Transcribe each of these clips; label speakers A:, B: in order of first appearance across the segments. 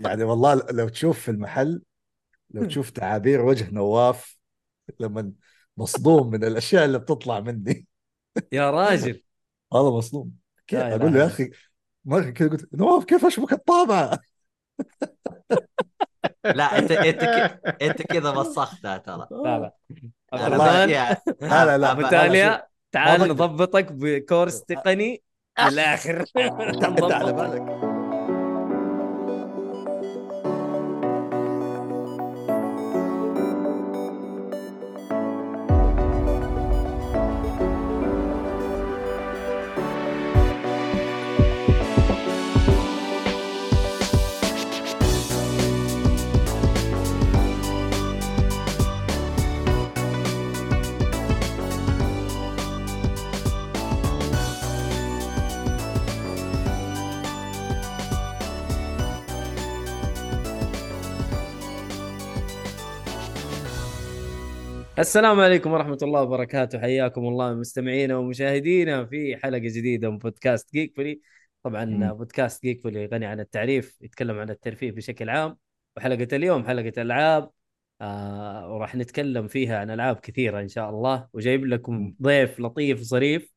A: يعني والله لو تشوف في المحل لو تشوف تعابير وجه نواف لما مصدوم من الاشياء اللي بتطلع مني
B: يا راجل
A: والله مصدوم كيف
B: لا
A: اقول له
B: اله
A: يا
B: الا
A: اخي مره كده قلت نواف كيف اشبك الطابعه
C: لا انت انت ك... انت كذا وسختها ترى
B: لا لا عبد
C: انا
A: والله لا لا
B: الرحمن
C: باقي
A: لا
B: ابو
A: لا لا
C: أبا...
A: شوف أه.
B: تاليا
A: ما
B: تعال
A: بقدر
B: نضبطك بكورس تقني من الاخر
A: انت على
B: نضبطك
A: بالك
B: السلام عليكم ورحمة الله وبركاته حياكم الله مستمعينا ومشاهدينا في حلقة جديدة من بودكاست جيكفولي طبعا
A: مم.
B: بودكاست جيكفولي غني عن التعريف يتكلم عن الترفيه بشكل عام وحلقة اليوم حلقة ألعاب آه وراح نتكلم فيها عن ألعاب كثيرة إن شاء الله وجايب لكم
A: مم.
B: ضيف لطيف ظريف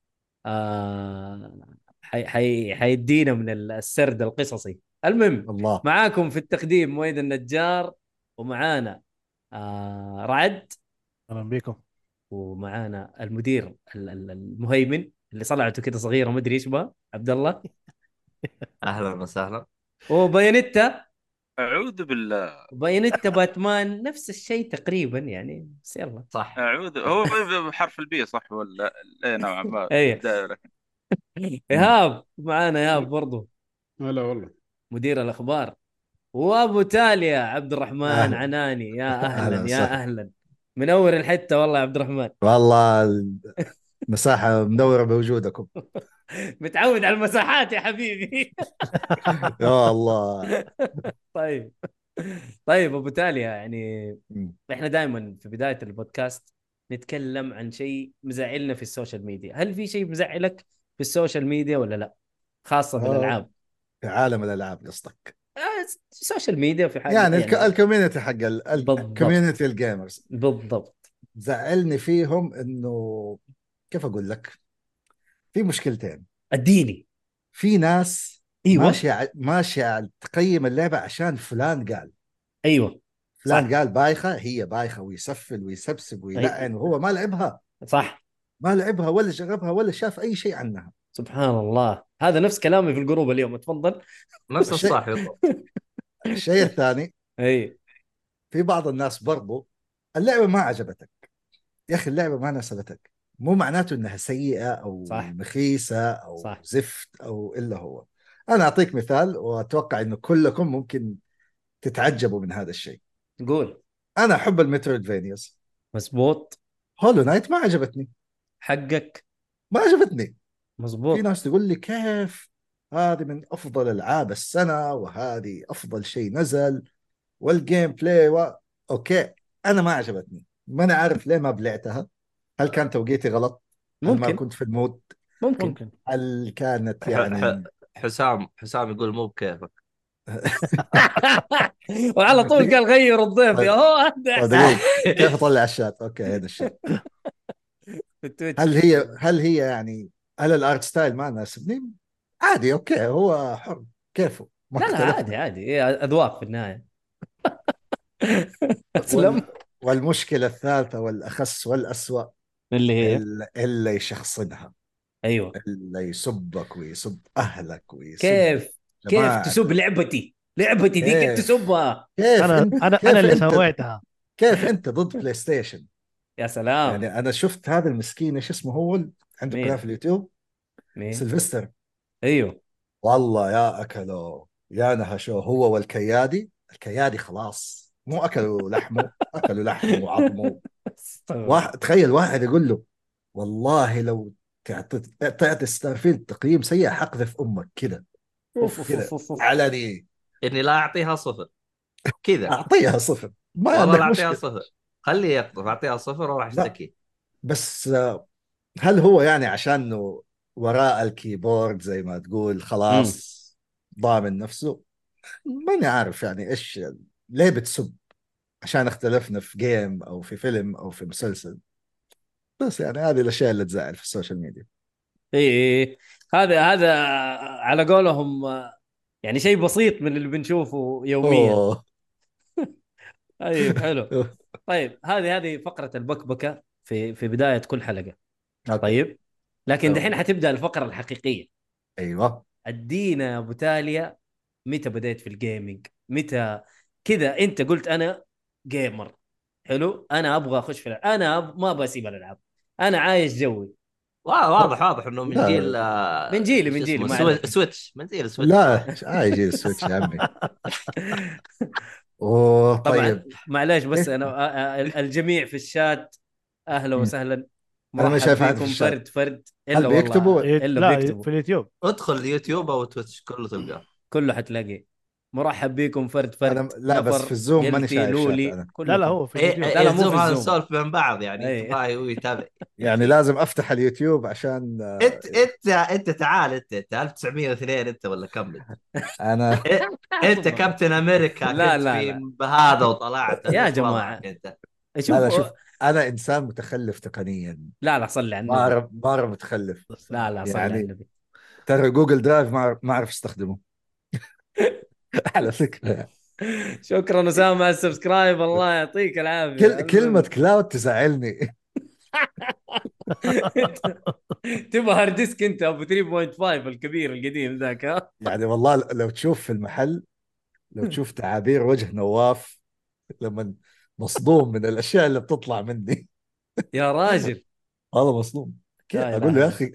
B: آه حي حي حيدينا من السرد القصصي المهم
A: الله
B: معاكم في التقديم مويد النجار ومعانا آه رعد
D: اهلا بكم
B: ومعانا المدير ال- ال- المهيمن اللي صلعته كده صغيره ما ادري ايش بها عبد الله
C: اهلا وسهلا
B: وبايونيتا
E: أعوذ بالله
B: بايونيتا باتمان نفس الشيء تقريبا يعني بس يلا
A: آه،
C: صح
E: أعوذ هو بحرف البي صح ولا إيه نوعا ما
B: اي
E: الدائرة
B: ايهاب معانا ايهاب برضو
D: هلا والله
B: مدير الاخبار وابو تاليا عبد الرحمن
A: أهلا.
B: عناني يا
A: أهلا
B: اهلا يا
A: وسهلا.
B: اهلا منور الحته والله يا عبد الرحمن
A: والله المساحه منوره بوجودكم
B: متعود على المساحات يا حبيبي
A: يا الله
B: طيب طيب ابو تاليا يعني
A: مم.
B: احنا دائما في بدايه البودكاست نتكلم عن شيء مزعلنا في السوشيال ميديا، هل في شيء مزعلك في السوشيال ميديا ولا لا؟ خاصه في
A: آه.
B: الالعاب.
A: في عالم الالعاب قصدك
B: آه، السوشيال ميديا في حاله
A: يعني الك-
B: يعني
A: الكوميونتي حق
B: بالضبط.
A: الكوميونتي الجيمرز
B: بالضبط
A: زعلني فيهم انه كيف اقول لك في مشكلتين
B: اديني
A: في ناس
B: ايوه
A: ماشيه ع- ماشيه على تقيم اللعبه عشان فلان قال
B: ايوه
A: فلان
B: صح
A: قال بايخه هي بايخه ويسفل ويسبسب ويلعن وهو ما لعبها
B: صح
A: ما لعبها ولا جربها ولا شاف اي شيء عنها
B: سبحان الله هذا نفس كلامي في الجروب اليوم تفضل
C: نفس
A: شيء-
C: الصح بالضبط
A: الشيء الثاني
B: اي
A: في بعض الناس برضو اللعبه ما عجبتك يا اخي اللعبه ما ناسبتك مو معناته انها سيئه او
B: صح.
A: مخيسه او
B: صح.
A: زفت او الا هو انا اعطيك مثال واتوقع انه كلكم ممكن تتعجبوا من هذا الشيء
B: قول
A: انا احب المترويدفينيوز
B: مزبوط
A: هولو نايت ما عجبتني
B: حقك
A: ما عجبتني
B: مزبوط
A: في ناس تقول لي كيف هذه من افضل العاب السنه وهذه افضل شيء نزل والجيم بلاي و... اوكي انا ما عجبتني ما انا عارف ليه ما بلعتها هل كان توقيتي غلط هل ما
B: ممكن
A: كنت في المود
B: ممكن
D: ممكن
A: هل كانت
C: ح-
A: يعني
C: حسام حسام يقول مو بكيفك
B: وعلى طول قال غير الضيف يا هو هذا
A: طيب
B: إحساس.
A: دقيقة كيف اطلع الشات؟ اوكي هذا الشات
B: في التويتش
A: هل هي هل هي يعني هل الارت ستايل ما ناسبني؟ عادي اوكي هو حر كيفه ما
B: لا لا
A: اختلفنا.
B: عادي عادي هي اذواق في النهايه اسلم
A: وال- والمشكله الثالثه والاخس والاسوأ
B: اللي هي
A: ال- الا يشخصنها
B: ايوه
A: الا يسبك ويسب اهلك ويسب
B: كيف كيف
A: جماعتك.
B: تسب لعبتي لعبتي دي كيف
A: كيف؟
B: تسبها
A: كيف
D: انا
A: انت
D: انا
A: إيه. كيف
D: انا اللي
A: انت
D: سويتها
A: كيف انت ضد بلاي ستيشن
B: يا سلام
A: يعني انا شفت هذا المسكين ايش اسمه هو ال- عنده
B: آه. مين؟
A: قناه في اليوتيوب
B: مين؟
A: سيلفستر
B: ايوه
A: والله يا اكلوا يا نهشوا هو والكيادي الكيادي خلاص مو اكلوا لحمه اكلوا لحمه وعظمه
B: استغفر.
A: واحد تخيل واحد يقول له والله لو تعطي تعطي ستارفيلد تقييم سيء حقذف امك كذا
B: أوف، أوف،
A: كذا.
B: أوف، أوف، أوف.
A: علني
C: اني لا اعطيها صفر كذا
A: اعطيها صفر آه، ما
C: والله لا
A: عندك
C: اعطيها
A: مشكله
C: صفر خليه يقطف اعطيها صفر واروح
A: لا.
C: اشتكي
A: بس آه، هل هو يعني عشان إنه وراء الكيبورد زي ما تقول خلاص ضامن نفسه ماني عارف يعني ايش ليه بتسب عشان اختلفنا في جيم او في فيلم او في مسلسل بس يعني هذه الاشياء اللي تزعل في السوشيال ميديا
B: اي اي إيه، هذا هذا على قولهم آه، يعني شيء بسيط من اللي بنشوفه يوميا
A: أوه.
B: طيب حلو طيب هذه هذه فقره البكبكه في في بدايه كل حلقه
A: أوكي.
B: طيب لكن
A: أوكي.
B: دحين حتبدا الفقره الحقيقيه
A: ايوه
B: ادينا يا ابو تاليا متى بديت في الجيمنج متى كذا انت قلت انا جيمر حلو انا ابغى اخش في الألعاب. انا أب... ما ابغى اسيب الالعاب انا عايش جوي
C: وا- واضح واضح انه من
A: لا.
C: جيل آه،
B: من جيلي،
C: شو
B: من جيلي،
C: اسمه؟
B: ما
C: سوي-
B: عليك.
C: سويتش من جيل
B: طيب.
C: سويتش
A: لا عايز السويتش يا عمي اوه
B: طبعا
A: طيب
B: معلش بس انا أ- أ- الجميع في الشات اهلا
A: مم.
B: وسهلا
A: أنا ما
B: مرحب
A: شايف أحد في
B: بكم
A: الشات.
B: فرد فرد
A: هل
B: الا
A: بيكتبوا
B: والله
A: إيه؟
B: إلا
D: لا
B: بيكتبوا.
D: في اليوتيوب
C: ادخل يوتيوب او تويتش كله تلقاه
B: كله حتلاقيه مرحب بكم فرد فرد
A: انا لا بس
B: نفر،
A: في الزوم ماني
B: قلتي،
A: شايف شات
B: لولي
A: أنا.
B: كلكم.
D: لا لا هو في
C: إيه،
D: اليوتيوب
C: إيه،
B: لا، لا، مو في
C: الزوم هذا
B: الزوم.
C: نسولف بين بعض يعني
B: إيه.
C: انت هاي ويتابع
A: يعني لازم افتح اليوتيوب عشان آه،
C: انت انت انت تعال انت انت 1902 انت ولا كم انت؟
A: انا
C: انت كابتن امريكا
B: لا،
C: كنت
B: لا،
C: في
B: لا.
C: بهذا وطلعت
B: يا
C: إيش
B: جماعة.
C: وضعك انت
B: شوف
A: لا لا شوف انا انسان متخلف تقنيا
B: لا لا صلي على النبي
A: مره مره متخلف
B: لا لا صلي على
A: يعني-
B: النبي
A: ترى جوجل درايف ما أعرف- ما اعرف استخدمه على فكره
B: شكرا اسامه على السبسكرايب الله يعطيك العافيه
A: كل كلمه كلاود تزعلني
B: تبغى هارد ديسك انت ابو 3.5 الكبير القديم ذاك ها
A: يعني والله لو تشوف في المحل لو تشوف تعابير وجه نواف لما مصدوم من الاشياء اللي بتطلع مني
B: يا راجل
A: هذا مصدوم كيف
B: لا
A: اقول له
B: إله
A: يا اخي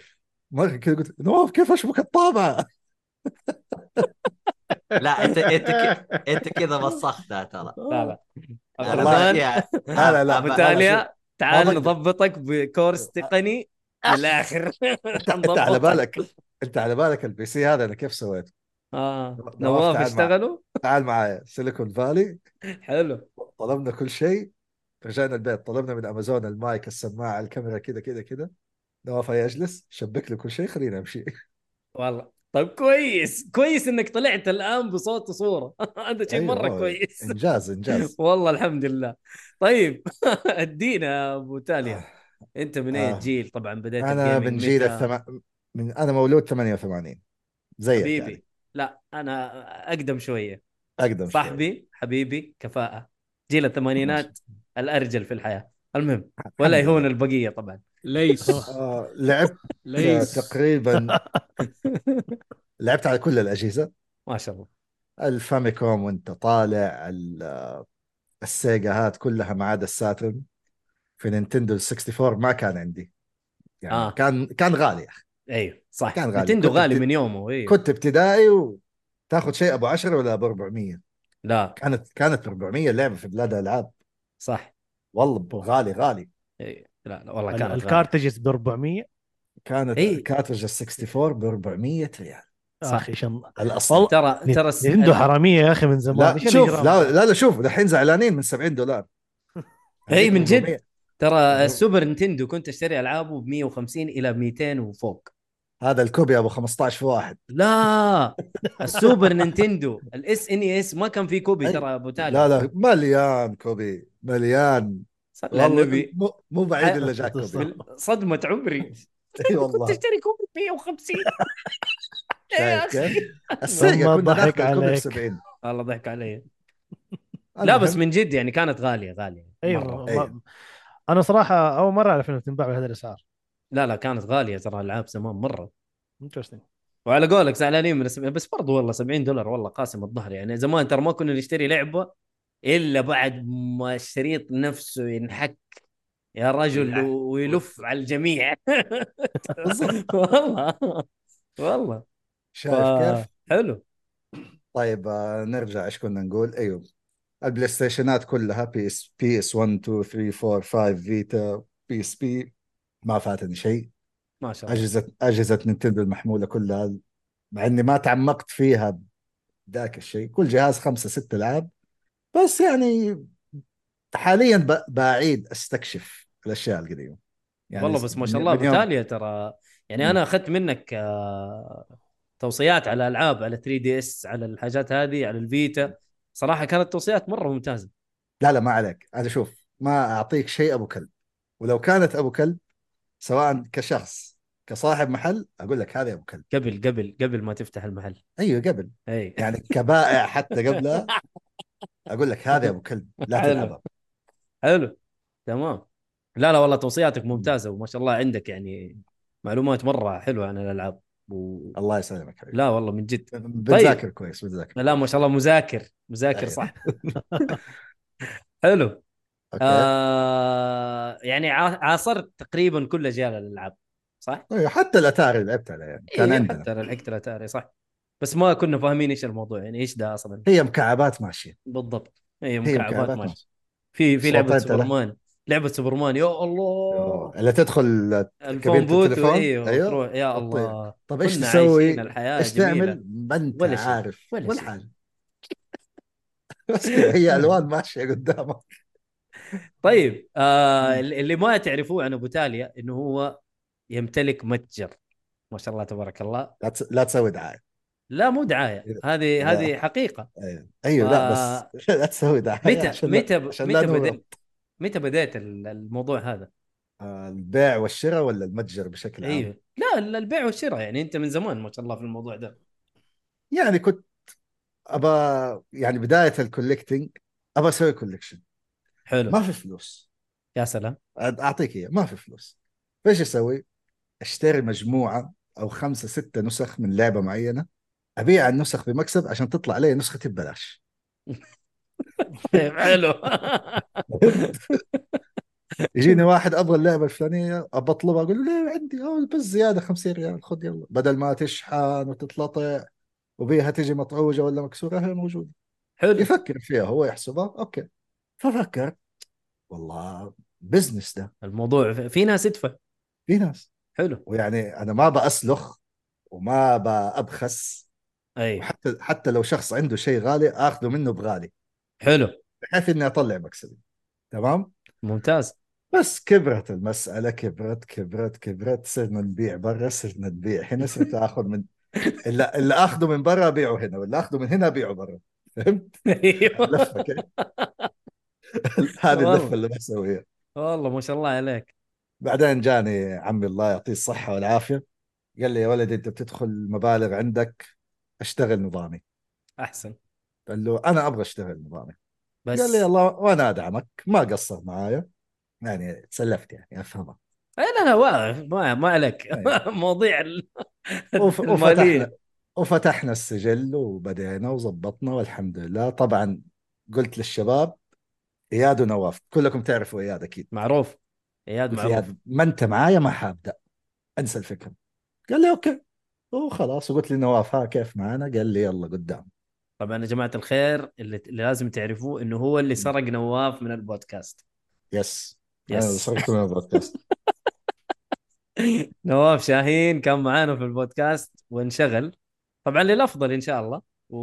A: مره كذا قلت نواف كيف اشبك الطابعه؟
C: لا انت انت ك- انت كذا وسختها ترى
B: لا لا
C: أنا
A: والله.
B: غلطان
C: بأشياء.
A: لا لا لا
C: أبا-
B: بتاليا تعال
A: بقدر.
B: نضبطك
A: آه.
B: بكورس تقني من الاخر
A: انت على بالك انت على بالك البي سي هذا انا كيف سويته؟
B: اه
A: نواف
B: نواف
A: تعال مع-
B: اشتغلوا
A: تعال معايا سيليكون فالي
B: حلو
A: طلبنا كل شيء رجعنا البيت طلبنا من امازون المايك السماعه الكاميرا كذا كذا كذا نواف هيا اجلس شبك له كل شيء خلينا امشي
B: والله طيب كويس كويس انك طلعت الان بصوت وصوره هذا شيء
A: أيوة،
B: مره
A: هو
B: كويس
A: انجاز انجاز
B: والله الحمد لله طيب ادينا يا ابو تاليا انت من اي
A: آه.
B: جيل طبعا بديت
A: انا
B: الجيمنج
A: من جيل
B: متى؟
A: الثم... من انا مولود 88 زيك
B: حبيبي
A: يعني
B: لا انا اقدم شويه
A: اقدم شوي.
B: صاحبي حبيبي كفاءه جيل الثمانينات الارجل في الحياه المهم
A: الحمد
B: ولا يهون
A: لله.
B: البقيه طبعا
F: ليس
A: آه لعبت
F: ليس
A: تقريبا لعبت على كل الاجهزه
B: ما شاء الله
A: الفاميكوم وانت طالع ال- السيجا هات كلها ما عدا الساترن في نينتندو 64 ما كان عندي يعني
B: آه.
A: آه. كان كان غالي يا أخي.
B: ايوه صح
A: كان غالي.
B: نتندو
A: كنت
B: غالي
A: بت-
B: من يومه ايوه
A: كنت ابتدائي وتاخذ شيء ابو 10 ولا ابو 400
B: لا
A: كانت كانت ب 400 لعبه في بلاد الالعاب
B: صح
A: والله غالي غالي
B: ايوه لا, لا والله
D: ال-
B: كان
D: الكارتجز ب 400
A: كانت
B: إيه.
A: الكارترج ال 64 ب 400 ريال
B: صح.
D: اخي شن
A: الاصل
D: والله
B: ترى ترى الس-
D: عنده حراميه يا اخي من زمان
A: لا
D: إيش
A: شوف
D: الإجرام؟
A: لا لا, لا شوف دحين زعلانين من 70 دولار يعني
B: إيه، من جد.
A: 400.
B: ترى السوبر نينتندو كنت اشتري العابه ب 150 الى 200 وفوق
A: هذا الكوبي ابو 15 في واحد
B: لا السوبر نينتندو الاس ان اس ما كان في كوبي
A: أي.
B: ترى ابو تالي
A: لا لا مليان كوبي مليان
B: صلى على
A: والله
B: النبي
A: مو مو بعيد
B: أ-
A: الا جاك كوبي
B: بال- صدمه عمري
A: اي
B: كنت
A: والله
B: اشتري كوبي ب 150 يا
A: شايف
B: اخي
A: كيف؟ السيجا
D: والله
A: كنا
D: ضحك
A: ناخذ الكوبي ب
D: عليك.
A: 70
B: الله ضحك علي لا
A: المهم،
B: بس من جد يعني كانت غاليه غاليه
D: ايوه
B: مرة.
A: أيوة.
D: ما... انا صراحه اول مره اعرف انها بتنباع بهذا الاسعار
B: لا لا كانت غاليه ترى العاب زمان مره
D: انترستنج
B: وعلى قولك زعلانين من السبعين بس برضو والله 70 دولار والله قاسم الظهر يعني زمان ترى ما كنا نشتري لعبه الا بعد ما الشريط نفسه ينحك يا رجل
C: ينحك.
B: و- ويلف على الجميع والله والله
A: شايف
B: آه.
A: كيف؟
B: حلو
A: طيب آه، نرجع ايش كنا نقول ايوه البلاي ستيشنات كلها بي اس بي اس 1 2 3 4 5 فيتا بي اس بي ما فاتني شيء
B: ما شاء الله
A: اجهزه اجهزه نينتندو المحموله كلها مع اني ما تعمقت فيها ذاك الشيء كل جهاز خمسة ست العاب بس يعني حاليا ب- بعيد استكشف الاشياء القديمه
B: والله بس ما شاء
A: يعني من-
B: الله
A: من يوم-
B: بتاليا ترى يعني انا اخذت منك آه، توصيات على العاب على 3 دي اس على الحاجات هذه على الفيتا صراحه كانت توصيات مره ممتازه
A: لا لا ما عليك انا شوف ما اعطيك شيء ابو كلب ولو كانت ابو كلب سواء كشخص كصاحب محل اقول لك هذا ابو كلب
B: قبل قبل قبل ما تفتح المحل إيه.
A: ايوه قبل
B: اي
A: يعني كبائع حتى قبلها اقول لك هذا ابو كلب لا
B: حلو.
A: تلعبها
B: حلو تمام لا لا والله توصياتك ممتازه وما شاء الله عندك يعني معلومات مره حلوه عن الالعاب و...
A: الله يسلمك حبيبي
B: لا والله من جد
A: بتذاكر كويس بتذاكر
B: طيب. لا ما شاء الله مذاكر مذاكر
A: أيوة.
B: صح حلو
A: اوكي
B: آه يعني ع- عاصرت تقريبا كل اجيال الالعاب صح؟
A: أيوة، حتى الاتاري لعبت عليها يعني كان
B: إيه،
A: عندنا
B: حتى الكترا تاري صح بس ما كنا فاهمين ايش الموضوع يعني ايش ده اصلا
A: هي مكعبات ماشيه
B: بالضبط هي
A: هي
B: مكعبات
A: إيه، مكعبات
B: ماشي
A: ماشيه
B: في في لعبه
A: صوتات له.
B: سوبرمان لعبه سوبرمان يا الله
A: اللي تدخل كبيرة
B: الفون بوت
A: التليفون،
B: ايوه
A: أيوة.
B: تروح يا
A: الطيب.
B: الله
A: طب ايش
B: كنا
A: تسوي
B: عايشين الحياه
A: ايش
B: جميلة.
A: تعمل ما انت
B: ولا شيء.
A: عارف
B: ولا
A: ولا
B: شيء.
A: حاجه بس كده، هي الوان ماشيه قدامك
B: طيب آه اللي ما تعرفوه عن ابو تاليا انه هو يمتلك متجر ما شاء الله تبارك الله
A: لا تس- لا تسوي دعايه
B: لا مو دعايه هذه
A: إيه. لا.
B: هذه حقيقه
A: ايوه ايوه لا بس لا تسوي دعايه
B: آه. متى
A: عشان لا-
B: متى
A: عشان لا
B: متى
A: نورط.
B: بدأت متى بدأت ال- الموضوع هذا
A: آه، البيع والشراء ولا المتجر بشكل عام
B: ايوه لا ال- البيع والشراء يعني انت من زمان ما شاء الله في الموضوع ده
A: يعني كنت ابى يعني بدايه الكوليكتنج ابى اسوي كوليكشن
B: حلو
A: ما في فلوس
B: يا سلام
A: أد- اعطيك اياه ما في فلوس فايش اسوي؟ اشتري مجموعه او خمسه سته نسخ من لعبه معينه ابيع النسخ بمكسب عشان تطلع لي نسختي ببلاش
B: طيب حلو
A: يجيني واحد ابغى اللعبه الفلانيه ابى اطلبها اقول له ليه عندي أو بس زياده 50 ريال خذ يلا بدل ما تشحن وتتلطع وبيها تجي مطعوجه ولا مكسوره هي موجوده
B: حلو
A: يفكر فيها هو يحسبها اوكي ففكر والله بزنس ده
B: الموضوع في- في ناس تدفع
A: في ناس
B: حلو
A: ويعني انا ما بأسلخ وما بأبخس
B: اي
A: وحتى حتى لو شخص عنده شيء غالي اخذه منه بغالي
B: حلو
A: بحيث اني اطلع مكسبي تمام
B: ممتاز
A: بس كبرت المسألة كبرت كبرت كبرت صرنا نبيع برا صرنا نبيع هنا صرت اخذ من اللي, اللي اخذه من برا ابيعه هنا واللي اخذه من هنا ابيعه برا فهمت؟
B: ايوه
A: لفة كده هذه
B: والله.
A: اللفة اللي بسويها
B: والله ما شاء الله عليك
A: بعدين جاني عمي الله يعطيه الصحة والعافية قال لي يا ولدي انت بتدخل مبالغ عندك اشتغل نظامي
B: احسن
A: قال له انا ابغى اشتغل نظامي
B: بس
A: قال لي يلا وانا ادعمك ما قصر معايا يعني تسلفت يعني افهمه
B: إيه، لا لا واقف ما ما عليك
A: أيوة.
B: مواضيع ال-
A: وف-
B: المالية.
A: وفتحنا وفتحنا السجل وبدينا وظبطنا والحمد لله طبعا قلت للشباب اياد ونواف كلكم تعرفوا اياد اكيد
B: معروف اياد
A: قلت
B: معروف
A: اياد ما انت معايا ما حابدا انسى الفكره قال لي اوكي وخلاص وقلت لنواف ها كيف معانا قال لي يلا قدام
B: طبعا يا جماعه الخير اللي, اللي لازم تعرفوه انه هو اللي سرق نواف من البودكاست
A: يس أنا
B: يس
A: صرت من البودكاست
B: نواف شاهين كان معانا في البودكاست وانشغل طبعا للافضل ان شاء الله و...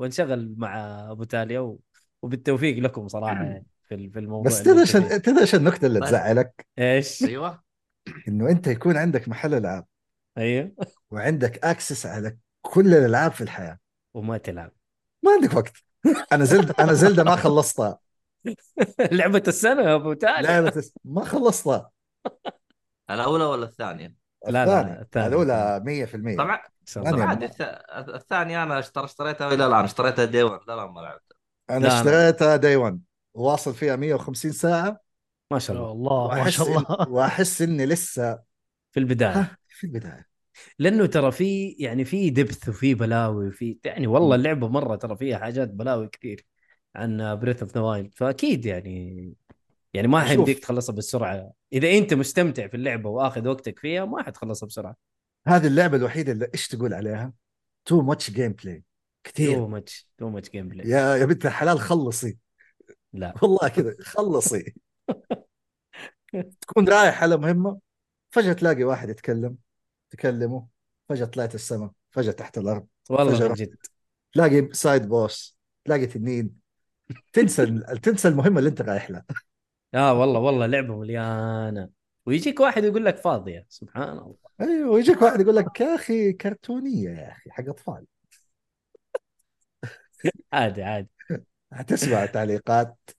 B: وانشغل مع ابو تاليا و... وبالتوفيق لكم صراحه يعني في ال- في الموضوع
A: بس
B: اللي
A: تدري
B: أنت
A: إيش-
B: فيه.
A: تدري ايش النكته اللي
C: طيب.
A: تزعلك
B: ايش
C: ايوه
A: انه انت يكون عندك محل العاب
B: ايوه
A: وعندك اكسس على كل الالعاب في الحياه
B: وما تلعب
A: ما عندك وقت انا زلد انا زلده ما خلصتها
B: لعبه السنه يا ابو تاليا
A: لعبه الس- ما خلصتها
C: الاولى ولا الثانيه؟
B: لا،
A: الثانية.
B: الثانية.
A: الاولى 100%
C: طبعا
B: إن شاء
A: ثانية.
B: الله.
C: طبعا عادي الث- الثانيه انا اشتري اشتريتها الى الان اشتريتها دي 1 لا لا ما لعبتها
A: انا
B: لا، أنا-
A: اشتريتها داي 1 واصل فيها 150 ساعه
B: ما شاء الله
D: الله ما
A: واحس
D: شاء
A: إن...
D: الله
A: واحس اني لسه
B: في البدايه
A: ها، في البدايه
B: لانه ترى في يعني في دبث وفي بلاوي وفي يعني والله اللعبه مره ترى فيها حاجات بلاوي كثير عن بريث اوف ذا وايلد فاكيد يعني يعني ما
A: شوف.
B: حيمديك تخلصها بالسرعه اذا انت مستمتع في اللعبه واخذ وقتك فيها ما حتخلصها بسرعه
A: هذه اللعبه الوحيده اللي ايش تقول عليها؟ تو ماتش جيم بلاي
B: تو
A: كثير
B: ماتش تو ماتش جيم بلاي
A: يا يا بنت الحلال خلصي
B: لا
A: والله كذا خلصي تكون رايح على مهمه فجاه تلاقي واحد يتكلم تكلمه فجاه طلعت السماء فجاه تحت الارض
B: والله
A: فجرة.
B: من جد
A: تلاقي سايد بوس تلاقي تنين تنسى تنسى المهمه اللي انت رايح لها
B: آه، اه والله والله لعبه مليانه ويجيك واحد يقول لك فاضيه سبحان الله
A: ايوه ويجيك واحد يقول لك يا اخي كرتونيه يا اخي حق اطفال
B: عادي عادي
A: حتسمع تعليقات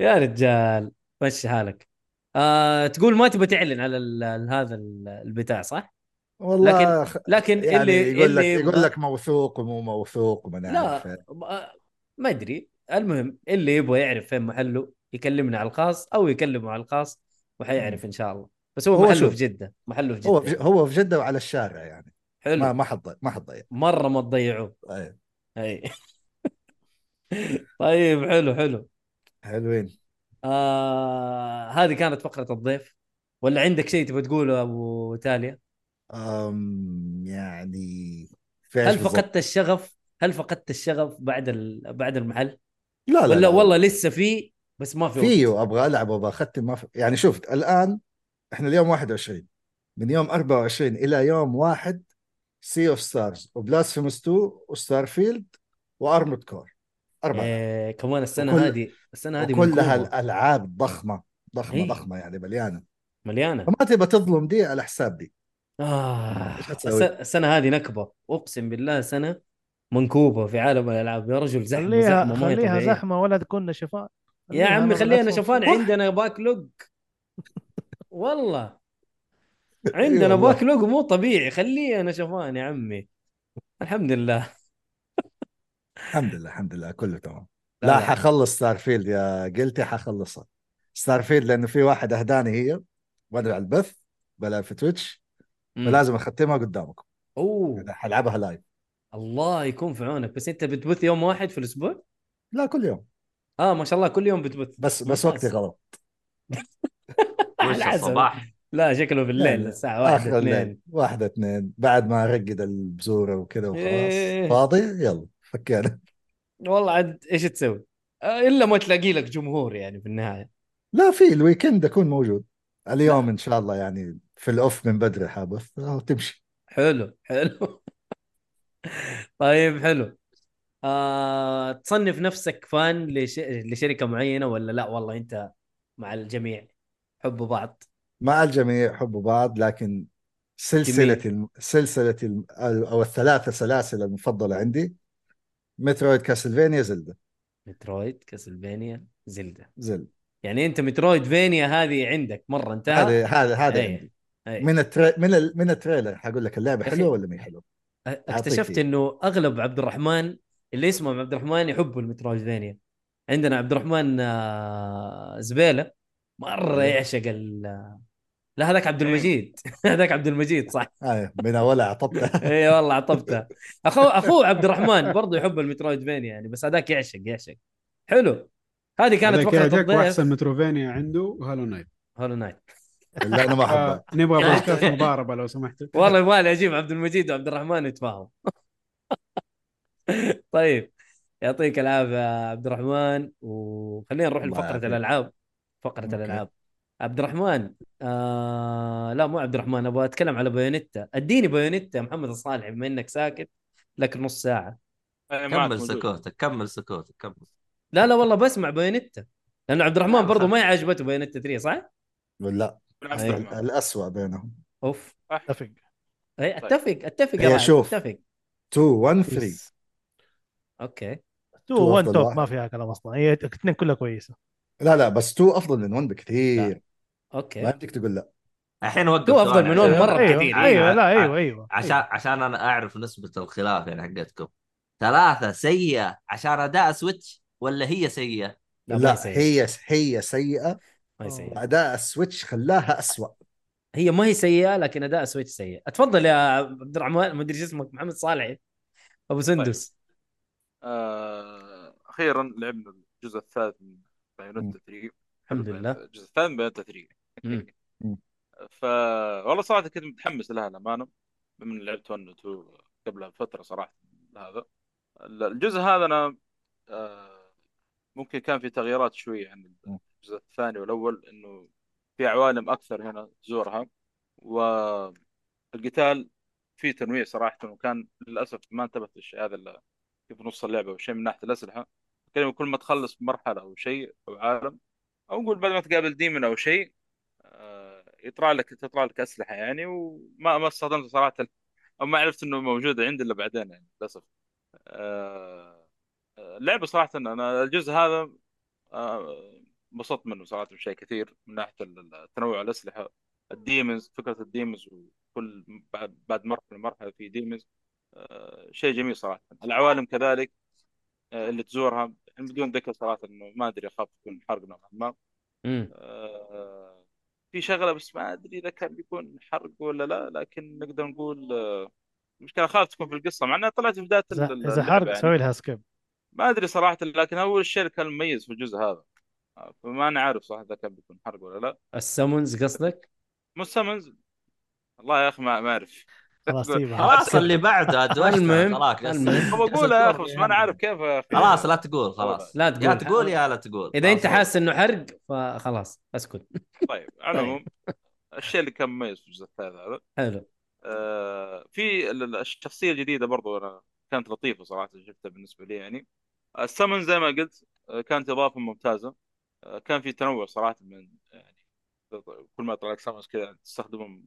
B: يا رجال مشي حالك آه تقول ما تبى تعلن على ال- ال- هذا ال- البتاع صح؟
A: والله خ-
B: لكن
A: يعني
B: اللي
A: يقول لك
B: اللي
A: يقول لك موثوق ومو موثوق وما أنا
B: لا.
A: عارف.
B: ما- ما ادري المهم اللي يبغى يعرف فين محله يكلمنا على الخاص او يكلمه على الخاص وحيعرف ان شاء الله بس هو,
A: هو
B: محله
A: شوف.
B: في جده محله في جده
A: هو في- هو في جده وعلى الشارع يعني
B: حلو
A: ما ما حتضيع ما حتضيع
B: مره ما تضيعوه
A: أيوة.
B: اي طيب حلو حلو
A: حلوين
B: آه هذه كانت فقره الضيف ولا عندك شيء تبغى تقوله ابو تاليا
A: أم يعني في إيش
B: هل
A: بالضبط؟
B: فقدت الشغف هل فقدت الشغف بعد ال... بعد المحل
A: لا لا
B: ولا
A: لا.
B: والله لسه في بس ما في وقت.
A: فيه ابغى العب وابغى اختم ما في... يعني شوف الان احنا اليوم 21 من يوم 24 الى يوم واحد سي اوف ستارز وبلاسفيموس 2 وستار فيلد وارمد كور اربع
B: إيه كمان السنه
A: وكل-
B: هذه السنه هذه
A: وكلها
B: منكوبة.
A: الالعاب ضخمه ضخمه
B: إيه.
A: ضخمه يعني مليانه
B: مليانه
A: فما تبى تظلم دي على حساب دي
B: آه
A: إيش
B: الس-
A: حتسوي؟
B: السنة هذه نكبة أقسم بالله سنة منكوبة في عالم الألعاب يا رجل زحمة
D: خليها
B: زحمة ما هي
D: خليها
B: طبيعية
D: زحمه ولا تكون نشفان
B: يا عمي خلينا شوفان
A: صح.
B: عندنا باك لوج والله
A: إي
B: عندنا
A: والله.
B: باك لوج مو طبيعي خلينا شوفان يا عمي الحمد لله
A: الحمد لله الحمد لله كله تمام
B: لا،
A: لا,
B: لا.
A: حخلص ستار فيلد يا قلتي حخلصها ستار فيلد لانه في واحد اهداني هي وانا على البث بلا في تويتش فلازم اختمها قدامكم
B: أوه
A: أنا حلعبها لايف
B: الله يكون في عونك بس أنت بتبث يوم واحد في الأسبوع؟
A: لا كل يوم
B: آه ما شاء الله كل يوم بتبث
A: بس بس
B: ممتاز.
A: وقتي غلط
B: على
C: وش
B: حسب.
C: الصباح
B: لا شكله
A: لا،
B: بالليل
A: لا.
B: الساعة واحدة
A: اخر
B: اثنين
A: الليل واحدة اثنين بعد ما ارقد البزورة وكذا وخلاص
B: إيه.
A: فاضي يلا فكينا
B: والله عاد ايش تسوي؟ آه، الا ما تلاقي لك جمهور يعني في النهايه
A: لا في الويكند اكون موجود اليوم ان شاء الله يعني في الاوف من بدري حابث أو تمشي
B: حلو حلو طيب حلو آه، تصنف نفسك فان لش... لشركه معينه ولا لا والله انت مع الجميع حبوا بعض
A: مع الجميع حبوا بعض لكن سلسلة الم... سلسلة الم... او الثلاثة سلاسل المفضلة عندي مترويد كاسلفينيا زلدة
B: مترويد كاسلفينيا زلدة
A: زلدة
B: يعني انت مترويد فينيا هذه عندك مره انتهى
A: هذا هذا هذا
B: إيه.
A: عندي
B: أي.
A: من التري... من ال... من التريلر حقول لك اللعبة
B: أخي.
A: حلوة ولا ما هي حلوة أعطيك
B: اكتشفت
A: إيه.
B: انه اغلب عبد الرحمن اللي اسمه عبد الرحمن يحبوا المترويدفانيا عندنا عبد الرحمن آه، زبيله مره
F: إيه.
A: أيوه.
B: يعشق ال آه، لا هذاك عبد المجيد هذاك عبد المجيد صح
A: آه من اولها عطبتها
B: اي والله عطبتها اخو اخوه عبد الرحمن برضه يحب المترويدفانيا يعني بس هذاك يعشق يعشق حلو هذه كانت
F: هذاك
B: فقره
F: هذاك
B: الضيف
F: واحسن متروفينيا عنده وهالو نايت
B: هولو نايت
A: اللي انا ما احبها
F: آه، نبغى بودكاست مضاربه لو سمحت
B: والله يبغالي اجيب عبد المجيد وعبد الرحمن يتفاهم طيب يعطيك العافيه عبد الرحمن وخلينا نروح
A: الله
B: لفقره
A: يعافيك.
B: الالعاب فقره
A: أوكي.
B: الالعاب عبد الرحمن آه... لا مو عبد الرحمن ابغى اتكلم على بايونيتا اديني بايونيتا يا محمد الصالح بما انك ساكت لك نص ساعه
E: إيه، معك
C: كمل
E: موجود.
C: سكوتك كمل سكوتك كمل
B: لا لا والله بسمع بايونيتا لانه عبد الرحمن
C: لا،
B: برضه
C: خلاص.
B: ما عجبته بايونيتا 3 صح؟
A: ولا
E: من عبد
B: أيوه.
E: الرحمن.
A: الأسوأ بينهم
B: اوف
D: اتفق
B: أي
A: طيب.
B: اتفق اتفق إيه، يا
A: هي
B: واحد،
A: إيه، شوف.
B: اتفق
A: 2 1 3
D: يس.
B: اوكي
D: تو
A: تو
D: وان
A: أفضل
D: توب
A: واحد.
D: ما فيها كلام اصلا هي إيه، الاثنين كلها كويسه
A: لا لا بس 2 افضل من 1 بكثير ما
B: اوكي
A: يمديك تقول لا
C: الحين وقف
B: هو أفضل
C: ثواني
B: من أول
C: عشان-
B: مرة
D: ايوه
B: كثير. أيوه.
D: ايوه لا
C: عشان-
D: ايوه ايوه
C: عشان عشان انا اعرف نسبه الخلاف يعني حقتكم ثلاثه سيئه عشان اداء سويتش ولا هي سيئه؟
B: لا, ما هي
A: لا
B: سيئة.
A: هي هي سيئه
B: ما هي سيئة.
A: اداء السويتش خلاها أسوأ
B: هي ما هي سيئه لكن اداء سويتش سيء اتفضل يا عبد الرحمن ما ادري شو اسمك محمد صالح
C: طيب.
B: ابو سندس
E: آه، اخيرا لعبنا الجزء الثالث من بايونيتا 3
C: طيب.
B: الحمد لله
E: الجزء الثالث من بايونيتا 3
B: مم.
A: مم.
E: ف والله صراحه كنت متحمس لها الامانه بما اني لعبت 1 و 2 قبلها بفتره صراحه هذا الجزء هذا انا آه، ممكن كان في تغييرات شويه عن
A: مم.
E: الجزء الثاني والاول انه في عوالم اكثر هنا تزورها والقتال فيه تنويع صراحه وكان للاسف ما انتبهت للشيء هذا الا في نص اللعبه وشيء من ناحيه الاسلحه كان كل ما تخلص مرحله او شيء او عالم او نقول بعد ما تقابل ديمن او شيء آه، يطلع لك تطلع لك اسلحه يعني وما ما استخدمت صراحه او ما عرفت انه موجود عندي الا بعدين يعني للاسف آه، آه، لعبه صراحه انا الجزء هذا آه، انبسطت منه صراحه بشيء كثير من ناحيه التنوع الاسلحه الديمز فكره الديمز وكل بعد بعد مرحله مرحله في ديمز آه، شيء جميل صراحه العوالم كذلك آه، اللي تزورها بدون ذكر صراحه انه ما ادري اخاف يكون حرق نوعا ما
B: مم.
E: آه، في شغله بس ما ادري اذا كان بيكون حرق ولا لا لكن نقدر نقول آه، المشكله خاف تكون في القصه مع انها طلعت في بدايه ال-
D: اذا
E: ال-
D: اذا
E: اللعبة يعني.
D: حرق سوي لها سكيب
E: ما ادري صراحه لكن هو الشيء اللي كان مميز في الجزء هذا آه، فما انا عارف صراحه اذا كان بيكون حرق ولا لا
B: السمونز قصدك؟
E: مو سامنز والله يا اخي ما ما اعرف
D: خلاص سيبها
C: خلاص اللي بعده
B: المهم،
C: ادوشنا خلاص
B: المهم.
E: ابغى اقولها يا اخي
C: يعني.
E: بس ما انا عارف كيف يا اخي
C: خلاص لا تقول خلاص
B: لا
C: يا
B: تقول
C: تقول يا لا تقول
B: اذا انت
C: خلاص.
B: حاسس انه حرق فخلاص اسكت
E: طيب على العموم الشيء اللي كان مميز في الجزء الثالث هذا
B: حلو
E: آه، في ال- ال- الشخصيه الجديده برضو انا كانت لطيفه صراحه شفتها بالنسبه لي يعني السمن زي ما قلت آه، كانت اضافه ممتازه آه، كان في تنوع صراحه من يعني كل ما يطلع لك سمنز كذا تستخدمهم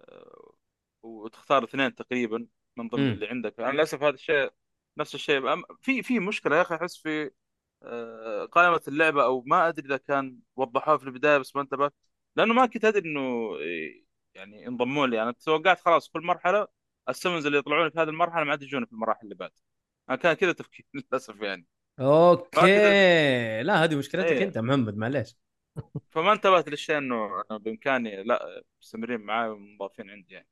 E: آه، وتختار اثنين تقريبا من ضمن
B: مم.
E: اللي عندك انا للاسف هذا الشيء نفس الشيء أم- في في مشكله يا اخي احس في آه، قائمه اللعبه او ما ادري اذا كان وضحوها في البدايه بس ما انتبهت لانه ما كنت ادري انه إيه، يعني انضموا لي انا توقعت خلاص كل مرحله السمنز اللي يطلعون في هذه المرحله ما عاد يجون في المراحل اللي بعد انا كان كذا تفكير للاسف يعني
B: اوكي لا هذه مشكلتك
E: إيه.
B: انت محمد معليش
E: فما انتبهت للشيء انه أنا بامكاني لا مستمرين معي ومضافين عندي يعني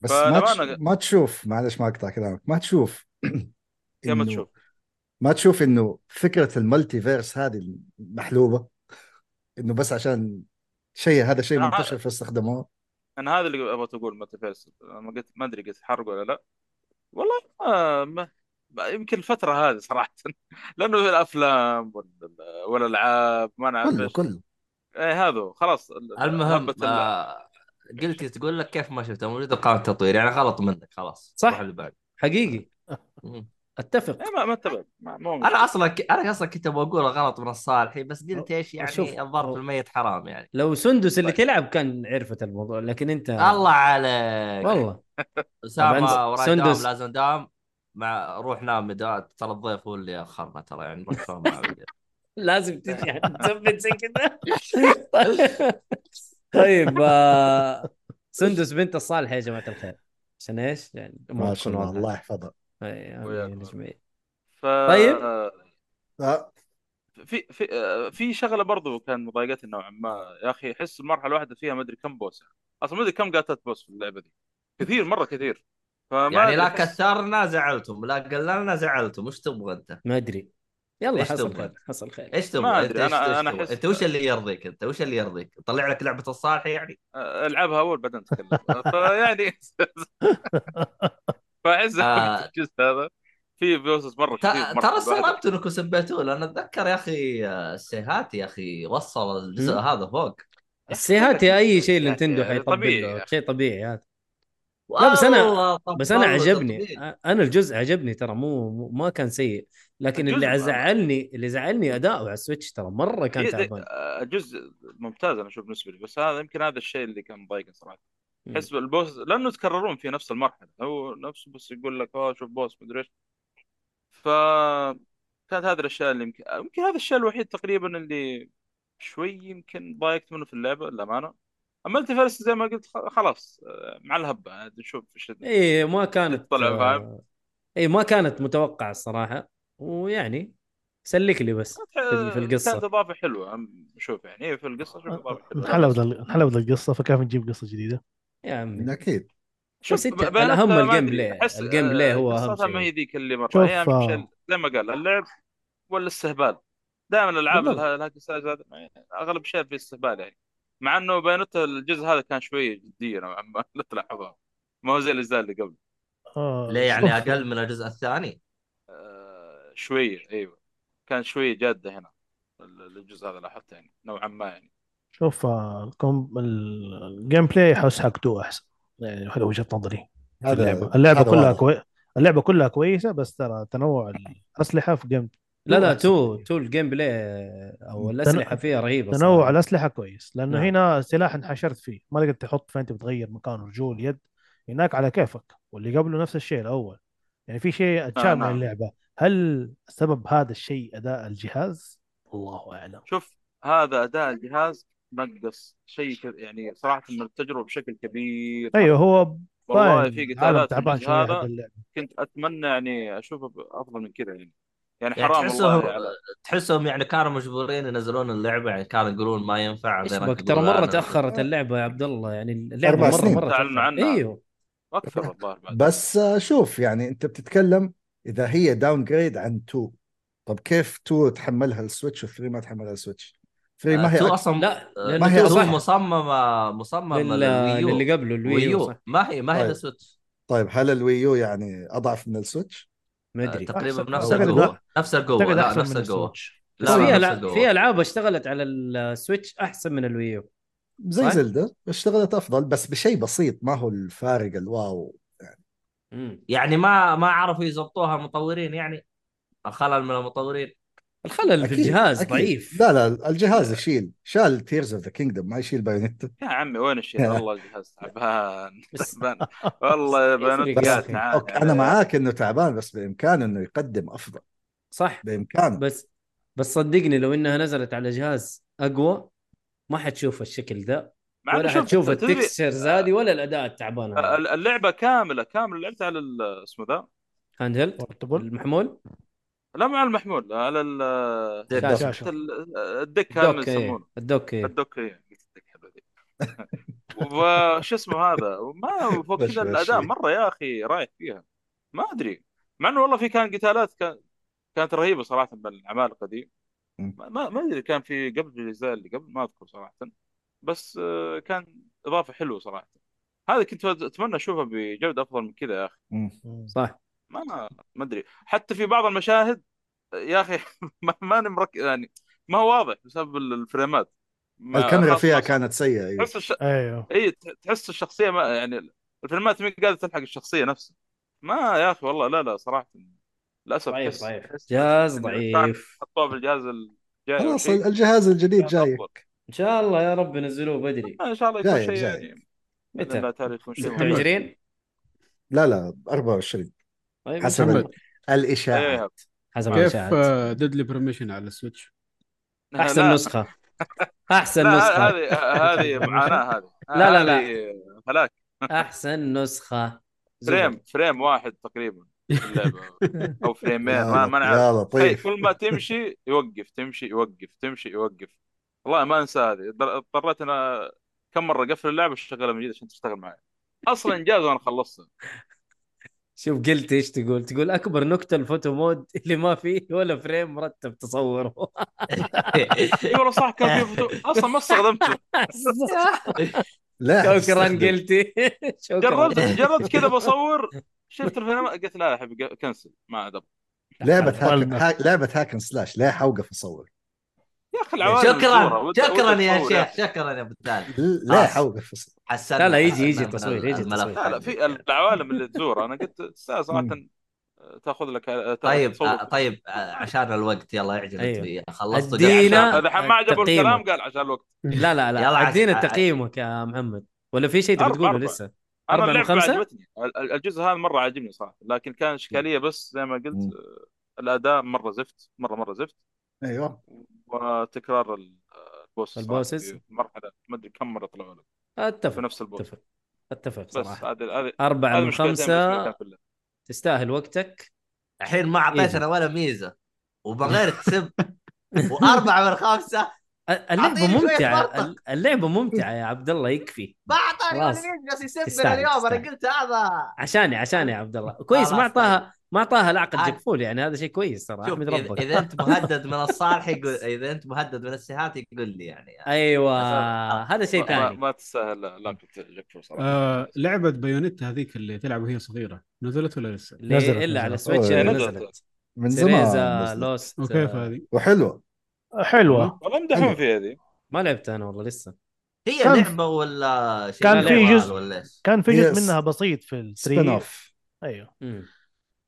A: بس ما تش...
E: فلما أنا-
A: ما تشوف معلش ما اقطع كلامك ما تشوف
E: يا ما
A: إنه-
E: تشوف
A: ما تشوف انه فكره المالتي فيرس هذه محلوبه انه بس عشان شيء هذا شيء
E: لا،
A: منتشر فاستخدموه
E: انا هذا اللي ابغى اقول متى فيرس ما قلت ما ادري قلت حرق ولا لا والله ما ما ما- يمكن الفتره هذه صراحه لانه الافلام وال- والالعاب ما انا عارف
A: كله
E: ايش
A: كله
E: ايه هذا هو، خلاص ال-
C: المهم
E: هبت ال-
C: آه، قلت تقول لك كيف ما شفته موجود بقائمه التطوير يعني غلط منك خلاص
B: صح.
C: روح اللي بعد
B: حقيقي
C: مم.
B: اتفق
E: إيه، ما ما انتبهت ما- ما هو مشكلة.
C: انا اصلا ك... انا اصلا كنت بقول غلط من الصالحي بس قلت ايش
B: شوف.
C: يعني الظرف الميت حرام يعني
B: لو سندس اللي
E: طيب.
B: تلعب كان عرفت الموضوع لكن انت
C: الله عليك
B: والله
C: اسامه
B: طبعاً
C: وراي
B: سندس.
C: دوام لازم دام مع روح نام دا- ترى الضيف هو اللي اخرنا ترى يعني روح سوا معه.
B: لازم تجي تثبت زي كذا طيب آه، سندس بنت الصالح يا جماعه الخير عشان ايش؟ يعني
A: ما شاء الله الله يحفظها
B: إيه،
E: وياك.
B: الله
E: ف...
B: طيب.
A: آه،
E: في في آه، في شغله برضو كان مضايقتني نوعا ما يا اخي احس المرحله الواحده فيها ما ادري كم بوس اصلا ما ادري كم قاتلت بوس في اللعبه دي كثير مره كثير فما
C: يعني لا
E: أدري أحس-
C: كثرنا زعلتم لا قللنا زعلتم وش تبغى انت؟
B: ما ادري يلا
C: إيش
B: حصل
C: تبغى؟
B: خير حصل خير
C: ايش تبغى؟
E: ما
C: أنت
E: أدري،
C: إيش-
E: أنا-
C: إيش
E: أنا
C: تبغى؟
E: أحس-
C: انت وش اللي يرضيك انت؟ وش اللي يرضيك؟ طلع لك لعبه الصالح يعني؟
E: آه، العبها اول بعدين يعني اتكلم فيعني فاعز
C: آه.
E: الجزء هذا في بوسس مره
C: ت-
E: كثير مرة
C: ترى
E: الواحد-
C: استغربت انكم سبيتوه لان اتذكر يا اخي آه، السيهات يا اخي وصل الجزء
B: مم.
C: هذا فوق
B: السيهات يا اي شيء
E: يعني
B: نينتندو حيطبل
E: طبيعي يا
B: له
E: أخي.
B: شيء طبيعي هذا لا، بس أنا-
C: والله
B: بس انا
C: طبل-
B: عجبني
C: تطبيل.
B: انا الجزء عجبني ترى مو مو- ما كان سيء لكن
E: الجزء
B: اللي
E: أنا-
B: زعلني اللي زعلني اداؤه على السويتش ترى مره كان
E: هي-
B: تعبان
E: آه، جزء ممتاز انا اشوف بالنسبه لي بس هذا يمكن هذا الشيء اللي كان مضايقني صراحه
B: مم.
E: احس البوس لانه يتكررون في نفس المرحله هو نفسه بس يقول لك اه شوف بوس مدري ايش ف كانت هذه الاشياء اللي يمكن يمكن هذا الشيء الوحيد تقريبا اللي شوي يمكن ضايقت منه في اللعبه للامانه اما انت فارس زي ما قلت خ- خلاص آه، مع الهبه عاد نشوف ايش
B: اي إيه، ما كانت
E: طلع فاهم
B: اي ما كانت متوقعه الصراحه ويعني سلك لي بس في ال- إيه، في
E: كانت
B: القصه
E: اضافه حلوه أم- شوف يعني إيه في القصه شوف
D: أه،
B: أه،
E: اضافه حلوه لا
D: انحلبت
E: بأس.
D: ال- انحلبت القصه فكيف نجيب قصه جديده؟
B: يا عمي
A: اكيد
B: بس
E: شوف
B: انت
E: بيانات
B: الاهم
E: ما
B: الجيم
E: أدري.
B: بلاي
E: احس
B: الجيم بلاي
E: آه،
B: هو اهم
E: قصتها ما هي
B: شيء
E: ذيك اللي
D: شوف،
E: مره هي اهم شيء
D: آه.
E: زي ما قال اللعب والاستهبال دائما الالعاب
B: بالضبط.
E: الها- الهاك سلاش هذا ما- اغلب شيء في استهبال يعني مع انه باينته الجزء هذا كان شويه جديه نوعا ما لا تلاحظها ما هو زي الاجزاء اللي قبل
D: آه،
C: ليه يعني
D: شوف،
C: اقل من الجزء الثاني؟
E: آه، شويه ايوه كان شويه جاده هنا ال- الجزء هذا لاحظته يعني نوعا ما يعني
D: شوف آه، الكم- ال- الجيم بلاي يحس حق تو احسن يعني هذا وجهه نظري في
A: هذا
D: اللعبه اللعبه
A: هذا
D: كلها
A: واضح.
D: كوي... اللعبه كلها كويسه بس ترى تنوع الاسلحه في جيم
B: لا لا
D: أحسن
B: تو
D: كثير.
B: تو الجيم بلاي او الاسلحه فيها رهيبه صراحة.
D: تنوع الاسلحه كويس لانه
B: نعم.
D: هنا سلاح انحشرت فيه ما تقدر تحط فين تبي تغير مكان رجول يد هناك على كيفك واللي قبله نفس الشيء الاول يعني في شيء اتشال من
E: نعم.
D: اللعبه هل سبب هذا الشيء اداء الجهاز؟ الله اعلم
E: شوف هذا اداء الجهاز نقص شيء ك- يعني صراحه من التجربه بشكل كبير
D: ايوه هو
E: والله
D: باين
B: طيب،
E: في
D: عالم
E: قتالات في
D: تعبان
E: الجزء
D: شويه هذا
E: هذا
D: اللعبه
E: كنت اتمنى يعني اشوفه ب- افضل من كذا يعني يعني
C: يعني
E: حرام
C: تحسهم
E: والله على-
C: تحسهم يعني كانوا مجبورين ينزلون اللعبه يعني كانوا يقولون ما ينفع
B: ايش
C: بعدين
B: بك
C: يقولوا
B: ترى
C: لا،
B: مره
C: أنا-
B: تاخرت اللعبه يا عبد الله يعني اللعبه
A: أربع
B: مره
A: سنين.
B: مره
E: تعلنوا
B: تأخرت.
E: عنها.
B: ايوه
E: اكثر الظاهر بعد
A: بس آه، شوف يعني انت بتتكلم اذا هي داون جريد عن 2 طب كيف 2 تحملها السويتش و3 ما تحملها السويتش
E: آه،
A: 3 إيه، ما هي
C: آه، تو
A: أك-
C: اصلا
B: لا
A: ما
B: لانه
A: هي
B: تو
C: تو
A: أصلاً
B: صح
C: مصممه مصممه
B: لل-
C: للويو
B: للي قبله الويو
C: ويو
B: صح
C: ما هي ما هي
A: طيب.
C: للسويتش
A: طيب هل الويو يعني اضعف من السويتش؟
B: ما ادري
C: آه، تقريبا
D: أحسن-
C: بنفس
D: أعتقد
C: القوه
D: إنه-
C: نفس القوه
D: اعتقد
C: لا
D: احسن
C: نفس
D: من
C: القوه
D: السويتش
B: بس
C: لا،
B: في
C: نفس
B: العاب
C: القوة.
B: في العاب اشتغلت على السويتش احسن من الويو
A: زي
B: صح؟
A: زلدة اشتغلت افضل بس بشيء بسيط ما هو الفارق الواو
B: مم.
C: يعني ما ما عرفوا يضبطوها المطورين يعني الخلل من المطورين
B: الخلل في
A: أكيد،
B: الجهاز
A: أكيد.
B: ضعيف
A: لا لا الجهاز يشيل شال تيرز اوف ذا كينجدم ما يشيل بايونيتا
E: يا عمي وين الشيء والله الجهاز تعبان
B: بس-
E: تعبان والله يا
B: بس يفرق
E: بنات
B: يا
E: قاعد
B: أخي.
E: تعاني
A: أوكي انا
E: عليه.
A: معاك انه تعبان بس بامكانه انه يقدم افضل
B: صح
A: بامكانه
B: بس بس صدقني لو انها نزلت على جهاز اقوى ما حتشوف الشكل ده
E: مع إنه
B: ولا
E: شوف
B: حتشوف
E: تدري، آه.
B: التكستشرز هذه ولا الاداء التعبان هذا
E: ال- اللعبه كامله كامله لعبت على ال- اسمه ذا
B: هاند هيلد
D: بورتبل
B: المحمول
E: لا مع المحمول على ال
B: شاشة.
D: شاشة.
E: ال- الدك هذا اللي
B: الدوك إيه.
E: يسمونه
B: الدوك إيه.
E: الدك إيه، قلت الدك حبيبي وش اسمه هذا ما فوق
A: بش-
E: كذا
A: بش.
E: الاداء مره يا اخي رايح فيها ما ادري مع انه والله في كان قتالات كان كانت رهيبه صراحه بالعمالقه دي
A: مم.
E: ما ما ما ادري كان في قبل الاجزاء اللي قبل ما اذكر صراحه بس آه، كان اضافه حلوه صراحه هذا كنت اتمنى اشوفها بجوده افضل من كذا يا اخي
A: مم.
B: صح
E: ما ما ادري حتى في بعض المشاهد يا اخي ما ماني مركز يعني ما هو واضح بسبب ال- الفريمات ما-
A: الكاميرا
E: خاصة-
A: فيها
E: خاصة.
A: كانت سيئه ايوه
E: تحس الش...
D: ايوه
E: اي ت- تحس الشخصيه ما يعني الفريمات مين قادر تلحق الشخصيه نفسها ما يا اخي والله لا لا صراحه للاسف
B: ضعيف
E: تحس-
B: ضعيف
E: تحس
B: جهاز
E: إن
B: ضعيف
E: حطوها بالجهاز الجاي أو
A: خلاص
E: شيء
A: الجهاز الجديد
E: كان
A: جاي
E: أفضل.
B: ان شاء الله يا رب ينزلوه بدري
E: ان شاء الله يكون
A: جاي
E: شيء
A: جاي
E: يعني باذن الله
B: متى؟
E: تعالى يكون شيء
F: محمد.
B: 26
A: لا لا 24
B: طيب إن
A: حسب
B: شاء الله.
F: محمد.
A: الاشاعات
E: ايوه
B: حسب
F: كيف
B: الاشاعات
F: ديدلي بريميشن على السويتش؟
B: احسن نسخه احسن
E: لا
B: نسخه
E: هذه هذه معاناه هذه
B: لا، لا، لا.
E: هذه هلاك
B: احسن نسخه زبد.
E: فريم فريم واحد تقريبا في اللعبه او فريمين ما
A: يا
E: ما طيب،
A: لط-
E: نعرف
A: يا
E: هي
A: لطيف
E: كل ما تمشي يوقف تمشي يوقف تمشي يوقف والله ما انسى هذه اضطر- اضطريت انا كم مره اقفل اللعبه واشغلها من جديد عشان تشتغل معي اصلا انجاز وانا خلصتها
B: شوف قلت ايش تقول تقول اكبر نكته الفوتو مود اللي ما فيه ولا فريم مرتب تصوره
E: اي والله صح كان في فوتو اصلا ما استخدمته
A: لا
B: شكرا
A: حتستخدم.
B: قلتي شكرا
E: جربت جربت كذا بصور شفت الفيلم قلت لا يا حبيبي كنسل ما عاد أبغى.
A: لعبه هاكن
D: والله.
A: ها... لعبه هاكن سلاش لا حوقف اصور
E: يا اخي العوالم
C: شكرا
E: الزورة. وأنت-
C: شكرا
E: وأنت
C: يا
E: تصور
C: شيخ شكرا يا بتال
A: لا
B: آه.
C: خلاص.
A: حوقف اصور
C: حسنا
B: يعني. لا، لا، يجي-
C: حسنا
B: يجي
C: من
B: تصوير، يجي
C: الملف
B: تصوير.
E: لا لا
C: حقك.
E: في العوالم اللي تزور انا قلت الساعه صراحه تاخذ لك
C: طيب
E: تصور
C: آه، طيب آه، عشان الوقت يلا اعجل انت
B: أيوه.
C: فيه. خلصت
B: ادينا
E: اذا حب ما عجبه
B: تقييمك.
E: الكلام قال عشان الوقت
B: لا لا
C: يلا
B: لا
C: عس-
B: ادينا
C: ع-
B: تقييمك يا محمد ولا في شيء تبي
E: أربعة،
B: تقوله
E: أربعة.
B: لسه
E: انا
B: أربعة من
E: اللعبه
B: خمسة؟
E: عجبتني ال- ال- الجزء هذا مره عاجبني صراحه لكن كان اشكاليه بس زي ما قلت
A: مم.
E: آه، الاداء مره زفت مره مره زفت
A: ايوه
E: وتكرار ال- آه، البوس صراحه
B: البوسز؟
E: في مرحله ما ادري كم مره طلعوا لك في
B: اتفق
E: نفس البوس
B: اتفق اتفق
E: بس
B: صراحه
E: هذه هذه
B: أربعة
E: هذه
B: من
E: مشكلتين بالنسبه لي
B: خمسة
E: كان في اللعبه
B: تستاهل وقتك
C: الحين
B: إيه.
C: ما اعطيتنا ولا ميزه وبغير تسب واربعه من خمسه
B: اللعبة
C: أعطيني شوية
B: ممتعة
C: منطق.
B: اللعبة ممتعة يا عبد الله يكفي
C: ما اعطاني ولا
B: خلاص.
C: ميزه جالس يسب
B: تستاهل،
C: اليوم
B: تستاهل.
C: انا قلت هذا
B: عشاني عشاني يا عبد الله كويس ما
C: خلاص
E: طيب.
B: اعطاها ما اعطاها العقد
C: عاد.
B: جبفول يعني هذا شيء كويس ترى
C: شوف
B: احمد
C: اذا
B: ربك
C: إذا انت مهدد من الصالح يقول اذا انت مهدد من السيئات يقول لي يعني
B: ايوه
C: أساس-
B: هذا شيء
E: ما- ما,
B: ثاني
E: ما تستاهل لا لا كنت جكفو صراحه
F: آه لعبه بايونيتا هذيك اللي تلعب وهي صغيره نزلت ولا لسه؟
B: ليه-
D: نزلت،
B: الا على
D: نزلت.
B: سويتش
A: أوه،
B: اللي
E: نزلت.
B: نزلت
A: من زمان
B: سيريزا
A: نزلت.
B: لوست
F: وكيف
B: آه،
F: هذه؟
A: وحلوه
D: حلوه
E: والله يمدحون
A: حلو.
E: فيها هذه
B: ما لعبتها انا والله لسه
C: هي
D: كان-
C: لعبه ولا شيء
D: كان
B: في
C: لعبة
D: جزء-
C: ولا ايش؟
D: كان في
A: Yes.
D: جزء منها بسيط في
A: سبين
D: التري
A: اوف
D: ايوه
B: مم.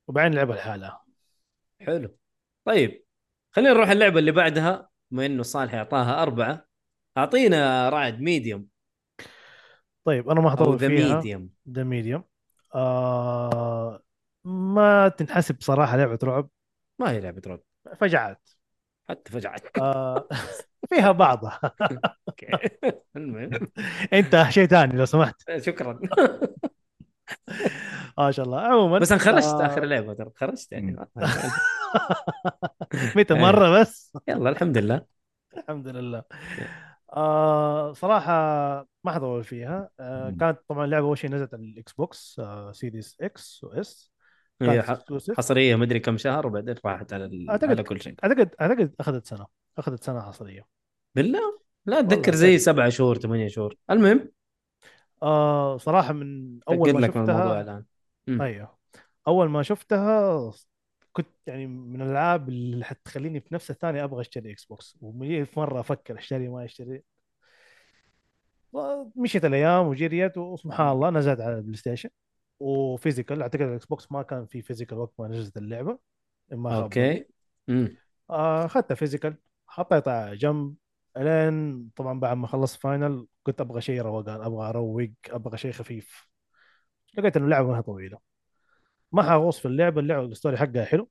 D: وبعدين لعبها لحالها
B: حلو طيب خلينا نروح اللعبه اللي بعدها بما انه صالح اعطاها اربعه اعطينا رعد ميديوم
D: طيب انا ما
B: او
D: حطول
B: ذا
D: فيها
B: ميديوم
D: ذا ميديوم آه ما تنحسب صراحه لعبه رعب
B: ما هي لعبه رعب
D: فجعات
B: حتى فجعه
D: آه فيها بعضها
B: اوكي المهم
D: انت شيء ثاني لو سمحت
B: شكرا
D: ما شاء الله عموما
B: بس انا خرجت
D: آه،
B: اخر لعبه ترى خرجت يعني
D: متى
B: إيه.
D: مره بس
B: يلا الحمد لله
D: الحمد لله آه صراحة ما حطول فيها آه
A: مم.
D: كانت طبعا لعبة أول شيء نزلت على الإكس بوكس آه سيريس إكس وإس كانت
B: هي إيه، ح-
D: exclusive.
B: حصريه مدري كم شهر وبعدين راحت على ال...
D: طيب. أعتقد-
B: على كل شيء
D: أعتقد أعتقد أخذت سنة أخذت سنة حصرية
B: بالله لا اتذكر
D: والله
B: زي
D: أعتقد.
B: سبعة شهور ثمانية شهور المهم
D: آه صراحة من أول
B: اقول
D: ما
B: لك من الموضوع
D: شفتها
B: الان
D: أيوه أول ما شفتها كنت يعني من الألعاب اللي حتخليني في نفس الثانية أبغى أشتري إكس بوكس ومليت مرة أفكر أشتري ما أشتري مشيت الايام وجريت وسبحان الله نزلت على البلاي ستيشن وفيزيكال اعتقد الاكس بوكس ما كان في فيزيكال وقت ما نزلت اللعبه ما خاب ظني.
B: اوكي امم
D: آه، اخذتها فيزيكال حطيتها على جنب الين طبعا بعد ما خلصت فاينل كنت ابغى شيء روقان ابغى اروق ابغى شيء خفيف لقيت ان اللعبه ما هي طويله ما حغوص في اللعبه اللعبه الستوري حقها حلو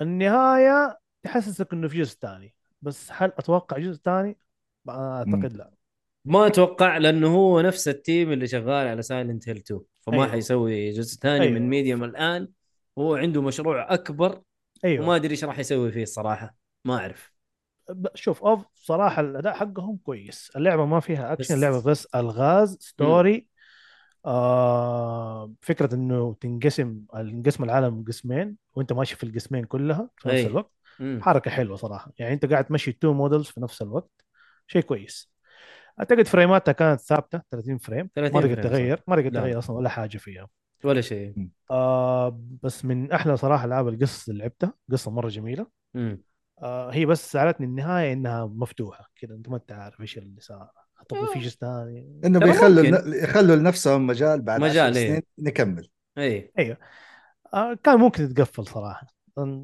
D: النهايه تحسسك انه في جزء ثاني بس هل اتوقع جزء ثاني؟ اعتقد لا
B: ما اتوقع لانه هو نفس التيم اللي شغال على سايلنت هيل 2 فما
D: أيوه.
B: حيسوي جزء ثاني
D: أيوه.
B: من ميديوم الان هو عنده مشروع اكبر
D: ايوه
B: وما ادري ايش راح يسوي فيه الصراحه ما اعرف
D: ب- شوف اوف صراحه الاداء حقهم كويس اللعبه ما فيها
B: بس-
D: اكشن اللعبه بس الغاز ستوري آه فكره انه تنقسم انقسم العالم قسمين وانت ماشي في القسمين كلها في نفس
B: أي.
D: الوقت
B: مم.
D: حركه حلوه صراحه يعني انت قاعد تمشي تو مودلز في نفس الوقت شيء كويس اعتقد فريماتها كانت ثابته 30 فريم
B: 30
D: ما
B: فريم
D: تقدر
B: صح. نعم.
D: تغير ما تقدر
B: لا.
D: تغير اصلا ولا حاجه فيها
B: ولا شيء
D: آه بس من احلى صراحه العاب القصص اللي لعبتها قصه مره جميله
B: مم.
D: آه، هي بس زعلتني النهايه انها مفتوحه كذا انت ما انت عارف ايش اللي صار طب في جزء ثاني
A: انه
B: ترى
A: بيخلوا
B: ممكن.
A: يخلوا لنفسهم مجال بعد
B: مجال،
A: مجال
B: إيه.
A: سنين نكمل
B: اي
D: آه، كان ممكن تتقفل صراحه أن-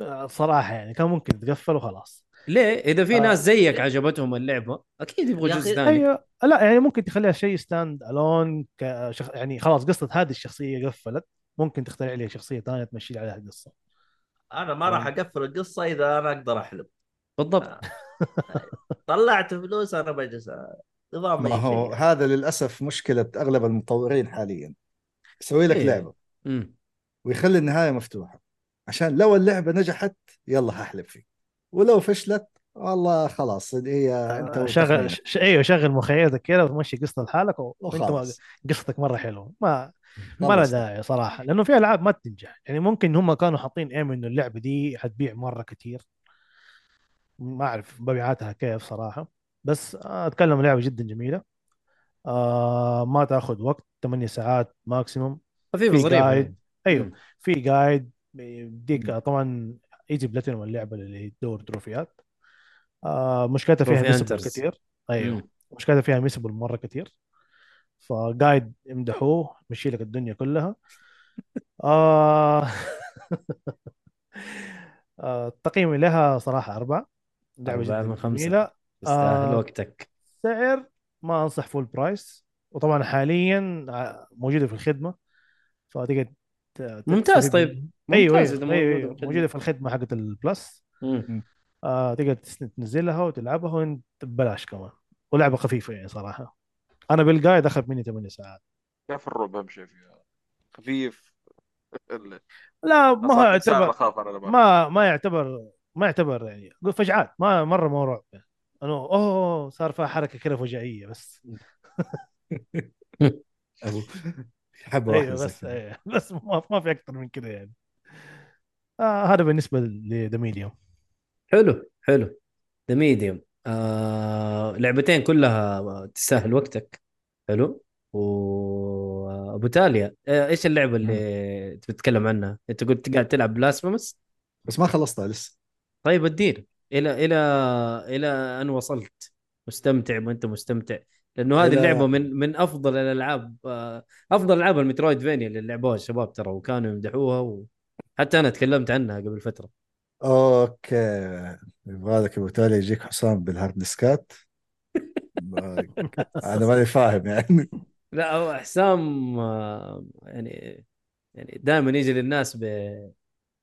D: آه، صراحه يعني كان ممكن تتقفل وخلاص
B: ليه اذا في
D: آه.
B: ناس زيك عجبتهم اللعبه اكيد يبغوا
C: يا
B: جزء
C: أخي-
B: ثاني
D: ايوه لا يعني ممكن تخليها شيء ستاند الون كشخ... يعني خلاص قصه هذه الشخصيه قفلت ممكن تخترع لي شخصيه ثانيه تمشي لي عليها القصه
C: انا ما راح اقفل القصه اذا انا اقدر احلم
B: بالضبط
C: طلعت فلوس انا بجلس أ- نظام
A: ما
C: أي
A: هو
C: شيء.
A: هذا للاسف مشكله اغلب المطورين حاليا يسوي لك
B: إيه.
A: لعبه
B: مم.
A: ويخلي النهايه مفتوحه عشان لو اللعبه نجحت يلا ححلب فيك ولو فشلت والله خلاص اللي هي انت
D: آه، شغل
A: وتخمينك.
D: ش... ايوه شغل مخيلتك كذا وتمشي قصه لحالك و... وانت ما...
A: وخلاص
D: قصتك مره حلوه ما ما لها
A: خلص.
D: داعي صراحه لانه في العاب ما تنجح يعني ممكن هم كانوا حاطين ايم انه اللعبه دي حتبيع مره كتير ما اعرف مبيعاتها كيف صراحه بس آه، اتكلم لعبه جدا جميله آه ما تاخذ وقت 8 ساعات ماكسيموم
B: خفيف
D: في
B: وظريف
D: قايد.
B: يعني.
D: ايوه
B: مم.
D: في جايد بيديك آه، طبعا ايزي بلاتينوم اللعبه اللي هي تدور تروفيات آه مشكلتها فيها
B: تروفي
D: مسبل
B: هانترز.
D: كتير ايوه
B: مم.
D: مشكلتها فيها مسبل مره كتير فجايد امدحوه مشي لك الدنيا كلها آه آه، تقييمي لها صراحة أربعة لعبة
B: أربعة
D: جدا
B: من خمسة.
D: جميلة
B: تستاهل
D: آه.
B: وقتك
D: سعر ما أنصح فول برايس وطبعا حاليا آه، موجودة في الخدمة فتقدر ت- ت-
B: ممتاز
D: تستفيد
B: طيب
D: من- أيوه
B: ممتاز
D: أيوه
B: إذا
D: أيوه,
B: موجودة
D: أيوه
B: بالخدمة.
D: موجودة في الخدمة حقت البلس
B: مم.
D: آه تقدر تس- تنزلها وتلعبها وانت ببلاش كمان ولعبة خفيفة يعني صراحة أنا بالقايد أخذ مني 8 ساعات
E: كيف الرعب اهم شيء فيها خفيف ال-
D: لا ما هو
E: أصاب إنسان
D: يعتبر
E: اخاف انا لما
D: ما ما يعتبر ما يعتبر يعني فجعات ما مره ما هو رعب يعني. انا اوه صار فيها حركه كده فجائيه بس
A: أبو- حبه واحده
D: ايوه
A: زي
D: بس
A: كده.
D: أيوة بس ما, ما في اكثر من كده يعني آه هذا بالنسبه لذا ميديوم
B: حلو حلو ذا ميديوم آه لعبتين كلها تستاهل وقتك حلو و ابو تاليا آه، ايش اللعبه اللي تبي تتكلم عنها؟ انت قلت قاعد تلعب بلاسفيمس
A: بس ما خلصتها لسه
B: طيب ادير الى الى الى ان وصلت مستمتع ما انت مستمتع لانه هذه
A: إلى-
B: اللعبه من من افضل الالعاب آه، افضل العاب المترويد فينيا اللي لعبوها الشباب ترى وكانوا يمدحوها وحتى انا تكلمت عنها قبل فتره
A: اوكي يبغى لك ابو تالي يجيك حسام بالهارد ديسكات ما- انا ماني فاهم يعني
B: لا هو حسام آه، يعني يعني دائما يجي للناس ب...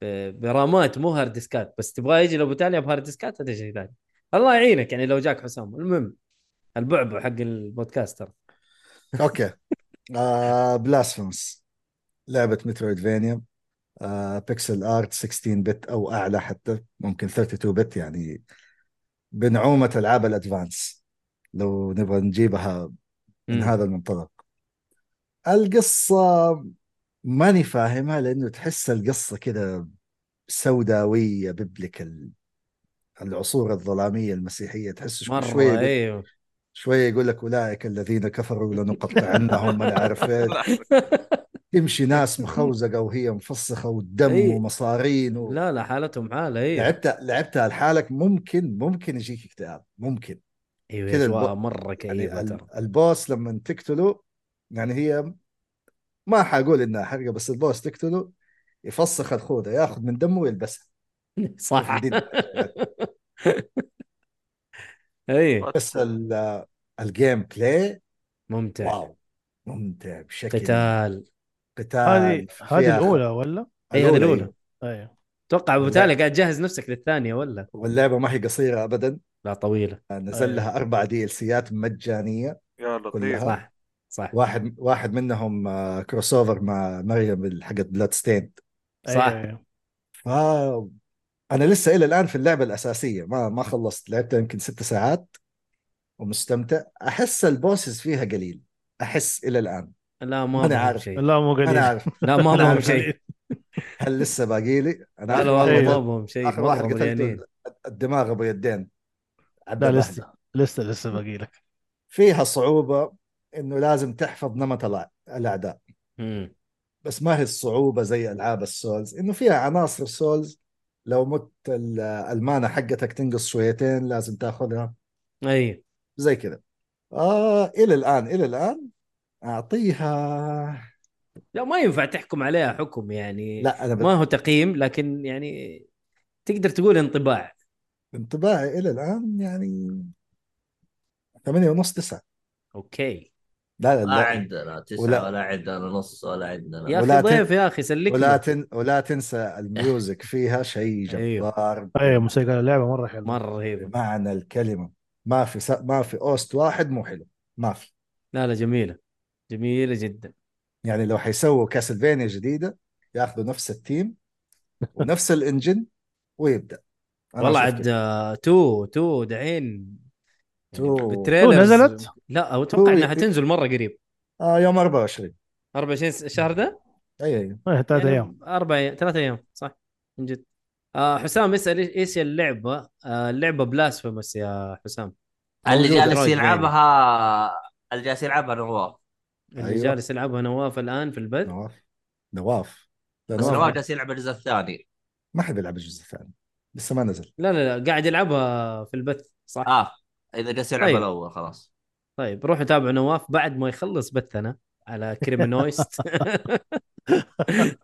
B: ب... برامات مو هارد ديسكات بس تبغاه يجي لابو تاليا بهارد ديسكات هذا شيء ثاني الله يعينك يعني لو جاك حسام المهم البعبع حق البودكاستر
A: اوكي آه بلاسفمس لعبه مترويدفانيا آه بيكسل ارت 16 بت او اعلى حتى ممكن 32 بت يعني بنعومه العاب الادفانس لو نبغى نجيبها من
B: مم.
A: هذا المنطلق القصة ماني فاهمها لأنه تحس القصة كذا سوداوية بيبليك ال- العصور الظلامية المسيحية تحس شو-
B: مره
A: شوية يقول-
B: ايوه
A: شوية يقول لك أولئك الذين كفروا لنقطعنهم أنا عارف إيه. تمشي ناس مخوزقة وهي مفسخة ودم
B: إيه.
A: ومصارين و...
B: لا لا حالتهم حاله ايوه
A: لعبتها لعبتها لحالك ممكن ممكن يجيك اكتئاب ممكن
B: ايوه
A: كذا
B: اجواء
A: الب-
B: مره
A: يعني
B: كئيبه ترى
A: ال- البوس لما تقتله يعني هي ما حقول انها حرقه بس البوس تقتله يفسخ الخوذه ياخذ من دمه ويلبسها شوف
B: صح
A: الدين.
B: اي
A: بس ال- الجيم بلاي
B: ممتع
A: واو ممتع بشكل
B: طيب. قتال
A: قتال
D: هذه
A: آه، فيها-
D: هذه الاولى ولا؟
B: اي هذه الاولى
D: ايوه
B: اتوقع ابو
A: إيه. لا.
B: تالي قاعد جهز نفسك للثانيه ولا
A: واللعبه ما هي قصيره ابدا
B: لا طويله
D: إيه.
A: نزل لها اربع دي ال سيات مجانيه
E: يا
A: كلها.
E: لطيف
B: صح صح
A: واحد واحد منهم آه، كروس اوفر مع مريم حقت بلاد ستيند
B: صح.
D: أيوة.
A: آه انا لسه الى الان في اللعبه الاساسيه ما ما خلصت لعبتها يمكن ست ساعات ومستمتع احس البوسز فيها قليل احس الى الان
B: لا
A: أنا
B: ما مهم
A: عارف.
B: شيء
D: لا مو قليل
A: انا عارف
B: لا ما
A: أنا
B: مهم
A: عارف.
B: شيء
A: هل لسه باقي لي انا
B: لا
A: آخر واحد
B: لا والله ما يعني
D: أيوة.
B: مهم شيء
A: اخر
B: مرة
A: واحد قتلته
B: مليانين
A: الدماغ ابو يدين
D: لا
A: عدل أهلي.
D: لسه لسه لسه باقي لك
A: فيها صعوبه انه لازم تحفظ نمط الع- الاعداء
B: مم.
A: بس ما هي الصعوبه زي العاب السولز انه فيها عناصر سولز لو مت ال- المانا حقتك تنقص شويتين لازم تاخذها
B: اي
A: زي كذا آه الى الان الى الان اعطيها
B: لا ما ينفع تحكم عليها حكم يعني
A: لا انا
B: ما هو تقييم لكن يعني تقدر تقول انطباع
A: انطباعي الى الان يعني ثمانية ونص تسعة
B: اوكي
A: لا لا,
C: ما
A: لا.
C: عندنا تسعة
A: ولا-
C: ولا, عندنا نص ولا عندنا
B: يا
A: ولا
B: اخي
A: ت-
B: ضيف يا اخي سلك
A: ولا
B: له
A: تن... ولا تنسى الميوزك فيها شيء
B: أيوه.
A: جبار
D: ايوه موسيقى اللعبه مره حلوه
B: مرة رهيبة
A: بمعنى الكلمة ما في س... ما في اوست واحد مو حلو ما في
B: لا لا جميلة جميلة جدا
A: يعني لو حيسووا كاسلفينيا جديدة ياخذوا نفس التيم ونفس الانجن ويبدا أنا
B: والله
A: أشوف
B: عاد
A: كده.
B: آه، تو تو دحين يعني
A: تو.
B: بالتريلرز-
D: تو نزلت؟
B: لا
A: تو
B: اتوقع انها
A: ي-
B: تنزل مرة قريب
A: آه يوم 24
B: 24 الشهر ده
A: اي اي
D: ايه ثلاث
B: يعني
D: ايام
B: اربع ايام ثلاث ايام صح من جد آه حسام اسال إيش- ايش هي اللعبه آه اللعبه بلاسفيموس يا حسام
C: اللي
B: موجودة
C: جالس
B: رويد
C: يلعبها اللي جالس يلعبها نواف
B: اللي
A: أيوة.
B: جالس يلعبها نواف الان في البث
A: نواف نواف لا،
C: بس
A: نواف
C: نواف جالس يلعب الجزء الثاني
A: ما حد يلعب الجزء الثاني لسه ما نزل
B: لا لا لا قاعد يلعبها في البث صح آه.
C: اه اذا جالس يلعب
B: طيب.
C: الاول خلاص
B: طيب روحوا تابعوا نواف بعد ما يخلص بثنا على كريمنويست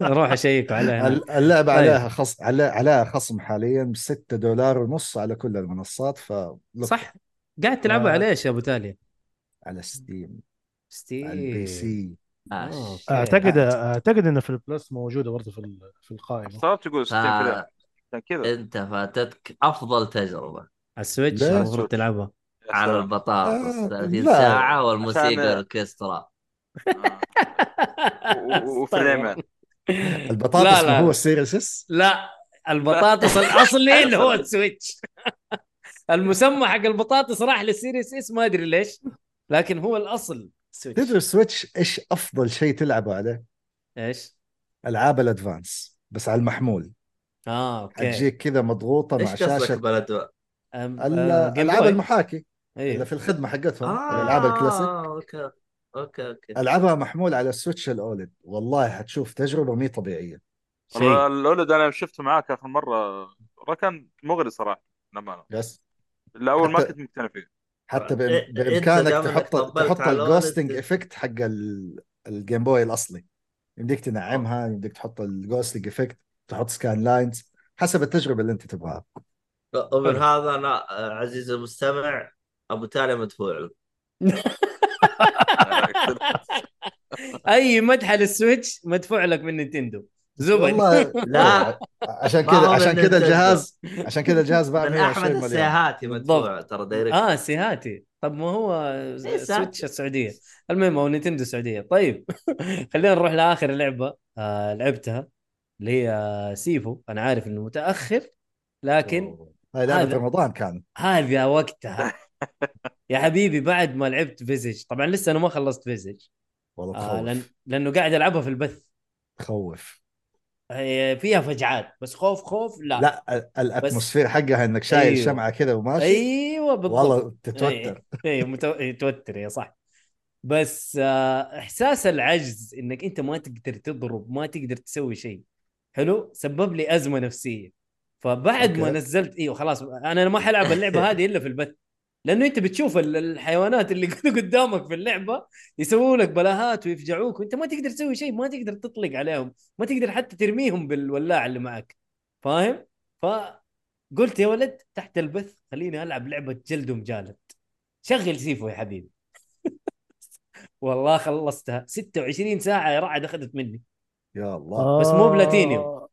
B: روح اشيكوا عليه هناك
A: الل- اللعبة
B: طيب.
A: عليها خص على- عليها خصم حاليا 6 دولار ونص على كل المنصات ف
B: صح قاعد تلعبها
A: آه.
B: على ايش يا ابو تالي؟
A: على ستيم
B: إيه.
A: على البي
B: ستيم
A: سي
B: آه،
C: آه.
B: أوكي.
D: اعتقد اعتقد انه في البلس موجوده برضه في ال- في القائمه
E: استغربت تقول 60
C: آه،
E: بلاي عشان كذا
C: انت فاتتك افضل تجربه
B: على السويتش
A: لا.
B: المفروض
E: سويتش.
B: تلعبها
E: يا
C: على
E: سلام.
C: البطاطس
A: آه،
C: 30
A: لا.
C: ساعه والموسيقى
E: عشان-
C: الاوركسترا
E: آه. و- وفي اليمن
A: البطاطس
B: لا،
A: ما
B: لا.
A: هو السيريس اس
B: لا البطاطس الاصلي اللي هو السويتش المسمى حق البطاطس راح للسيريس اس ما ادري ليش لكن هو الاصل
A: تدري
B: سويتش
A: السويتش ايش افضل شيء تلعبه عليه؟
B: ايش؟
A: العاب الادفانس بس على المحمول
B: اه اوكي
A: حتجيك كذا مضغوطة مع
C: ايش قصدك
A: شاشة
C: بلد
B: أم-
A: ال-
B: آه، جيم
A: العاب
B: بوي.
A: المحاكي اللي
B: أيوه.
A: في الخدمة حقتهم
C: إيه. آه،
A: الالعاب الكلاسيك
C: اوكي اوكي اوكي
A: العبها محمول على السويتش الاولد والله حتشوف تجربه مي طبيعيه
E: والله
B: شيء
E: الاولد انا شفته معاك اخر مره والله كان مغري صراحه للامانه
A: بس
E: لا اول ما
A: حتى-
E: كنت مقتنع فيه
A: حتى بإم-
C: إيه، إنت
A: بامكانك
C: دام إنك
A: تحط
C: طبلت
A: تحط
C: على
A: الجوستنج
C: الأولد.
A: افكت حق ال- الجيم
C: آه.
A: بوي الاصلي يمديك تنعمها يمديك تحط الجوستنج افكت تحط سكان لاينز حسب التجربه اللي انت تبغاها
C: ومن هذا انا آه، عزيزي المستمع ابو تالي مدفوع له
B: اي مدح للسويتش مدفوع لك من نينتندو زبل
A: والله
C: لا
A: عشان
C: ما
A: كذا
C: هو
A: عشان
C: من
A: كذا
C: Nintendo.
A: الجهاز عشان كذا الجهاز باع
C: من احمد
A: 120 مليون آه،
C: السيهاتي مدفوع ترى دايركت
B: اه سيهاتي طب ما هو سويتش السعوديه المهم هو نينتندو السعوديه طيب خلينا نروح لاخر لعبه آه لعبتها اللي هي آه، سيفو انا عارف انه متاخر لكن
A: هاي لعبه
B: هذا.
A: رمضان كان
B: هذا وقتها يا حبيبي بعد ما لعبت فيزج طبعا لسه انا ما خلصت فيزج
A: والله
B: آه لأن...
A: تخوف
B: لانه قاعد العبها في البث
A: تخوف
B: هي فيها فجعات بس خوف خوف لا,
A: لا ال- الاتموسفير حقها انك شايل
B: آه، أيوه.
A: شمعه كذا وماشي
B: ايوه بالضبط إيه،
A: والله تتوتر
B: اي متوتر يا صح بس آه، احساس العجز انك انت ما تقدر تضرب ما تقدر تسوي شيء حلو سبب لي ازمه نفسيه فبعد ما
A: أوكي.
B: نزلت ايوه خلاص انا ما حلعب اللعبه هذه الا في البث لانه انت بتشوف ال- الحيوانات اللي قدامك في اللعبه يسووا لك بلاهات ويفجعوك وانت ما تقدر تسوي شيء ما تقدر تطلق عليهم ما تقدر حتى ترميهم بالولاعه اللي معك فاهم فقلت يا ولد تحت البث خليني العب لعبه جلد ومجالد شغل سيفو يا حبيبي والله خلصتها 26 ساعه يا رعد اخذت مني
A: يا الله
B: بس مو بلاتينيوم.
D: آه،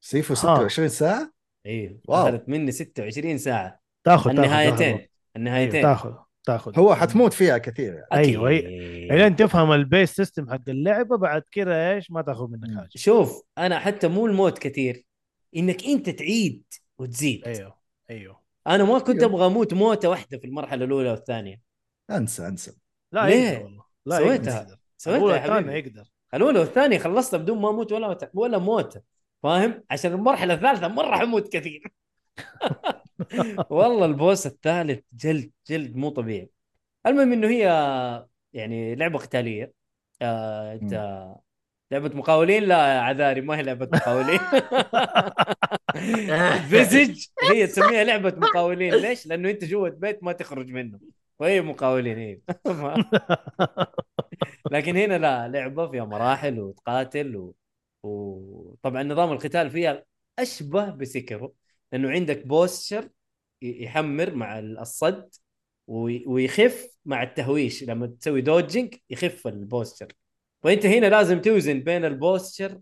A: سيفو
B: آه.
D: ها.
A: 26 ساعه
B: ايوه
A: واو.
B: اخذت مني 26 ساعه
D: تاخذ تاخذ- إيه،
B: النهايتين
D: تاخذ
B: النهايتين
D: تاخذ تاخذ
B: أمم.
A: هو حتموت فيها كثير يعني
D: أيوة،
B: أكيد.
D: الين تفهم البيس سيستم حق اللعبه بعد كذا ايش ما تاخذ منك
A: مم.
D: حاجه
B: شوف انا حتى مو الموت كثير انك انت تعيد وتزيد
D: ايوه ايوه
B: انا ما كنت
A: أيوه.
B: ابغى اموت موته واحده في المرحله الاولى والثانيه
A: انسى انسى
D: لا
B: ليه؟
D: يقدر والله لا
B: سويتها.
D: يقدر.
B: سويتها
D: الأولى
B: يا
D: أيوة. الثانية
B: حبيبي
D: يقدر
B: الاولى والثانيه خلصتها بدون ما اموت ولا ولا موته فاهم عشان المرحله الثالثه مره حموت كثير والله البوس الثالث جلد جلد مو طبيعي المهم انه هي يعني لعبه قتاليه آه، انت لعبه مقاولين لا يا عذاري ما هي لعبه مقاولين فيزج هي تسميها لعبه مقاولين ليش؟ لانه انت جوه بيت ما تخرج منه وهي مقاولين هي لكن هنا لا لعبه فيها مراحل وتقاتل و... وطبعا نظام القتال فيها اشبه بسكرو لانه عندك بوستشر ي- يحمر مع الصد وي- ويخف مع التهويش لما تسوي دوجنج يخف البوستشر وانت هنا لازم توزن بين البوستشر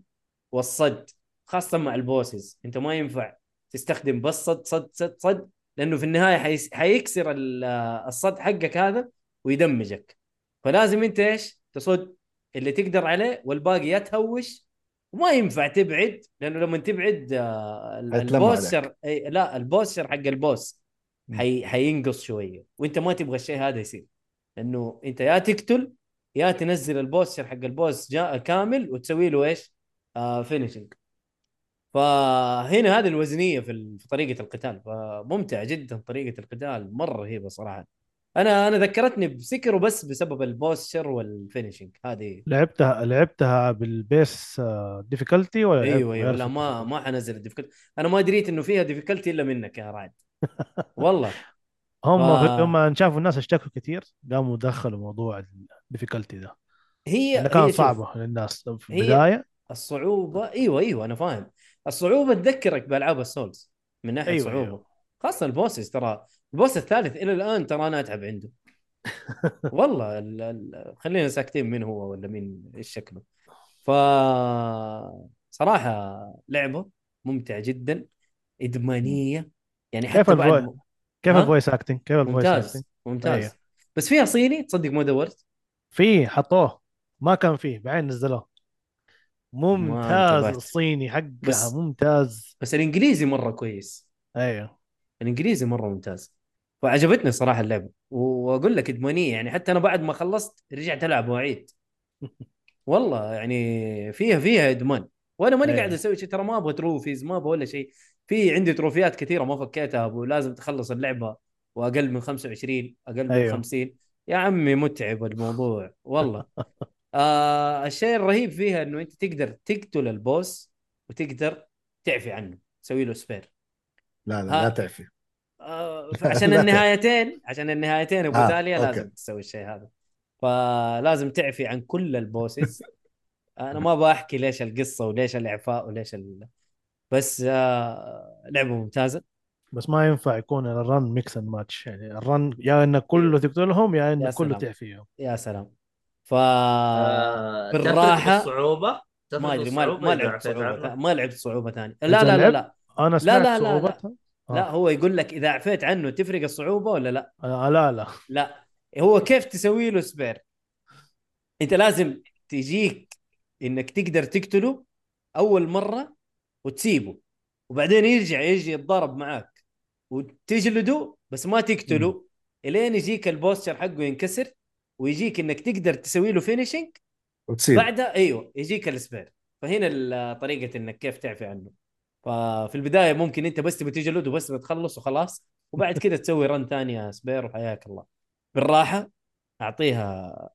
B: والصد خاصه مع البوسز انت ما ينفع تستخدم بس صد صد صد صد لانه في النهايه حيس... حيكسر ال- الصد حقك هذا ويدمجك فلازم انت ايش تصد اللي تقدر عليه والباقي يا تهوش وما ينفع تبعد لانه لما تبعد آه، ال-
A: حيتلمع عليك.
B: البوستر أي لا البوستر حق البوس
A: مم.
B: حي... حينقص شويه وانت ما تبغى الشيء هذا يصير لانه انت يا تقتل يا تنزل البوستر حق البوس جاء كامل وتسوي له ايش؟ آه فينشنج فهنا هذه الوزنيه في ال- في طريقه القتال فممتع جدا طريقه القتال مره رهيبه صراحه انا انا ذكرتني بسكرو بس بسبب البوستشر والفينشنج هذه
D: لعبتها لعبتها بالبيس ديفيكولتي ولا لعبت
B: ايوه ايوه
D: غير
B: لا ما
D: difficulty؟
B: ما حنزل الديفيكولتي انا ما دريت انه فيها ديفيكولتي الا منك يا رعد والله
D: هم
B: آه.
D: آه. هم شافوا الناس اشتكوا كتير قاموا دخلوا موضوع الديفيكولتي ده
B: هي
D: اللي كان
B: هي إيه، شوف، إيه،
D: صعبه للناس في
B: هي-
D: البدايه
B: الصعوبه ايوه ايوه انا فاهم الصعوبه تذكرك بالعاب السولز من ناحيه أيوة
D: أيوة،
B: صعوبه أيوة.
D: أيوة.
B: خاصه البوسز ترى البوس الثالث الى الان ترى انا اتعب عنده والله ال... ال... خلينا ساكتين مين هو ولا مين ايش شكله ف صراحه لعبه ممتعه جدا ادمانيه يعني
D: كيف
B: حتى بعد
D: الفوي-
B: م-
D: كيف
B: ها؟
D: الفويس اكتنج كيف الفويس اكتنج
B: ممتاز ممتاز
D: أيوة.
B: بس فيها صيني تصدق ما دورت
D: فيه حطوه ما كان فيه بعدين نزلوه ممتاز
B: انتبهت.
D: الصيني حقها
B: بس-
D: ممتاز
B: بس الانجليزي مره كويس
D: ايوه
B: الانجليزي مره ممتاز فعجبتني صراحه اللعبه واقول لك ادمانيه يعني حتى انا بعد ما خلصت رجعت العب واعيد والله يعني فيها فيها ادمان وانا ماني
D: إيه.
B: قاعد اسوي شيء ترى ما ابغى تروفيز ما ابغى ولا شيء في عندي تروفيات كثيره ما فكيتها ولازم تخلص اللعبه واقل من 25 اقل من
D: أيوه.
B: 50 يا عمي متعب الموضوع والله آه الشيء الرهيب فيها انه انت تقدر تقتل البوس وتقدر تعفي عنه تسوي له سبير
A: لا لا
B: ها.
A: لا تعفي
B: آه، عشان
A: لا
B: النهايتين عشان النهايتين ابو
A: آه،
B: تاليا
A: أوكي.
B: لازم تسوي الشيء هذا فلازم تعفي عن كل البوسز انا ما بحكي ليش القصه وليش الاعفاء وليش ال... بس آه لعبه ممتازه
D: بس ما ينفع يكون الرن ميكس اند ماتش يعني الرن يا انك كله تقتلهم يا انك كله
B: إيه. سلام.
D: تعفيهم
B: يا سلام ف
C: آه،
B: بالراحة.
C: تفرق الصعوبه تفرق
B: ما ادري ما
C: الصعوبة
B: ما
C: إذا
B: لعبت
C: عفيت
B: صعوبه
C: عنها؟
B: ثانية- ما لعبت صعوبه ثانيه لا
D: أنت
B: لا لا
D: لعبت؟
B: لا
D: انا سمعت
B: لا، لا، لا.
D: صعوبتها آه.
B: لا هو يقول لك اذا عفيت عنه تفرق الصعوبه ولا لا
D: آه لا لا
B: لا هو كيف تسوي له سبير انت لازم تجيك انك تقدر تقتله اول مره وتسيبه وبعدين يرجع يجي يتضارب معاك وتجلده بس ما تقتله الين يجيك البوستر حقه ينكسر ويجيك انك تقدر تسوي له فينيشنج
A: وتصير
B: بعدها ايوه يجيك السبير فهنا ال- طريقه انك كيف تعفي عنه ففي البدايه ممكن انت بس تبي تجلد وبس بتخلص وخلاص وبعد كده تسوي رن ثانيه سبير وحياك الله بالراحه اعطيها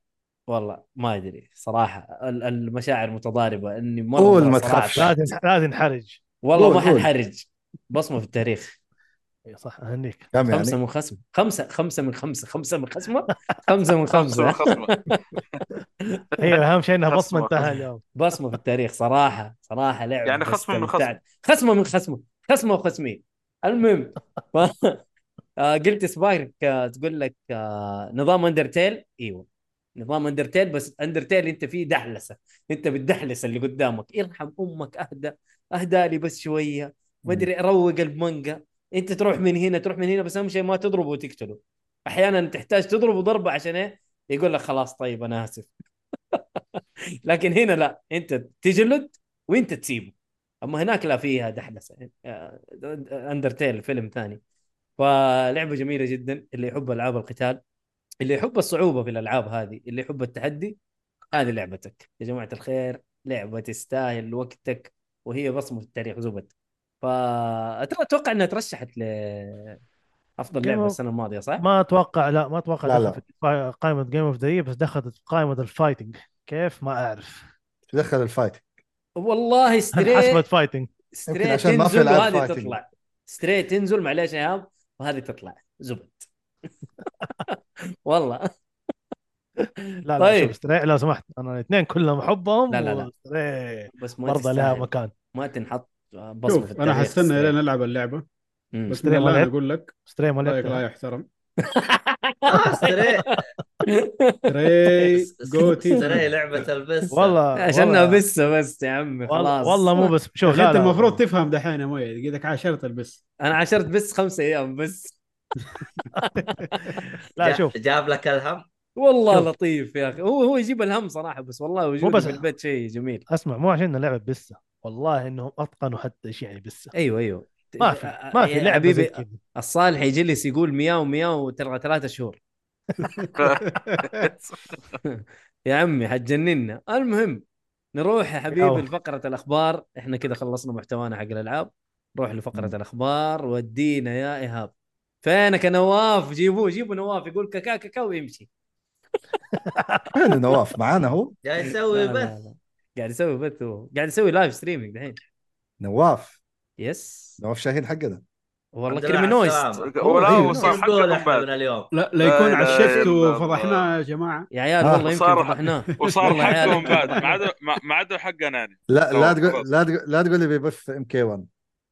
B: والله ما ادري صراحه ال- المشاعر متضاربه اني مره
A: قول
B: مرة
A: ما
B: صراحة
A: تخافش.
D: لا
B: تعبت.
D: تنح- لا تنحرج
B: والله
A: قول-
B: ما
A: قول.
B: حنحرج بصمه في التاريخ
D: إي إيه، صح اهنيك
A: كم
B: خمسه
A: يعني
B: من خصم خمسه خمسه من خمسه خمسه من خصمه خمسه من
E: خمسه
B: خمسه
E: من خصمك
D: هي اهم أيوه، شيء انها بصمه
E: خصمة.
D: انتهى اليوم
B: بصمه في التاريخ صراحه صراحه لعب
E: يعني خصم من خصم.
B: خصمه من خصمه خصمه وخصمي المهم ف... آه، قلت سبايك آه، تقول لك آه، نظام اندرتيل ايوه نظام اندرتيل بس اندرتيل انت فيه دحلسه انت بتدحلس اللي قدامك ارحم امك اهدى اهدى لي بس شويه ما ادري اروق المانجا انت تروح من هنا تروح من هنا بس اهم شيء ما تضربه وتقتله احيانا تحتاج تضربه ضربه عشان ايه يقول لك خلاص طيب انا اسف لكن هنا لا انت تجلد وانت تسيبه اما هناك لا فيها دحلسه آه، اندرتيل فيلم ثاني فلعبه جميله جدا اللي يحب العاب القتال اللي يحب الصعوبه في الالعاب هذه اللي يحب التحدي هذه لعبتك يا جماعه الخير لعبه تستاهل وقتك وهي بصمه في التاريخ زبد فاتوقع انها ترشحت لافضل لعبه
D: Game of-
B: السنه الماضيه صح؟
D: ما اتوقع لا ما اتوقع
A: لا،
D: دخل في قائمه جيم اوف ذا بس دخلت في قائمه الفايتنج كيف ما اعرف
A: دخل الفايت
B: والله
D: انحسبت
B: ستريت
D: فايتنج
B: ستريت
A: يمكن عشان ما في
B: تنزل
A: ألعاب
B: وهذه
A: فايتنج.
B: تطلع ستريت تنزل معليش يا هاب وهذه تطلع زبد والله
D: لا لا
B: طيب.
D: شوف ستري لو سمحت انا الاثنين كلهم احبهم
B: لا، لا، لا.
D: وستري
B: بس ما
D: برضه لها
B: تستاهل
D: مكان
B: ما تنحط بصمه في
F: شوف انا
B: التاريخ
F: حستنى
B: ستريت.
F: لين العب اللعبه
B: مم.
F: بس من
D: ما
F: الله
D: لعبت.
F: انا اقول لك
D: ستري ما
F: رايك طيب، لا
D: لعبتها
F: يحترم
C: آه، ستري
F: تري جوتي
C: تري لعبه البس
D: والله
B: عشانها
F: يعني.
D: والله-
B: بس بس يا عمي خلاص
D: والله مو بس شوف
F: شوف
D: لا
F: انت
D: لا
F: المفروض تفهم دحين يا مويه قدك عاشرت البس
B: انا عشرت بس خمسة ايام بس
D: لا شوف
C: جاب لك الهم
B: والله
D: شوف.
B: لطيف يا اخي هو هو يجيب الهم صراحه بس والله وجوده
D: بس-
B: في البيت شيء جميل
D: اسمع مو عشان لعبه بسه والله انهم اتقنوا حتى ايش يعني بسه
B: ايوه ايوه
D: ما في ما في
B: يا
D: لعبه زي
B: حبيبي
D: كذا
B: الصالح يجلس يقول مياو مياو ترى ثلاثة شهور يا عمي حتجننا المهم نروح يا
D: مياو.
B: حبيبي لفقرة الأخبار احنا كذا خلصنا محتوانا حق الألعاب نروح لفقرة الأخبار ودينا يا إيهاب فينك يا نواف جيبوه جيبوا نواف يقول كاكا كاكا ويمشي
A: فين نواف معانا هو
C: جاي يسوي
B: لا، لا،
C: بث
B: لا. قاعد يسوي بث هو. قاعد يسوي لايف ستريمينج دحين
A: نواف
B: يس
A: نواف شاهين حقنا
B: والله
C: الحمد لله على
B: كريمينويست
C: السلامة.
E: ولا
D: طيب.
A: أيوة.
E: هو صار
C: نقول
E: حقكم
C: احنا
E: بعد
C: من اليوم
F: لا لا يكون
E: لا
F: عشفت
E: إله إلا
F: وفضحناه يا جماعه
B: يا عيال
A: آه.
B: والله يمكن
E: صار-
B: فضحناه
D: طيب.
E: وصار
B: والله يا
D: يعني.
B: عيال.
E: حقهم بعد ما عدا ما- ما عدا حقنا يعني
A: لا لا
E: نواف،
A: تقول
E: خلاص.
A: لا تقول لا تقول لي بيبث ام كي 1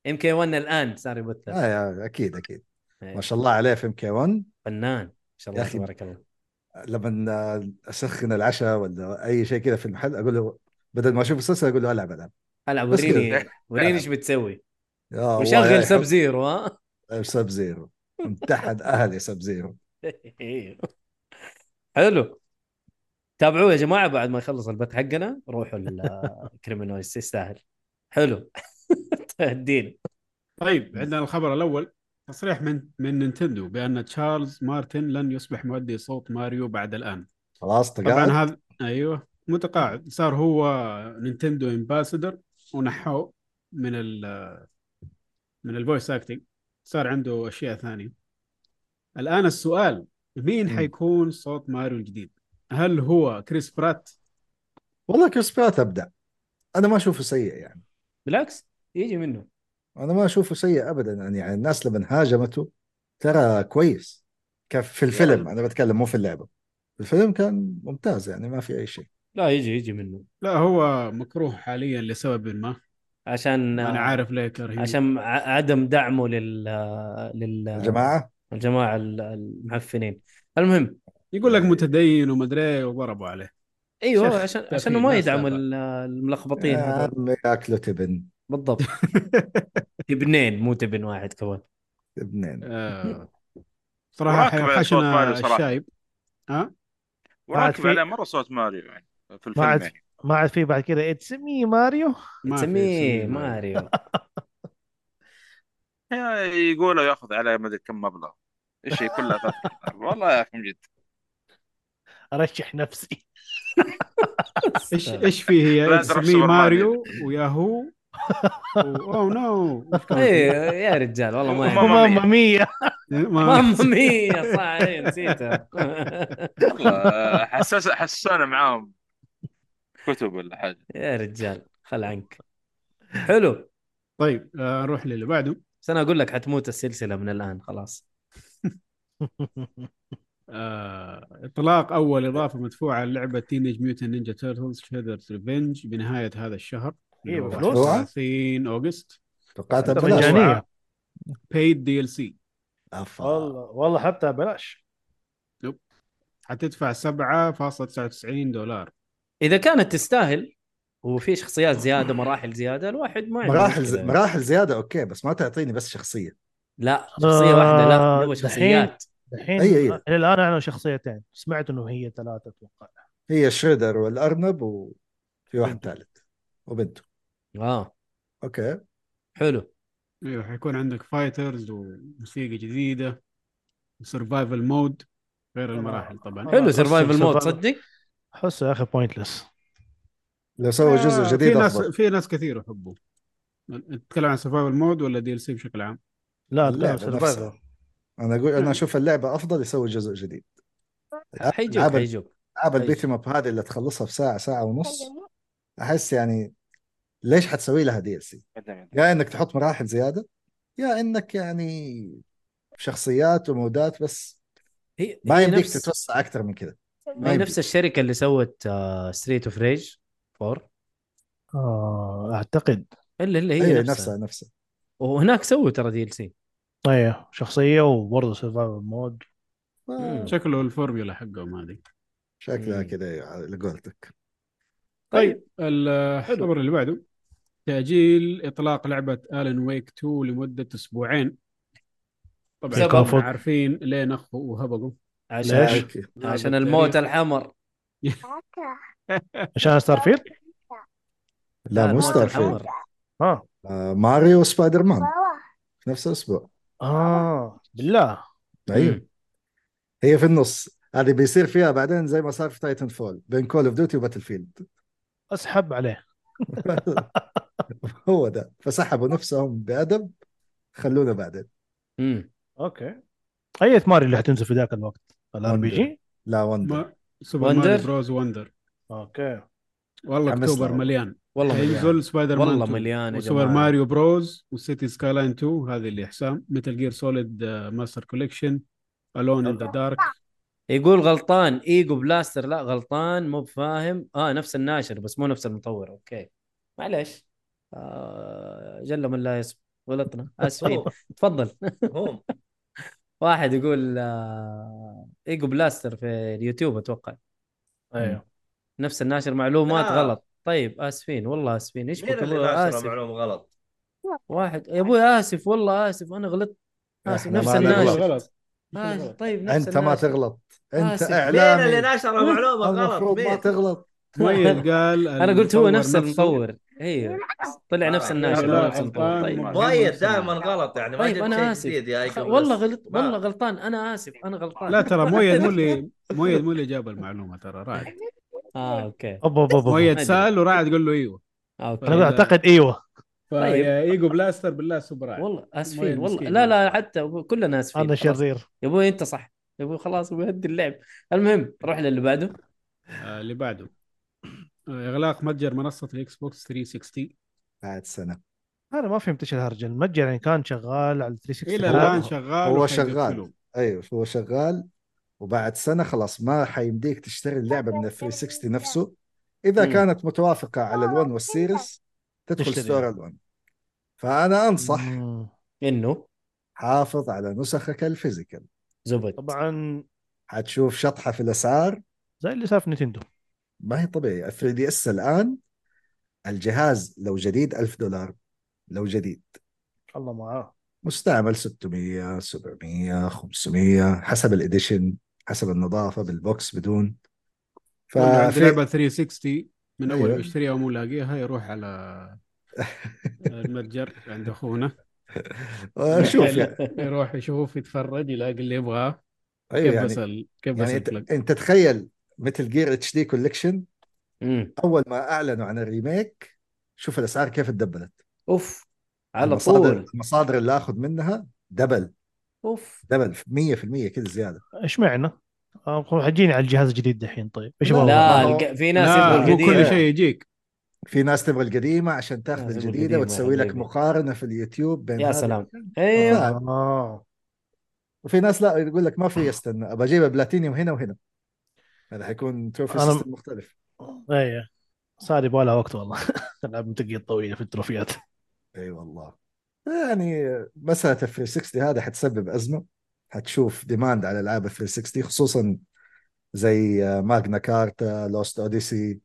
B: ام كي 1 الان صار يبث
A: آه يا- اكيد اكيد ما
B: أيوة.
A: شاء الله عليه في ام كي 1
B: فنان ما شاء
A: يا
B: الله
A: أخي.
B: تبارك الله
A: لما آه، اسخن العشاء ولا اي شيء كذا في المحل اقول له بدل ما اشوف مسلسل اقول له العب العب
B: العب
A: بس كده.
B: وريني وريني ايش بتسوي
A: يا الله، يا
B: وشغل سب
A: يحب-
B: زيرو ها
A: سب زيرو امتحن اهلي سب زيرو
B: إيه. حلو تابعوه يا جماعه بعد ما يخلص البث حقنا روحوا الكريمينويست يستاهل حلو تهدينا
F: طيب عندنا الخبر الاول تصريح من من نينتندو بان تشارلز مارتن لن يصبح مؤدي صوت ماريو بعد الان
A: خلاص
F: طبعا
A: تقاعد
F: هذا ايوه متقاعد صار هو نينتندو امباسدر ونحوه من ال من الفويس اكتنج صار عنده اشياء ثانيه الان السؤال مين
A: مم.
F: حيكون صوت ماريو الجديد؟ هل هو كريس برات؟
A: والله كريس برات ابدع انا ما اشوفه سيء يعني
B: بالعكس يجي منه
A: انا ما اشوفه سيء ابدا يعني الناس لما هاجمته ترى كويس كان في الفيلم انا بتكلم مو في اللعبه الفيلم كان ممتاز يعني ما في اي شيء
B: لا يجي يجي منه
F: لا هو مكروه حاليا لسبب ما
B: عشان
F: انا عارف ليه كرهين
B: عشان ع- عدم دعمه لل لل
A: الجماعه
B: الجماعه ال- المعفنين المهم
F: يقول لك متدين ومدري وضربوا عليه
B: ايوه
F: شيخ
B: عشان
F: تأثير
B: عشان ما
F: ناس
B: يدعموا
F: تابع.
B: ال- الملخبطين
A: يا
F: آه.
B: هذول.
A: عمي ياكلوا تبن
B: بالضبط تبنين مو تبن واحد كمان
A: تبنين
F: آه.
E: مراقب
F: صراحه
E: على صوت ماريو
F: حاشنا
E: صراحة.
F: الشايب
D: بعد
E: وراكب
D: في-
E: عليه مره صوت ماريو يعني في الفيلم
D: بعد-
E: يعني
D: ما عاد في بعد كذا اتس مي ماريو
F: ما في
B: تسميه
F: اسم ماريو.
B: ماريو
E: يا- يقولوا ياخذ يعني. عليه ما ادري كم مبلغ ايش هي كلها فاتحة. والله يا اخي من جد
D: ارشح نفسي
F: ايش ايش فيه هي
E: لا تروح
F: اسمي
E: سوبر
F: ماريو وياهو اوه نو وش كمان
B: ايه
F: فيه؟
B: يا رجال والله ما
E: ماما
B: يعني.
D: ماما مية
F: ما-
B: ماما مية صح إيه، نسيتها
E: والله حسس حسونا معاهم كتب ولا حاجه
B: يا رجال خل عنك حلو
F: طيب آه، نروح للي بعده
B: بس انا اقول لك حتموت السلسله من الان خلاص
F: آه، اطلاق اول اضافه مدفوعه للعبه تينيج ميوتن نينجا تيرتلز شيدرز ريفنج بنهايه هذا الشهر
D: إيه،
F: اللي هو
D: بفلوس؟
F: 30 اوغست
A: توقعتها
D: طب
A: ببلاش
D: مجانية.
F: مجانيه بيد دي ال سي
A: أفا.
D: والله والله حتى بلاش
F: حتدفع 7.99 دولار
B: اذا كانت تستاهل وفي شخصيات زياده مراحل زياده الواحد ما عنده
A: مراحل
B: مشكلة.
A: ز... مراحل زياده اوكي بس ما تعطيني بس شخصيه
B: لا شخصيه واحده لا هو
D: آه،
B: شخصيات
D: الحين
A: أي- أي.
D: الى الان اعلنوا شخصيتين سمعت انه هي ثلاثه اتوقع
A: هي شريدر والارنب وفي واحد ثالث وبنته
B: اه
A: اوكي
B: حلو
F: ايوه حيكون عندك فايترز وموسيقى جديده وسرفايفل مود غير المراحل طبعا
D: والله
A: آه،
B: حلو
D: قصة
B: سرفايفل مود
D: survival.
B: تصدق
D: احسه يا اخي بوينتلس
A: لو سووا
F: آه،
A: جزء
F: في
A: جديد
F: ناس
A: افضل
F: في ناس كثير يحبوه تتكلم عن سرفايفل مود ولا دي ال سي بشكل عام
D: لا
A: اللعبة
D: اتكلم
A: نفسها.
D: سرفايفل
A: انا اقول انا اشوف اللعبه افضل يسوي جزء جديد
B: حيجوك
A: ألعاب-
B: حيجوك
A: العاب
B: أيوة.
A: البيثم اب هذه اللي تخلصها في ساعه ساعه ونص احس يعني ليش حتسوي لها دي سي؟ يا انك تحط مراحل زياده يا انك يعني شخصيات ومودات بس
B: هي
A: ما
B: هي
A: يمديك
B: نفس-
A: تتوسع اكثر من كذا ما
B: هي
A: يمديك.
B: نفس الشركه اللي سوت آه، ستريت اوف ريج 4
D: آه، اعتقد
B: الا الا
A: هي
B: هي نفسها.
A: إيه، نفسها نفسها
B: وهناك سووا ترى دي ال سي
D: ايوه شخصيه وبرضه سرفايفل مود
B: مم.
F: شكله الفورميولا حقهم هذه
A: شكلها
B: مم.
A: كذا على قولتك
F: طيب الخبر اللي بعده تأجيل إطلاق لعبة ألن ويك 2 لمدة أسبوعين طبعا
B: سبب.
F: كنا عارفين ليه نخوا وهبقوا
B: عشان
D: ليش؟
A: لكن-
F: هذا
B: عشان
F: التاريخ.
B: الموت الحمر
D: عشان ستار فيلد
A: لا مو
B: الموت
A: ستار
B: الحمر
A: فيلد
D: اه
A: آه، ماريو وسبايدر مان في نفس الاسبوع
D: اه بالله
F: أيوه.
A: ايوه هي في النص هذه بيصير فيها بعدين زي ما صار في تايتن فول بين كول اوف ديوتي وباتل فيلد
D: اسحب عليه
A: هو ده فسحبوا نفسهم بادب خلونا بعدين
B: امم
D: اوكي اي ماري اللي حتنزل في ذاك الوقت الار بي جي
A: لا وندر
F: ما سوبر
B: وندر؟
F: ماريو بروز وندر
D: اوكي
F: والله
A: حمسنا
F: أكتوبر
A: والله.
F: مليان
B: والله مليان
F: هينزل سبايدر مان
B: والله
F: 2
B: مليان يا
F: أيوه. وسوبر
B: جماعه
F: ماريو بروز وسيتي سكاي لاين 2 هذه اللي حسام متل جير سوليد آه، ماستر كوليكشن الون ان ذا دارك
B: يقول غلطان ايجو بلاستر لا غلطان مو بفاهم اه نفس الناشر بس مو نفس المطور اوكي معلش آه جل من لا يسب غلطنا
A: طيب.
B: اسفين تفضل
C: هم
B: واحد يقول آه ايجو بلاستر في اليوتيوب اتوقع
D: ايوه
B: نفس الناشر معلومات
C: أيوه. لا.
B: غلط طيب اسفين والله اسفين ايش
C: مين
B: بك
C: اللي
B: أبوي؟
C: ناشر
B: اسف
C: معلومه غلط؟
B: واحد يا ابوي اسف والله اسف انا غلطت اسف
A: إحنا
B: نفس
A: ما نغلط.
F: إيش
B: الناشر
F: الغلط؟ إيش
B: آسف،
F: الغلط؟
B: طيب نفس
A: انت ما
B: الناشر.
A: تغلط انت
B: آسف. مين
C: مين آه، اللي
A: اعلامي
C: ناشر معلومه غلط؟
A: المفروض طيب، ما
C: مين؟
A: تغلط
F: مؤيد قال
B: انا قلت هو
F: المطور
B: نفس
F: نفسه-
B: المطور ايوه طلع
C: آه،
B: نفس
C: لا،
B: الناشر
F: لا،
B: هو نفس المطور
F: غلطان
B: طيب
F: مو-
C: مؤيد دائما غلط يعني ما
B: طيب
C: جبت
B: أنا
C: شيء
B: آسف.
C: جديد يا
B: خ-
C: ايكو
B: والله
C: بلاستر.
B: غلط
C: ما-
B: والله غلطان انا اسف انا غلطان
F: لا ترى مؤيد مو اللي مؤيد مو اللي جاب المعلومه ترى راعد
B: اه اوكي
D: أبا أبا أبا
F: مؤيد
B: أدري.
F: سال وراعد قول له ايوه
B: آه، اوكي
D: انا أقول اعتقد ايوه
B: طيب.
F: فيا ايجو بلاستر بالله سوبر راعد
B: والله اسفين والله
F: مسكين.
B: لا لا حتى أبوي، كلنا اسفين
D: انا
B: خلاص.
D: شرير
B: يا ابوي انت صح يا ابوي خلاص ابوي هدي اللعب المهم روح للي بعده
F: آه، اللي بعده آه، اغلاق متجر منصه الاكس بوكس 360
A: بعد سنه
D: انا ما فهمت ايش الهرجه المتجر يعني كان شغال على 360
F: الى
A: هو-
F: الان شغال
A: هو
F: وحيقفلوه.
A: شغال. ايوه هو شغال وبعد سنه خلاص ما حيمديك تشتري اللعبه من ال 360 نفسه اذا
B: مم.
C: آه،
A: كانت متوافقه على ال1 والسيريس تدخل
D: تشتري.
A: ستور الوان فانا انصح
D: مم.
B: انه
A: حافظ على نسخك الفيزيكال
B: زبد
D: طبعا
A: حتشوف شطحه في الاسعار
D: زي اللي صار في نتندو
A: ما هي طبيعيه ال 3 دي اس الان الجهاز لو جديد 1000 دولار لو جديد
D: الله معاه
A: مستعمل 600 700 500 حسب الاديشن حسب النظافه بالبوكس بدون
F: ولا عند
A: ففي
F: لعبه 360 من اول
A: أيوة.
F: ما يشتريها ومو لاقيها يروح على المتجر عند اخونا
A: شوف يعني
F: يروح يشوف يتفرج يلاقي اللي يبغاه
A: ايوه
F: كيف
A: يعني
F: بس ال- كيف بس
A: يعني انت,
F: الكلك
A: انت تخيل مثل جير اتش دي كوليكشن
B: مم.
A: اول ما اعلنوا عن الريميك شوف الاسعار كيف تدبلت
B: اوف على
A: المصادر
B: طول
A: المصادر اللي اخذ منها دبل
B: اوف
A: دبل 100% كذا زياده
D: ايش معنى؟ آه، خو- حجيني على الجهاز الجديد دحين طيب ايش
A: لا،
D: بابا؟
B: لا
A: هو-
B: الق- في ناس
F: لا
B: يبغوا
F: مو كل
B: القديمه
F: شيء يجيك
A: في ناس تبغى القديمه عشان تاخذ
B: ناس تبغى
A: الجديده
B: القديمة
A: وتسوي لك
B: حبيبي.
A: مقارنه في اليوتيوب بين
B: يا
A: هذه
B: سلام.
A: وهذه.
B: ايوه
D: آه.
A: وفي ناس لا يقول لك ما في استنى ابى اجيب بلاتينيوم هنا وهنا هذا حيكون تروفي
D: أنا-
A: سيستم مختلف
D: ايه صار يبغى لها وقت والله العاب منطقيه طويله في التروفيات
A: اي والله يعني مسألة ال 360 هذا حتسبب أزمة حتشوف ديماند على ألعاب ال 360 خصوصا زي ماجنا كارتا لوست أوديسي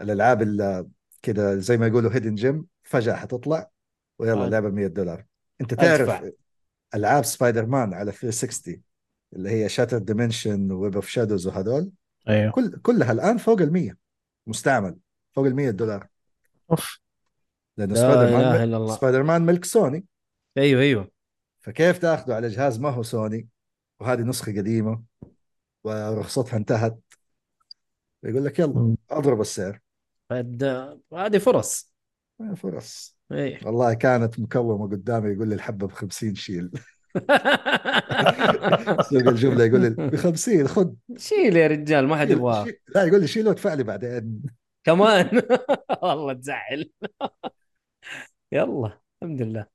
A: الألعاب اللي كده زي ما يقولوا هيدن جيم فجأة حتطلع ويلا
B: آه.
A: لعبة 100 دولار أنت تعرف
B: أدفع.
A: ألعاب سبايدر مان على 360 اللي هي شاتر ديمنشن ويب اوف شادوز وهذول
D: ايوه
A: كل كلها الآن فوق ال 100 مستعمل فوق ال 100 دولار
D: اوف
A: لأنه
B: لا
A: سبايدر
B: إله
A: مان
B: إلا الله.
A: سبايدر مان ملك سوني
B: ايوه ايوه
A: فكيف تاخذه على جهاز ما هو سوني وهذه نسخه قديمه ورخصتها انتهت يقول لك يلا
D: مم.
A: اضرب السعر
B: فد- هذه فرص
A: ما فرص
B: ايه
A: والله كانت مكومه قدامي يقول لي الحبه ب 50 شيل سوق الجمله يقول لي ب 50 خذ
B: شيل يا رجال ما حد
A: شيل-
B: يبغاها
A: شيل. لا يقول لي شيله وادفع لي بعدين
B: كمان والله تزعل يلا الحمد لله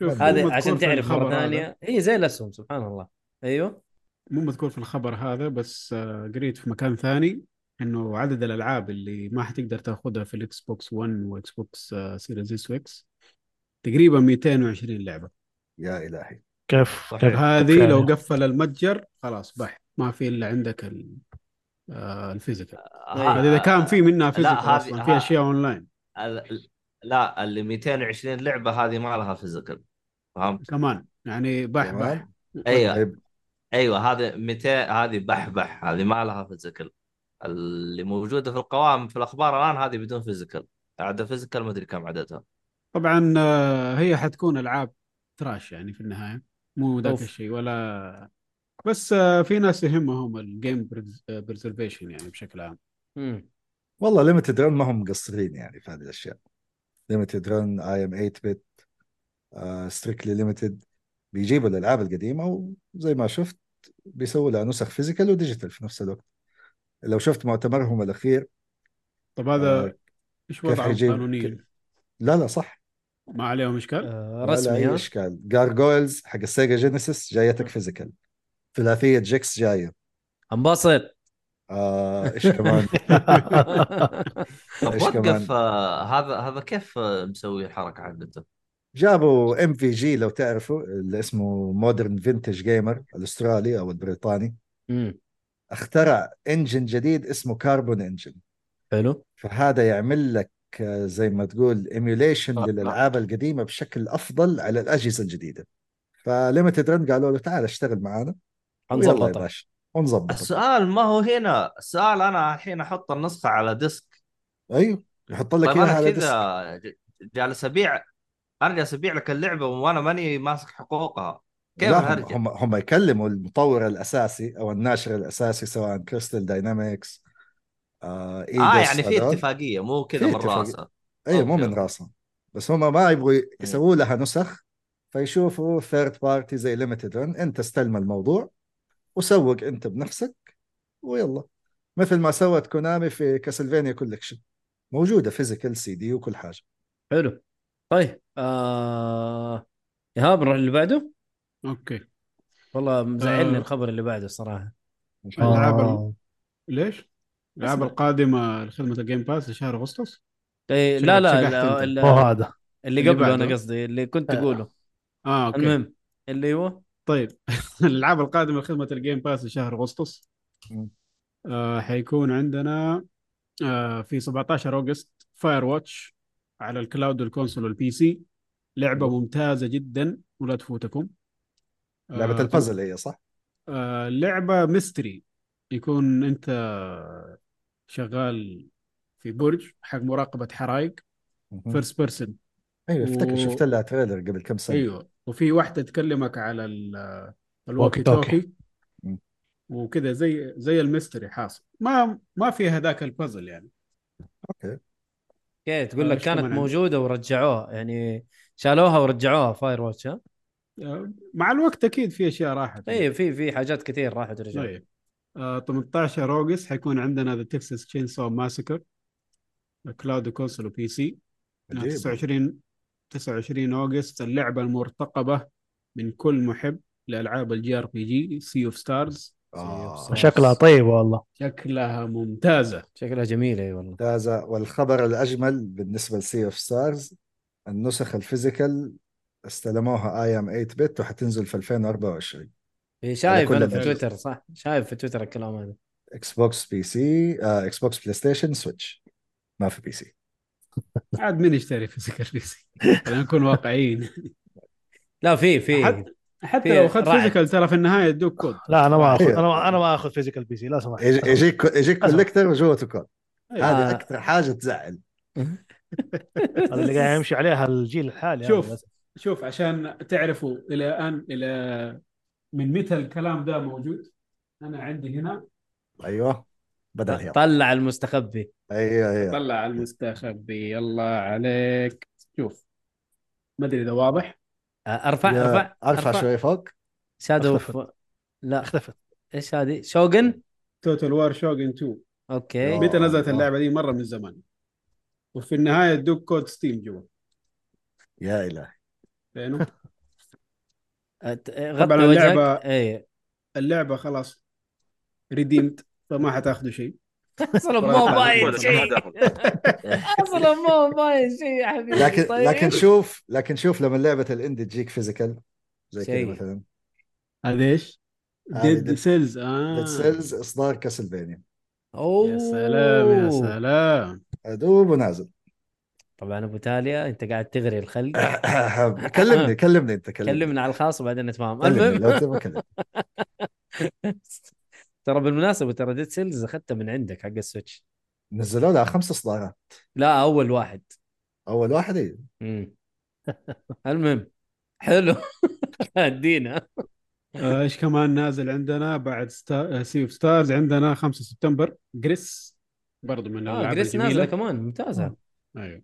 F: شوف، مو
B: هذه
F: مذكور
B: عشان
F: في
B: تعرف
F: الخبر
B: مره
F: هذا.
B: ثانيه هي زي الاسهم سبحان الله ايوه
F: مو مذكور في الخبر هذا بس آه، قريت في مكان ثاني انه عدد الالعاب اللي ما حتقدر تاخذها في الاكس بوكس 1 واكس بوكس آه، سيريز اس واكس تقريبا 220 لعبه
A: يا الهي
D: كيف
C: طيب
D: كيف
F: هذه لو
D: كيف-
F: قفل المتجر خلاص بح ما في الا عندك ال- آه، الفيزيكال
C: ها-
A: طيب،
F: اذا كان في منها فيزيكال
C: آه، هذه-
F: اصلا في
C: ها-
F: اشياء اونلاين
C: طيب، ال- لا اللي 220 لعبه هذه ما لها فيزيكال فهمت؟
F: كمان يعني بح
A: كمان؟
F: بح
C: ايوه
A: طيب
C: ايوه هذه 200 هذه بحبح هذه ما لها فيزيكال اللي موجوده في القوائم في الاخبار الان هذه بدون فيزيكال عدد فيزيكال ما ادري كم عددها
F: طبعا آه، هي حتكون العاب تراش يعني في النهايه مو ذاك
B: أوف.
F: الشيء ولا بس آه، في ناس يهمهم الجيم بريزرفيشن يعني بشكل عام
B: مم.
A: والله ليمتد رن ما هم مقصرين يعني في هذه الاشياء ليمتد رن اي ام 8 بت ستريكتلي ليمتد آه، بيجيبوا الالعاب القديمه وزي ما شفت بيسووا لها نسخ فيزيكال وديجيتال في نفس الوقت لو شفت مؤتمرهم الاخير
F: طب هذا
A: آه،
F: ايش
A: كيف
F: وضعه
A: حيجيب-
F: قانونيا؟
A: لا لا صح
F: ما عليهم اشكال؟
B: آه،
A: رسمي
B: رسمي
A: ولا اي
B: ها
A: اشكال جارجويلز حق السيجا جينيسيس جايتك فيزيكال ثلاثيه جيكس جايه
B: انبسط
A: آه، ايش كمان
C: طب
A: إيش كمان؟
C: وقف آه، هذا هذا كيف آه، مسوي الحركه حقته؟
A: جابوا ام في جي لو تعرفوا اللي اسمه مودرن فينتج جيمر الاسترالي او البريطاني
B: مم.
A: اخترع انجن جديد اسمه كاربون انجن
B: حلو
A: فهذا يعمل لك آه، زي ما تقول ايميوليشن
C: آه.
A: للالعاب القديمه بشكل افضل على الاجهزه الجديده فليمتد رن قالوا له تعال اشتغل معانا يلا يا
B: حنظبطها
A: باشا ونظبطك
C: السؤال ما هو هنا السؤال انا الحين احط النسخه على ديسك
A: ايوه يحط لك
C: طيب
A: اياها
C: انا
A: على ديسك
C: كذا ج- جالس ابيع انا جالس ابيع لك اللعبه وانا ماني ماسك حقوقها كيف
A: لا هم-
C: الهرجة؟
A: هم هم يكلموا المطور الاساسي او الناشر الاساسي سواء كريستال داينامكس آه
C: اه
A: ايدس
C: يعني في
A: هذول.
C: اتفاقيه مو
A: في
C: كذا من
A: اتفاقية.
C: راسها
A: ايوه مو
C: أوكي،
A: من
C: أوكي.
A: راسهم بس هم ما يبغوا
F: إيه.
A: يسووا لها نسخ فيشوفوا ثيرد بارتي زي ليمتد رن انت استلم الموضوع وسوق انت بنفسك ويلا مثل ما سوت كونامي في كاسلفينيا كولكشن موجوده فيزيكال سي دي وكل حاجه
B: حلو طيب آه... ايهاب نروح اللي بعده
F: اوكي
B: والله مزعلني
F: آه.
B: الخبر اللي بعده الصراحه
F: الألعاب
D: آه.
F: ليش؟ الالعاب
B: أسمع.
F: القادمه لخدمه الجيم باس لشهر اغسطس
B: إيه،
F: شو-
B: لا لا
F: شقحت أنت.
B: ال- ال-
D: مو هذا
B: اللي
F: اللي
B: قبله
F: بعده.
B: انا قصدي اللي كنت
F: آه،
B: اقوله
F: اه اوكي
B: المهم اللي هو
F: طيب الالعاب القادمه لخدمه الجيم باس لشهر اغسطس
A: مم.
F: آه حيكون عندنا آه في 17 اوغست فاير واتش على الكلاود والكونسول والبي سي لعبه ممتازه جدا ولا تفوتكم آه،
A: لعبه البازل هي صح؟
F: آه، لعبة ميستري يكون أنت شغال في برج حق مراقبة حرائق
A: مهم.
F: فيرست بيرسون
A: ايوه افتكر
F: و-
A: شفت لها تريلر قبل كم سنه
F: أيوه وفي واحدة تكلمك على ال-
D: walkie
F: الوكي
D: talkie.
F: توكي
A: مم.
F: وكذا زي زي الميستري حاصل ما ما في هذاك البازل يعني
A: اوكي
B: اوكي
F: آه،
B: تقول لك
F: إيش
B: كانت
F: كمان عندك؟
B: موجوده ورجعوها يعني شالوها ورجعوها فاير واتش ها
F: آه، مع الوقت أكيد في أشياء راحت
B: اي في في حاجات كثير راحت ورجعت
F: طيب آه 18 اوغست حيكون عندنا ذا تكساس تشين سو ماسكر كلاود كونسول وبي سي
A: عجيب.
F: 29 29 اوغست اللعبه المرتقبه من كل محب لالعاب الجي ار بي جي سي اوف ستارز
A: آه.
D: شكلها طيب والله
F: شكلها ممتازه
B: شكلها جميله اي والله
A: ممتازة والخبر الأجمل بالنسبة لسي اوف ستارز النسخ الفيزيكال استلموها اي ام 8 بت وحتنزل في 2024
B: إيه، شايف
A: كل
B: انا في
F: الناس.
B: تويتر صح شايف في تويتر الكلام هذا
A: اكس بوكس بي سي آه، اكس بوكس بلاي ستيشن سويتش ما في بي سي
F: عاد مين يشتري فيزيكال بي سي؟ خلينا نكون واقعيين
B: لا في في
F: حتى حتى
B: في
F: لو اخذت
B: رعد.
F: فيزيكال ترى في النهايه يدوك كود
D: لا انا ما اخذ
A: أيوة.
D: انا ما- انا ما اخذ فيزيكال بي سي لا سمح
A: يجي- يجيك يجيك
D: أسمع.
A: كوليكتر وجوته كود
F: أيوة.
A: هذه
B: آه.
A: اكثر حاجه تزعل
D: هذا اللي قاعد يمشي عليها الجيل الحالي هذا
F: شوف.
D: بس.
F: شوف عشان تعرفوا الى الان الى من متى الكلام ده موجود انا عندي هنا
A: ايوه بدا الهيرو
B: طلع المستخبي
A: ايوه ايوه
F: طلع على المستخبي يلا عليك شوف ما ادري اذا واضح
B: آه، ارفع
A: يا-
B: ارفع
A: ارفع شوي فوق
B: شادو
D: اختفت.
B: ف- لا
D: اختفت
B: ايش هذه شوغن
F: توتال وار شوجن 2
B: اوكي
A: أوه.
F: متى نزلت
A: الله.
F: اللعبه دي مره من زمان وفي النهايه ادوك كود ستيم جوا
A: يا الهي
F: لانه
B: أت-
F: طبعاً
B: غطي وجهك إيه.
F: اللعبة-
B: اي
F: اللعبه خلاص ريديمت فما حتاخذوا شيء
B: اصلا مو
D: طيب.
B: باين
E: ولا
B: شيء
E: دخل.
B: اصلا مو باين شيء يا حبيبي
A: لكن
B: طيب.
A: لكن شوف لكن شوف لما لعبه الاندي تجيك فيزيكال زي كذا
B: شيء.
A: مثلا
F: هذا ايش؟
A: هذه
F: ديد
A: Dead-
F: سيلز
B: آه.
F: اه
A: ديد سيلز اصدار كاسلفينيا
B: اوه
F: يا سلام يا سلام
A: ادوب ونازل
B: طبعا ابو تاليا انت قاعد تغري الخلق
A: كلمني كلمني انت كلمني
B: كلمنا على الخاص وبعدين نتفاهم
A: كلمني
B: المهم
A: لو تبغى كلمني
B: ترى بالمناسبه ترى ديد سيلز اخذتها من عندك حق السويتش
A: نزلوا لها خمس اصدارات
B: لا اول واحد
A: اول واحد إيه.
B: مم. المهم حلو ادينا
F: آه، ايش كمان نازل عندنا بعد آه، ستا... سي اوف ستارز عندنا 5 سبتمبر جريس برضو من
B: اه
F: الالعاب
B: جريس
F: الجميله
B: نازله كمان ممتازه
F: ايوه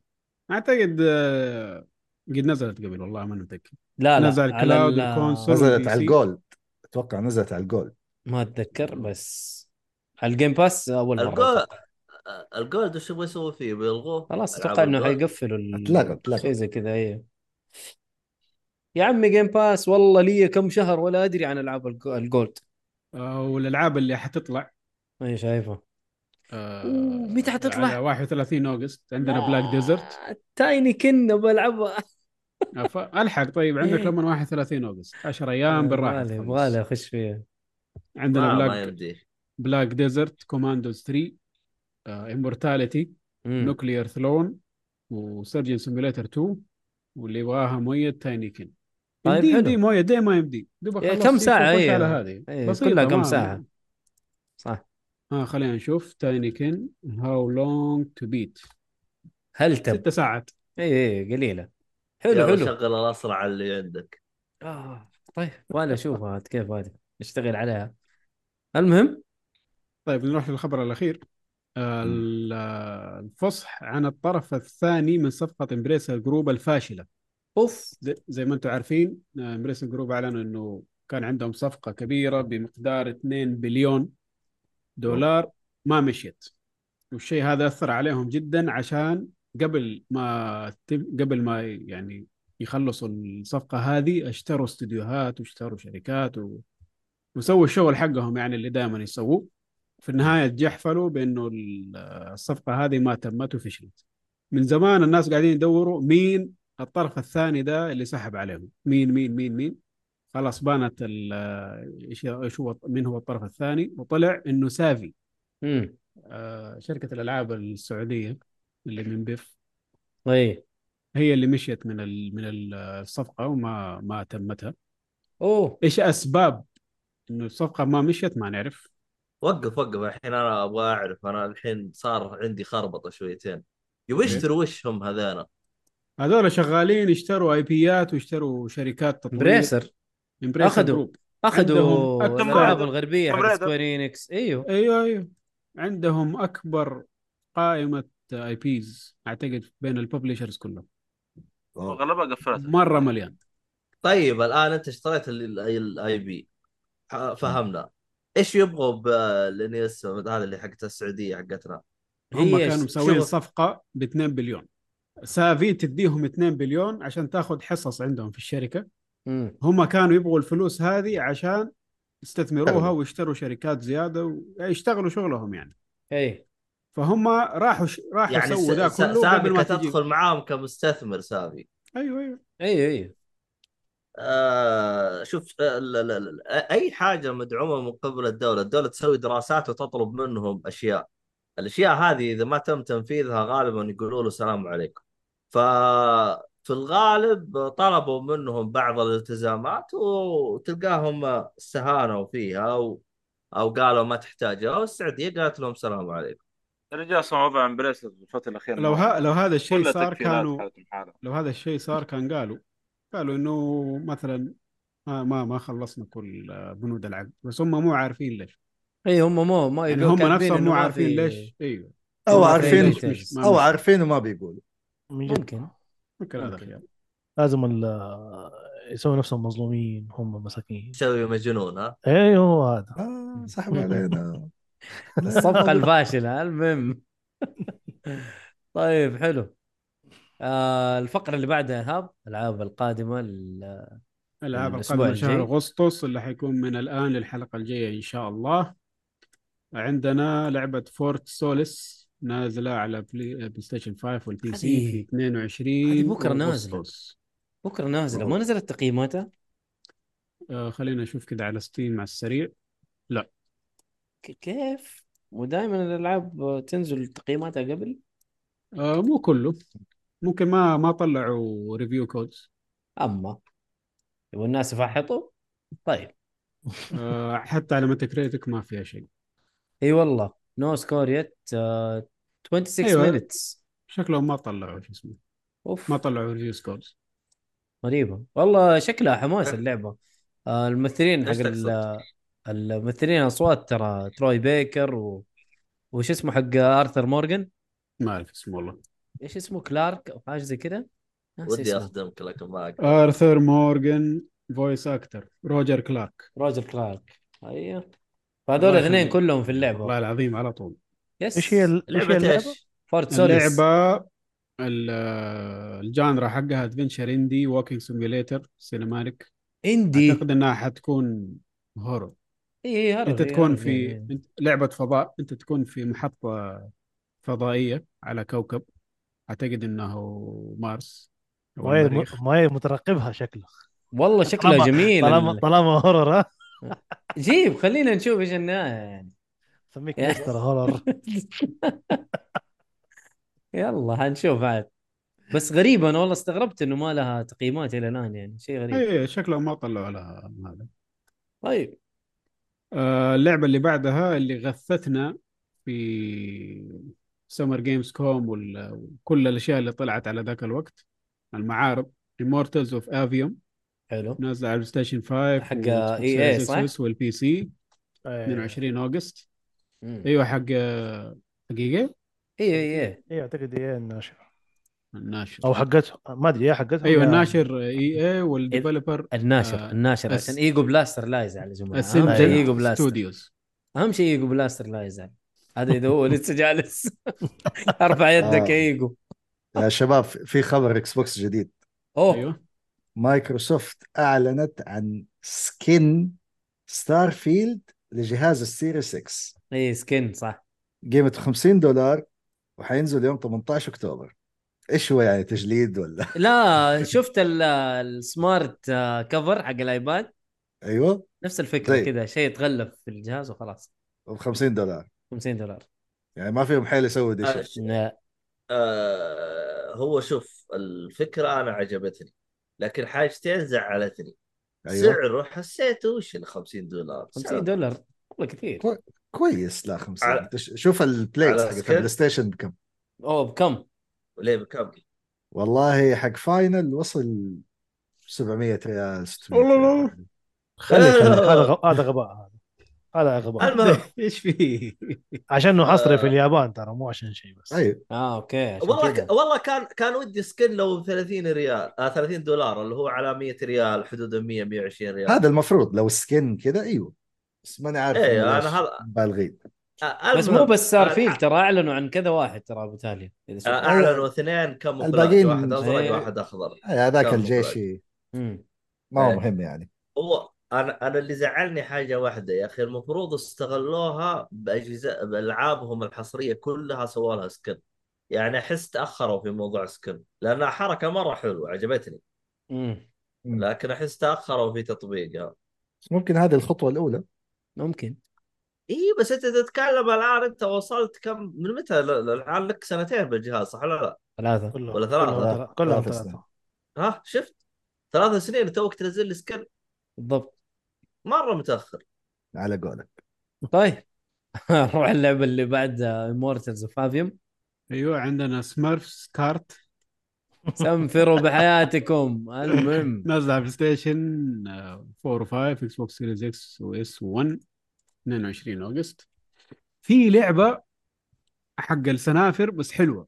F: اعتقد آه، قد نزلت قبل والله ما متاكد
B: لا لا
F: نزل
B: على
F: كلاود
B: ال-
F: والكونسول.
A: نزلت
F: PC.
A: على الجولد اتوقع نزلت على الجولد
B: ما اتذكر بس على الجيم باس اول مره
C: الجولد أه، الجولد وش يبغى يسوي فيه؟ بيلغوه؟
B: خلاص
C: ألعاب
B: اتوقع انه
C: الجولد؟
B: حيقفلوا ال-
A: اتلغى
B: شيء
A: اتلغى
B: زي كذا ايوه يا عمي جيم باس والله لي كم شهر ولا ادري عن العاب الج- الجولد
F: آه، والالعاب اللي حتطلع
B: اي شايفه
F: آه،
B: أوه، متى حتطلع؟
F: على 31 اوغست عندنا بلاك ديزرت
B: آه، تايني كن بلعبها
F: الحق طيب عندك
B: إيه.
F: لما 31 اوغست 10 ايام بالراحه
B: يبغالي
F: تخلص.
B: يبغالي اخش فيها
F: عندنا
C: آه، ما, ما
F: بلاك
C: يمديه
F: بلاك ديزرت كوماندوز 3 uh, امورتاليتي
B: مم.
F: نوكليير ثلون وسيرجن سيميوليتر 2 واللي يبغاها مؤيد تاينيكن
B: طيب،
F: يمدي
B: حلو.
F: يمدي مؤيد ليه ما يمدي دوبك
B: إيه،
F: خلصت
B: كم
F: فيه،
B: ساعة،
F: خش
B: إيه.
F: على هذه
B: إيه،
F: بسيطة،
B: كلها كم
F: ما-
B: ساعة. صح
F: ها خلينا نشوف تاينيكن هاو لونج تو بيت
B: هل تب إيه،
F: ست ساعات
B: اي اي قليله حلو
C: يلا
B: حلو
C: شغل الاسرع اللي عندك
B: آه. طيب ولا اشوفها عاد كيف هذه اشتغل عليها المهم
F: طيب نروح للخبر الأخير آه،
A: مم.
F: ال- آه، الفصح عن الطرف الثاني من صفقة امبريسا جروب الفاشلة
B: اوف
F: زي- زي ما انتم عارفين آه، امبريسا جروب أعلنوا أنه كان عندهم صفقة كبيرة بمقدار 2 بليون دولار ما مشيت والشيء هذا أثر عليهم جدا عشان قبل ما تب- قبل ما يعني يخلصوا الصفقة هذه اشتروا استديوهات واشتروا شركات و... وسووا الشغل حقهم يعني اللي دائما يسووه في النهاية تجحفلوا بأنه ال- الصفقة هذه ما تمت وفشلت من زمان الناس قاعدين يدوروا مين الطرف الثاني ده اللي سحب عليهم مين مين مين مين خلاص بانت ال- ايش إيش هو مين هو الطرف الثاني وطلع انه سافي
B: امم
F: آه، شركه الالعاب السعوديه اللي من بيف
B: طيب
F: هي اللي مشيت من ال- من ال- الصفقه وما ما تمتها
B: اوه
F: ايش اسباب انه الصفقه ما مشيت ما نعرف
C: وقف وقف الحين انا ابغى اعرف انا الحين صار عندي خربطه شويتين يبغوا
F: إيه.
C: يشتروا وش هم هذانا
F: هذول شغالين اشتروا اي بيات واشتروا شركات تطوير
B: بريسر
F: امبريسر
B: أخذوا.
F: جروب
B: اخذوا
F: عندهم-
B: الالعاب الغربيه
E: توم
B: حق
E: رايدر.
B: سكوير انكس ايوه
F: ايوه ايوه عندهم اكبر قائمه اي بيز اعتقد بين الببلشرز كلهم
A: أوه.
E: وغلبها قفلتها
F: مره مليان
C: طيب الان انت اشتريت الاي بي فهمنا ايش يبغوا بلين يسمى هذا اللي حقت السعوديه حقتنا
F: هم
B: هي
F: كانوا
B: ش-
F: مسويين
B: شوف.
F: صفقه ب 2 بليون سافي تديهم 2 بليون عشان تاخذ حصص عندهم في الشركه
B: مم.
F: هم كانوا يبغوا الفلوس هذه عشان يستثمروها
C: يشتغلوا.
F: ويشتروا شركات زياده ويشتغلوا شغلهم يعني
B: اي
F: فهم راحوا ش... راحوا
C: يعني
F: سووا ذا
C: س- س-
F: كله قبل
C: سابقة
F: ما تجي
C: تدخل معاهم كمستثمر سابي
F: ايوه ايوه
B: اي اي
C: آه شوف آه، لا لا لا اي حاجه مدعومه من قبل الدوله، الدوله تسوي دراسات وتطلب منهم اشياء. الاشياء هذه اذا ما تم تنفيذها غالبا يقولوا له السلام عليكم. ف في الغالب طلبوا منهم بعض الالتزامات وتلقاهم استهانوا فيها و... او قالوا ما تحتاجها والسعوديه قالت لهم السلام عليكم.
E: الرجال صار وضع امبريسر الفتره الاخيره
F: لو ها... لو هذا الشيء
E: كلها
F: صار
E: تكفيرات
F: كانوا
E: حالتهم حالها
F: لو هذا الشيء صار كان قالوا قالوا انه مثلا ما ما, ما خلصنا كل آه، بنود العقد بس هم مو عارفين ليش
B: اي هم مو ما
F: يعني
B: يقول-
F: هم
B: طيب، كاتبين
F: نفسهم
B: إنه
F: مو
B: ما
F: عارفين
B: في-
F: ليش ايوه
A: او
B: ما في
A: عارفين
B: details.
F: مش- ما-
A: او عارفين وما بيقولوا
D: من جد
B: ممكن
F: ممكن هذا
B: ممكن.
F: خيار
D: لازم ال- يسووا نفسهم مظلومين هم مساكين
C: تسوي مجنون ها؟
D: ايوه هو هذا
A: اه سحب علينا لا،
B: الصفقة الفاشلة المهم طيب حلو آه الفقرة اللي بعدها إيهاب الألعاب القادمة ال-
F: الالعاب
B: الأسبوع
F: القادمه شهر
B: الجاي.
F: اغسطس اللي حيكون من الان للحلقه الجايه ان شاء الله عندنا لعبه فورت سوليس نازله على بلاي آه، بلاي ستيشن 5 والبي سي
B: هذه-
F: في 22
B: هذه بكرة نازلة.
F: أغسطس.
B: بكرة نازلة ما
F: والله.
B: نزلت تقييماتها
F: آه خلينا نشوف كده على ستيم على السريع
B: ك- كيف ودائما الألعاب تنزل تقييماتها قبل
F: آه مو كله ممكن ما ما طلعوا ريفيو كودز
B: أما والناس يفحطوا طيب
F: آه حتى على متى كريتك ما فيها شيء
B: اي والله نو سكور يت آه، 26
F: أيوة.
B: مينتس
F: شكلهم ما طلعوا شو اسمه
B: اوف
F: ما طلعوا ريفيو كودز
B: غريبة والله شكلها حماس اللعبة آه، الممثلين حق
C: ايش
B: ال-
C: تقصد؟
B: الممثلين اصوات ترى تروي بيكر و... وش اسمه حق ارثر مورغان
F: ما اعرف اسمه والله
B: ايش اسمه كلارك او حاجه زي كذا ناسي
C: ودي
B: اسمه
C: اخدمك لكن ما اقدر.
F: ارثر مورغان فويس اكتر روجر كلارك
B: روجر كلارك ايوه فهذول
F: الله
B: الاثنين
F: يخليك.
B: كلهم في
F: والله
B: اللعبه
F: العظيم على طول
B: يس
D: ايش هي ال- ايش هي
C: لعبه
D: اللعبه؟
C: ايش؟
B: فورت سوليس
F: اللعبة ال- آه، الجانرا حقها ادفنشر اندي ووكينج سيميوليتر سينماتيك
B: اندي
F: اعتقد انها حتكون هورر
B: اي اي هرب،
F: انت
B: إي
F: تكون
B: هرب
F: في
B: يعني.
F: أنت- لعبة فضاء انت تكون في محطة فضائية على كوكب اعتقد انه مارس او
D: ما هي الم-
F: المريخ
D: ما هي مترقبها شكله
B: والله شكلها
C: إيه،
B: جميل
D: طالما طالما هورر ها
B: جيب خلينا نشوف ايش النهايه يعني
D: سميك
C: إيه.
B: يا.
D: مستر هورر
B: يلا حنشوف عاد بس غريبة انا والله استغربت انه ما لها تقييمات الى الان يعني شيء غريب
F: اي شكلهم إيه، ما طلعوا لها هذا
B: طيب
F: آه، اللعبة اللي بعدها اللي غثتنا في سمر جيمز كوم وكل الأشياء اللي طلعت على ذاك الوقت المعارض Immortals اوف افيوم
B: حلو
F: نازلة على البلايستيشن 5
B: حق
F: وإكس بوكس
B: EA
F: سيريس
B: صح؟
F: إكس والبي سي
D: ايوه
F: 22 أغسطس
B: مم. إيه،
F: أيوه حق آه، حقيقة
B: اي اي اي
D: ايوه اعتقد ايه الناشر
F: الناشر
D: او حقتهم ما ادري يا حقتهم
F: أيوه
D: يا-
F: الناشر اي اي والديفلوبر
B: الناشر
F: آه،
B: الناشر
F: أس-
B: عشان ايجو بلاستر لا يزعل يا جماعه اهم شيء ايجو
F: اسنجل
B: آه، بلاستر
F: ستوديوز
B: اهم شيء ايجو بلاستر لا يزعل هذا اذا هو لسه جالس ارفع يدك يا
A: آه.
B: ايجو
A: يا شباب في خبر اكس بوكس جديد
B: اوه
F: أيوه
A: مايكروسوفت اعلنت عن سكين ستارفيلد لجهاز السيريس 6
B: اي سكين إيه، صح
A: قيمته 50 دولار وحينزل يوم 18 اكتوبر ايش هو يعني تجليد ولا
B: لا شفت ال- السمارت آه، كفر حق الايباد
A: ايوه
B: نفس الفكره
A: طيب.
B: كذا شيء يتغلف في الجهاز وخلاص
A: ب 50 دولار
B: 50 دولار
A: يعني ما فيهم حيل يسوي دي شيء
C: آه،
B: لا.
C: آه، هو شوف الفكره انا عجبتني لكن حاجتين زعلتني
A: ايوه
C: سعره حسيته وش ال 50 دولار
B: 50 أيوة. دولار والله كثير
A: كويس. كويس لا 50
C: على-
A: أنت ش- شوف البلايز
C: على
A: حق
C: سكيل؟
A: البلاي ستيشن بكم
B: اوه بكم
C: وليه بكم؟
A: والله حق فاينل وصل 700 ريال 600
F: والله لا.
A: ريال.
D: خلي
C: لا، لا،
D: يكلم.
C: لا.
D: هذا غ- هذا غباء هذا هذا غباء
C: المهم
F: ايش فيه؟
D: عشانه حصري في
C: آه. أيوة.
D: اليابان ترى مو عشان شيء بس
A: ايوه
B: اه اوكي عشان
C: والله
B: كذا.
C: ك... والله كان كان ودي سكن لو ب 30 ريال آه 30 دولار اللي هو على 100 ريال حدود ال 100 120 ريال
A: هذا المفروض لو سكين كذا ايوه بس ماني عارف
C: إيه،
A: إنه
C: أنا
A: ليش
C: هذا-
A: بالغين
C: آه
B: بس مو
C: المهم،
B: بس صار
C: آه،
B: فيك ترى اعلنوا عن كذا واحد ترى ابو تالي اذا
C: آه،
B: شفت.
C: اعلنوا اثنين كاموفلاج
A: الباقيين-
C: واحد ازرق
B: إيه.
C: واحد اخضر
A: إيه، هذاك
C: كان
A: الجيشي
B: مم.
A: ما هو
C: إيه.
A: مهم يعني
C: هو انا انا اللي زعلني حاجه واحده يا اخي المفروض استغلوها باجهزه بالعابهم الحصريه كلها سووا لها سكن يعني احس تاخروا في موضوع سكن لانها حركه مره حلوه عجبتني
B: مم.
A: مم.
C: لكن احس تاخروا في تطبيقها
A: بس ممكن هذه الخطوه الاولى
B: ممكن
C: اي إيه، بس انت تتكلم الان انت وصلت كم من متى ال- ال- الان لك سنتين بالجهاز صح ولا لا؟
B: ثلاثه
D: كلهم
C: ولا ثلاثة.
D: كلهم ترى- كلهم
A: ثلاثة
D: ثلاثة
A: سنين.
C: ها شفت؟ ثلاث سنين توك تنزل لي سكن
B: بالضبط
C: مره متاخر
A: على قولك
B: طيب نروح اللعبه اللي بعد آه، امورتلز اوف افيوم
F: ايوه عندنا سمارف كارت
B: سنفروا بحياتكم المهم
F: نازل على بلاي ستيشن آه، 4 و5 اكس بوكس سيريز اكس واس 1 22 اوغست في لعبه حق السنافر بس حلوه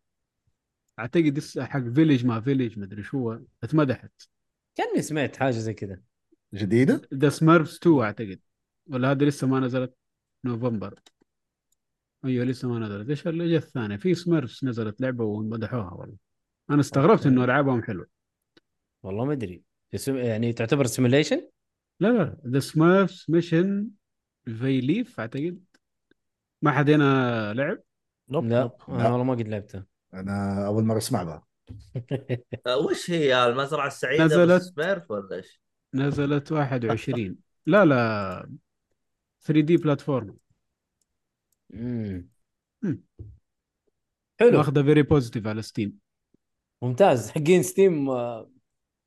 F: اعتقد اس- حق فيليج ما فيليج ما ادري شو اتمدحت
B: كاني سمعت حاجه زي كذا
A: جديده
F: ذا سمارفز 2 اعتقد ولا هذا لسه ما نزلت نوفمبر ايوه لسه ما نزلت ايش اللي جت الثانيه في سمارفز نزلت لعبه ومدحوها والله انا استغربت انه العابهم حلوه
B: والله ما ادري يسم- يعني تعتبر سيميليشن
F: لا لا ذا سمارفز ميشن فيليف اعتقد ما حد هنا لعب
D: نوب
B: لا
D: نوب.
B: انا
A: لا.
B: والله ما قد لعبتها
A: انا اول مره اسمع بها
C: أه، وش هي المزرعه السعيده
F: نزلت.
C: بس سميرف ولا ايش؟
F: نزلت 21 لا لا 3 دي بلاتفورم
B: مم.
F: مم.
B: حلو
F: واخذه فيري بوزيتيف على ستيم
B: ممتاز حقين ستيم آه،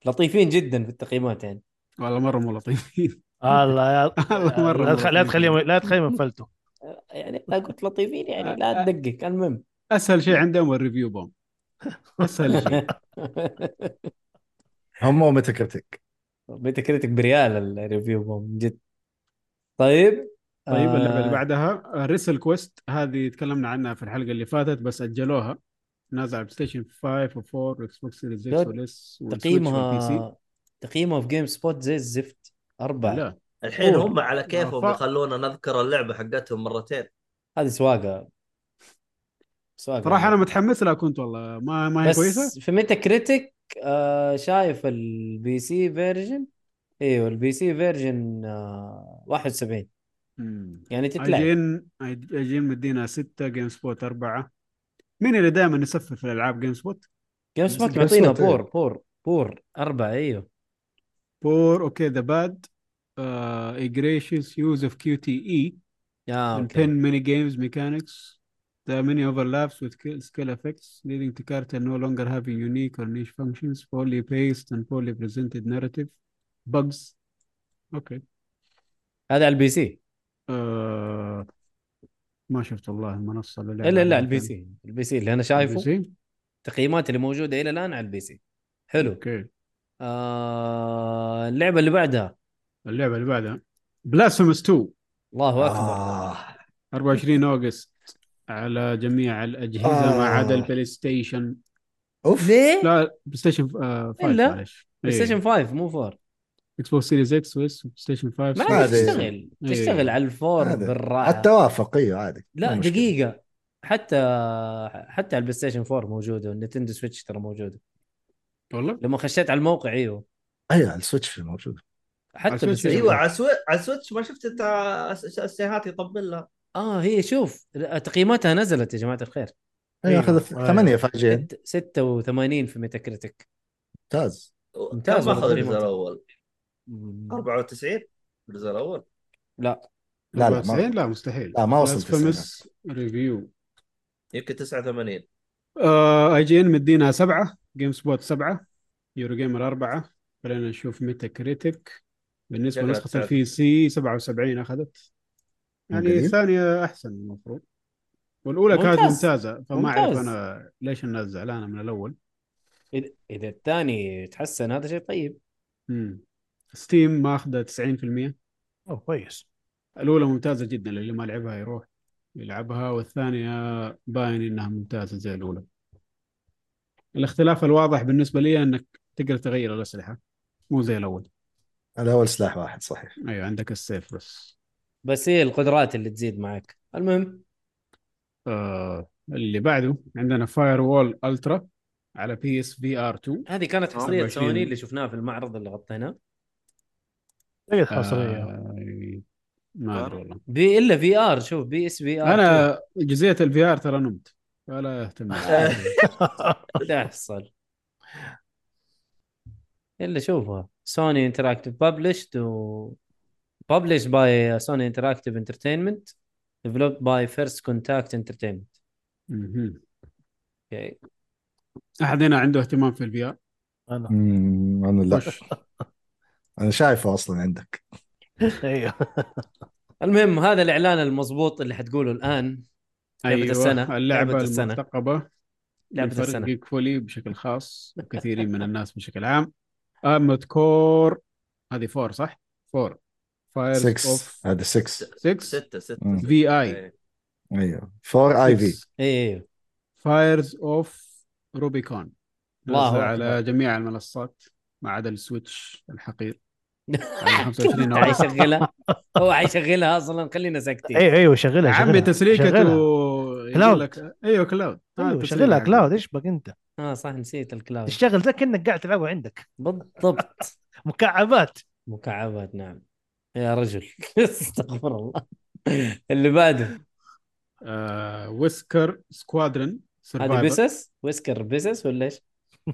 B: لطيفين جدا في التقييمات يعني
F: والله مره مو لطيفين
D: الله يا آه،
F: والله مرة
D: لا تخ- لا
F: مرة.
D: تخليهم لا تخليهم يفلتوا
B: آه، يعني لا قلت لطيفين
F: آه،
B: يعني لا تدقق المهم
F: اسهل شيء عندهم الريفيو بوم اسهل شيء
A: هم وميتا كريتيك
B: بيتا كريتك بريال الريفيو بوم جد طيب
F: طيب اللعبه اللي
B: آه،
F: بعدها ريسل كويست هذه تكلمنا عنها في الحلقه اللي فاتت بس اجلوها نازله على بلاي ستيشن 5 و4 واكس بوكس سيريز اكس
B: دود،
F: والاس
B: تقييمها تقييمها في جيم سبوت زي الزفت أربعة
F: لا
C: الحين
B: أوه.
C: هم على كيفهم
F: ف-
C: يخلونا نذكر اللعبه حقتهم مرتين
B: هذه سواقة سواقة يعني.
F: صراحه انا متحمس لها كنت والله ما ما هي كويسه
B: بس في ميتا كريتك آه شايف البي سي فيرجن ايوه البي سي فيرجن آه 71
F: مم.
B: يعني
F: آه،
B: تتلعب
F: اجين اجين مدينا 6 جيم سبوت 4 مين اللي دائما يسفل في الالعاب جيم سبوت؟
B: جيم سبوت
A: Game
B: معطينا
A: Spot، إيه.
B: بور بور بور أربعة ايوه
F: بور اوكي ذا باد آه، اجريشيس يوز اوف كيو تي اي
B: اه
F: and
B: اوكي
F: 10 mini games mechanics. There are many overlaps with skill- skill effects, leading to character no longer having unique or niche functions, poorly paced and poorly presented narrative, bugs. Okay.
B: هذا على البي سي
F: آه... ما شفت والله المنصة اللي
B: الا الا على البي سي البي سي اللي انا شايفه
F: سي؟
B: التقييمات اللي موجودة الى الان على البي سي حلو
F: اوكي
B: آه اللعبة اللي بعدها
F: اللعبة اللي بعدها بلاسفيمس 2
B: الله اكبر
A: آه.
F: 24 اوغست على جميع الاجهزة ما عدا
A: آه.
F: البلاي ستيشن
A: اوف
B: ليه؟
F: لا بلاي ستيشن 5
B: إلا.
F: آه، معلش إيه.
B: بلاي ستيشن 5 مو 4
F: اكس بوكس سيريز اكس واس بلاي ستيشن 5
B: ما
A: ما
B: عاد
A: أدري.
B: تشتغل
F: إيه.
B: تشتغل على الفور
A: هذا.
B: بالراحة
A: حتى وافق ايوه عادي
B: لا
A: مو مشكلة.
B: دقيقة حتى حتى على البلاي ستيشن 4 موجودة والنتندو سويتش ترى موجودة
F: والله
B: لما خشيت على الموقع ايوه
A: ايوه السويتش في موجود
B: حتى إيوه،
F: على
B: بلاي
F: السويتش
B: ستيشن
C: ايوه
B: 4.
C: على سوي... على سويتش ما شفت انت السيهات يطبل لها
B: آه، اه هي شوف تقييماتها نزلت يا جماعة الخير
A: ايوه اخذ
D: أيوة.
A: ثمانية فاجئين
B: 86 في ميتا كريتك
A: ممتاز
B: ممتاز
C: كم اخذ
B: والله.
C: الجزء الاول؟ 94 الجزء الاول
B: لا
A: لا، لا، ما-
F: 94 لا مستحيل
A: لا، ما وصل
F: بلاسفيمس ريفيو
C: يمكن 89
F: اي جي ان مدينا سبعة جيم سبوت سبعة يورو جيمر أربعة خلينا نشوف ميتا كريتك بالنسبة
C: شكلها
F: لنسخة
C: تسعة.
F: البي سي 77 أخذت يعني
A: جميل.
F: الثانية أحسن المفروض والأولى كانت
B: ممتاز.
F: ممتازة فما أعرف
B: ممتاز.
F: أنا ليش الناس زعلانة من الأول
B: إذا- اذا الثاني تحسن هذا شيء طيب
F: مم. ستيم ماخذة 90%
D: اوه كويس
F: الأولى ممتازة جدا اللي ما لعبها يروح يلعبها والثانية باين إنها ممتازة زي الأولى الاختلاف الواضح بالنسبة لي إنك تقدر تغير الأسلحة مو زي الأول
A: الاول سلاح واحد صحيح
F: أيوة عندك السيف بس
B: بس هي القدرات اللي تزيد معك المهم
F: آه اللي بعده عندنا فاير وول ألترا على بي اس في ار 2
B: هذه كانت حصريه
F: 24.
B: سوني اللي شفناها في المعرض اللي غطيناه
D: تقدر تحصل
F: آه ما أدري والله
B: بي الا في ار شوف بي اس في ار
F: أنا جزئية الفي ار ترى نمت ولا أهتم
B: تحصل الا شوفها سوني انتراكتيف ببلشد و ببلش باي سوني انتراكتيف انترتينمنت ديفلوبد باي فيرست كونتاكت انترتينمنت
F: مهم.
B: اوكي
F: أحد هنا عنده اهتمام في الفي ار
D: انا
A: امم انا لا انا شايفه اصلا عندك
D: ايوه
B: المهم هذا الاعلان المضبوط اللي حتقوله الان لعبة
F: أيوة
B: السنة.
F: اللعبة
B: لعبة السنة.
F: المرتقبة
B: لعبة
F: لفريق
B: السنة.
F: جيك فولي بشكل خاص وكثيرين من الناس بشكل عام أرمد كور هذه فور صح؟ فور فايرز
A: 6
F: اوف
A: هذا 6
F: 6
C: 6 6
A: مم.
F: في اي
C: إيه.
A: ايوه 4 اي في
B: ايه
F: فايرز اوف روبيكون
B: الله
F: نزل
B: أكبر.
F: على جميع المنصات ما عدا السويتش الحقير على
B: تعال
F: 25 نوفمبر
B: يشغلها هو حيشغلها اصلا خلينا ساكتين
C: إيه.
D: ايوه ايوه شغلها
F: عمي
D: شغلها.
F: تسليكته
D: شغلها.
F: يقول
D: كلاود.
F: لك ايوه
B: أيوة،
F: كلاود آه،
D: ايوه
F: التسليك
D: شغلها
F: حقه.
D: كلاود ايش بك انت؟
B: اه صح نسيت الكلاود
D: تشتغل زي كانك قاعد تلعبه عندك
B: بالضبط
D: مكعبات
B: مكعبات نعم يا رجل استغفر الله اللي بعده
F: آه، ويسكر سكوادرن
B: هذه
F: سرفايفر
B: بيسس ويسكر بيسس ولا ايش؟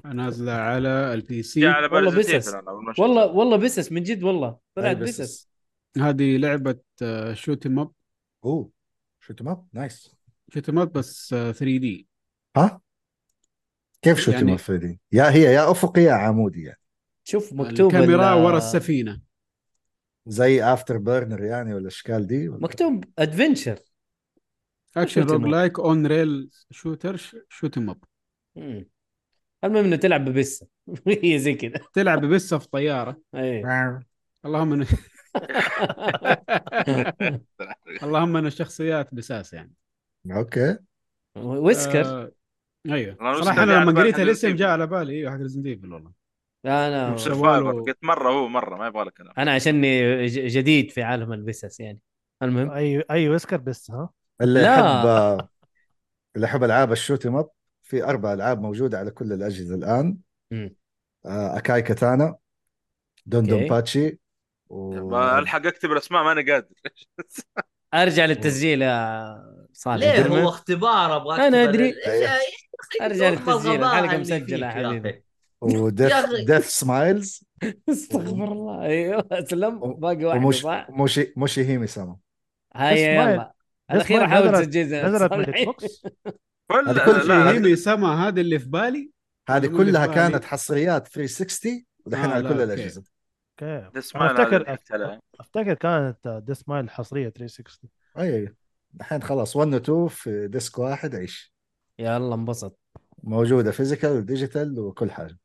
F: نازله على البي
E: جاء
F: سي
E: على بالي
B: والله
E: زي
B: بسس.
E: تيفل أنا أول ما شفته.
B: والله والله بيسس من جد والله طلعت
A: أي بيسس.
B: بيسس
F: هذه آه، لعبه شوت اب
A: اوه شوت ماب نايس
F: شوت اب بس آه، 3 دي
A: ها كيف شوت
F: يعني-
A: ماب 3 دي؟ يا هي يا افقي يا عمودي يعني
B: شوف مكتوب
F: الكاميرا
B: ال-
F: ورا السفينه
A: زي افتر بيرنر يعني ولا الاشكال دي ولا
B: مكتوب ادفنشر
F: اكشن
B: shoot 'em up.
F: روج لايك اون ريل شوتر شوت اب
B: مم. المهم انه تلعب ببسه هي زي كذا إيه.
F: تلعب بس في طياره
B: أي.
F: اللهم ان اللهم ان الشخصيات بساس يعني
A: اوكي
B: ويسكر
F: آه... ايوه
E: أنا
F: صراحه
E: جاء
F: انا
E: على
F: لما
E: بالي
F: قريت
E: حق
F: الاسم
E: Resident Evil.
F: جاء على بالي ايوه حق ريزن ديفل والله
B: انا
F: مش-
E: سرفايفر
F: والو.
E: قلت مره هو مره ما يبغى له كلام
B: انا عشاني ج- جديد في عالم البسس يعني المهم
D: اي اي ويسكر بس ها
A: اللي
B: لا.
A: يحب اللي يحب العاب الشوت ماب في اربع العاب موجوده على كل الاجهزه الان
B: مم.
A: آه، اكاي كاتانا دندون
B: أوكي.
A: باتشي و...
E: ما الحق اكتب الاسماء ما انا قادر
B: ارجع للتسجيل يا صالح
C: ليه
B: المهم.
C: هو اختبار ابغى
B: أنا
C: أكتب
B: أدري.
C: إيش- إيش-
B: أرجع
C: إيش
B: للتسجيل،
C: الغباء
B: الحلقة
C: اللي
B: مسجلة
C: فيك يا
B: حبيبي.
C: أخي؟
A: وديث
C: يا أخي.
A: ديث سمايلز
B: استغفر الله ايوه اسلم باقي واحده
A: ومش
B: صح؟
A: موشي موشي هيمي سما
B: هاي
D: Smile.
B: يلا الاخير
D: Smile
B: احاول
D: إيه؟ نزلت-
B: تسجيل
D: نزلت من الاكس بوكس
E: كل
A: هذا كل
E: لا,
A: شيء
E: لا هذه-
F: هيمي سما هذه اللي في بالي
A: هذه
F: يقول لي
A: كلها
F: فاهم.
A: كانت حصريات 360 ودحين
F: آه،
A: على
F: لا،
A: كل
F: أوكي.
A: الاجهزه
D: اوكي
E: ذا سمايل
D: انا
E: هذا اللي
D: افتكر
E: قلت عليه.
D: افتكر كانت ديس مايل حصريه 360
A: اي أي. دحين خلاص 1 و 2 في ديسك واحد عيش
B: يلا انبسط
A: موجوده فيزيكال وديجيتال وكل حاجه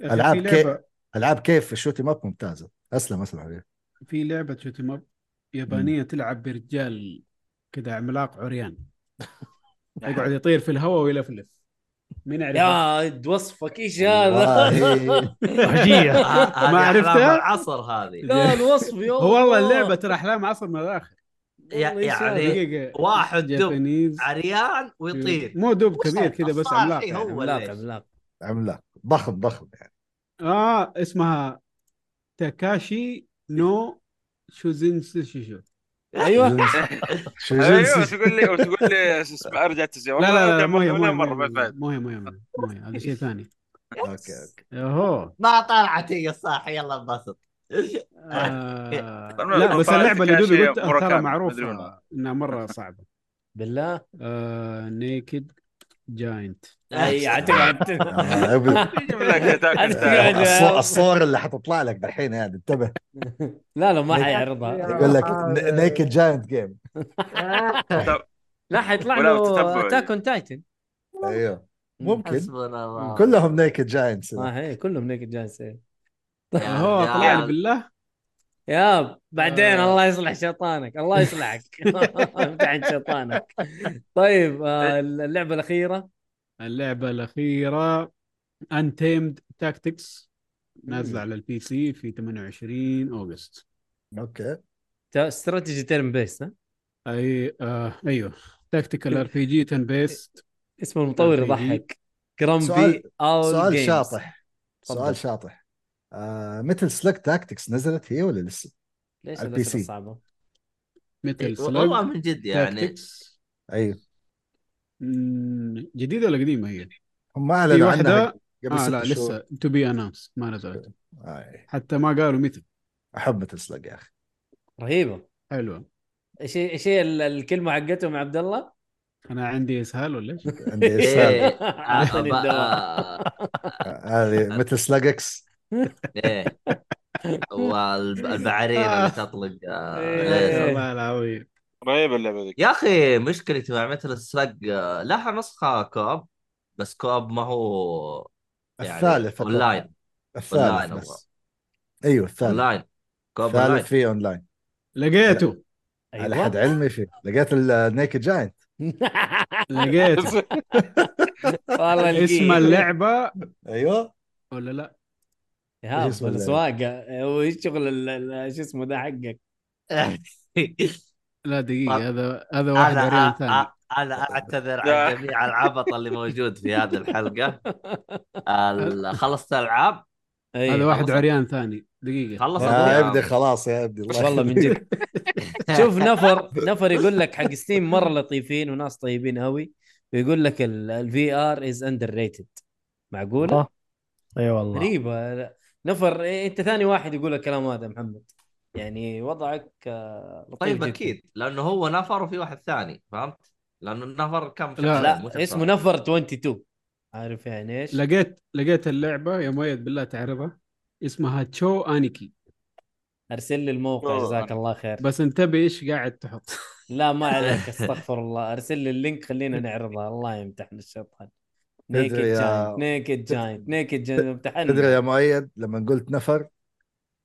F: يا أخي
A: ألعاب
F: في
A: كي-
F: لعبة-
A: العاب كيف في الشوتي ماب ممتازه اسلم اسلم عليه
F: في لعبه شوت اب يابانيه تلعب برجال كذا عملاق عريان
C: نعم.
F: يقعد يطير في الهواء ويلفلف مين يعرف
B: يا اد وصفك ايش هذا؟
A: والله.
D: وحشيه
C: ه- هذه
F: ما
C: أحلام
F: عرفتها؟
C: العصر هذه
B: لا الوصف يا
F: هو والله
B: الله.
F: اللعبه ترى احلام عصر من الاخر
C: يا-
B: والله إيش
C: يعني
B: هذا؟
F: دقيقه
C: واحد دب
F: جابانيز
C: عريان ويطير
F: مو دوب كبير كذا بس
C: الصاحي
F: عملاق يعني.
C: هو.
B: عملاق
C: ليش؟
B: عملاق
A: عملاق ضخم ضخم يعني
F: اه اسمها تاكاشي نو شوزين شيشو
A: أيوة.
B: ايوه
A: شو
E: ايوه
A: جنسي
E: تقول لي وتقول لي اسمع، ارجع تسجيل
F: لا لا لا مو هي مو
E: ولا
F: هي
E: مره ما فايد
F: مو هي مو هي مو هي- مو هي هذا شيء ثاني
A: اوكي اوكي
F: اهو
C: ما طلعت هي صح يلا انبسط
F: آه،
E: المهم
F: لا بس
E: طلعت
F: اللعبه اللي
E: كاشي
F: دوبي قلت ترى
E: موراكامي، مدري
F: معروفه
E: ولا.
F: انها مره صعبه
B: بالله
F: آه، نيكد جاينت
B: اي اعتقد
A: آه، أبد.
E: يجيب لك أتاك أون
B: أتاك.
E: تايتن.
A: الصور- الصور اللي حتطلع لك دحين يعني انتبه
B: لا لا ما حيعرضها
A: يقول لك نيكد جاينت جيم
B: لا حيطلع
E: ولا
B: له
E: تتبع.
B: اتاك اون تايتن
A: ايوه ممكن
C: حسبنا الله آه.
A: كلهم نيكد جاينتس
B: اه هي كلهم نيكد جاينتس إيه.
C: يا
F: اهو
C: رجال.
F: آه، طلع لي بالله
B: ياب بعدين
F: آه.
B: الله يصلح شيطانك الله يصلحك امتحن شيطانك طيب آه، اللعبه الاخيره
F: اللعبه الاخيره انتيمد تاكتكس نازله على البي سي في 28 اوغست
A: اوكي
B: تا- استراتيجي تيرن بيست ها
F: اي آه ايوه تاكتيكال ار بي جي تن بيست
B: اسم المطور
F: RPG.
B: يضحك جرامبي
A: طيب. سؤال-
B: اول
A: سؤال
B: جيمز.
A: شاطح
B: تفضل.
A: سؤال شاطح آه مثل سلك تاكتكس نزلت هي ولا لسه؟
B: ليش
A: على
B: الأسئلة
A: البي سي.
B: صعبه؟
F: مثل
C: إيه، والله
F: سلاج
C: من جد يعني
F: تاكتكس
A: ايوه
F: جديده ولا قديمه هي؟
A: هم
F: في
A: اعلنوا عنها
F: واحده
A: قبل
F: اه
A: ست
F: لا
A: شهور
F: لسه تو بي اناونس ما نزلت
A: آه.
F: حتى ما قالوا متى
A: احب مثل سلك يا اخي
B: رهيبه
F: حلوه
B: ايش هي- ايش هي ال- الكلمه حقتهم يا عبد الله؟
F: انا عندي اسهال ولا ايش؟
A: عندي اسهال
C: ايه
B: أعطني
C: آه،
B: الدواء
C: آه،
A: هذه مثل سلاجكس
C: ايه والبعرير اللي تطلق آه،
B: إيه.
C: ليزر.
F: والله العظيم
E: رهيبه اللعبه ذيك
C: يا اخي مشكلتي مع مثل السلق آه، لها نسخه كوب بس كوب ما هو يعني
A: الثالث فقط
C: اونلاين
A: الثالث
C: أونلاين أبغى.
A: بس ايوه الثالث
C: اونلاين كوب اونلاين
A: الثالث فيه اونلاين
F: لقيته
A: على
B: أيوة.
A: حد علمي فيه لقيت النيكد جاينت
F: لقيته
B: والله لقيت.
F: اسم اللعبه
A: ايوه
F: ولا لا؟
B: يا
A: إيش اسم اللعبة؟
B: الاسواق وايش شغل ال- ال- شو اسمه ده حقك؟
F: لا دقيقه هذا هذا واحد
C: انا
B: آه،
F: اريان ثاني
C: أ- انا اعتذر آه، عن جميع العبط اللي موجود في هذه الحلقه ال- خلصت العاب
B: أيوة.
F: هذا واحد
C: خلصت.
F: عريان ثاني دقيقه
C: خلصت
A: يا
C: الألعاب.
A: ابدي خلاص يا ابدي الله
B: والله من
A: يخليك.
B: جد شوف نفر نفر يقول لك حق ستيم مره لطيفين وناس طيبين قوي ويقول لك الفي ار از اندر ريتد معقوله؟
D: الله اي والله
B: غريبة لا. نفر إيه، انت ثاني واحد يقول الكلام هذا يا محمد يعني وضعك آه، لطيف
C: طيب
B: جداً.
C: اكيد لانه هو نفر وفي واحد ثاني فهمت؟ لانه النفر كم شخص
F: لا،
A: طيب،
C: مو
B: لا
C: شخصين.
B: اسمه نفر 22 عارف يعني ايش؟
F: لقيت لقيت اللعبه يا مؤيد بالله تعرفها اسمها تشو انيكي
B: ارسل لي الموقع
E: أوه.
B: جزاك الله خير
F: بس انتبه ايش قاعد تحط
B: لا ما عليك استغفر الله ارسل لي اللينك خلينا نعرضها الله يمتحنا الشيطان نيكد
A: تدري يا-
B: جاينت نيكد جاينت نيكد جاينت
A: تدري
B: امتحنا
A: يا مؤيد لما قلت نفر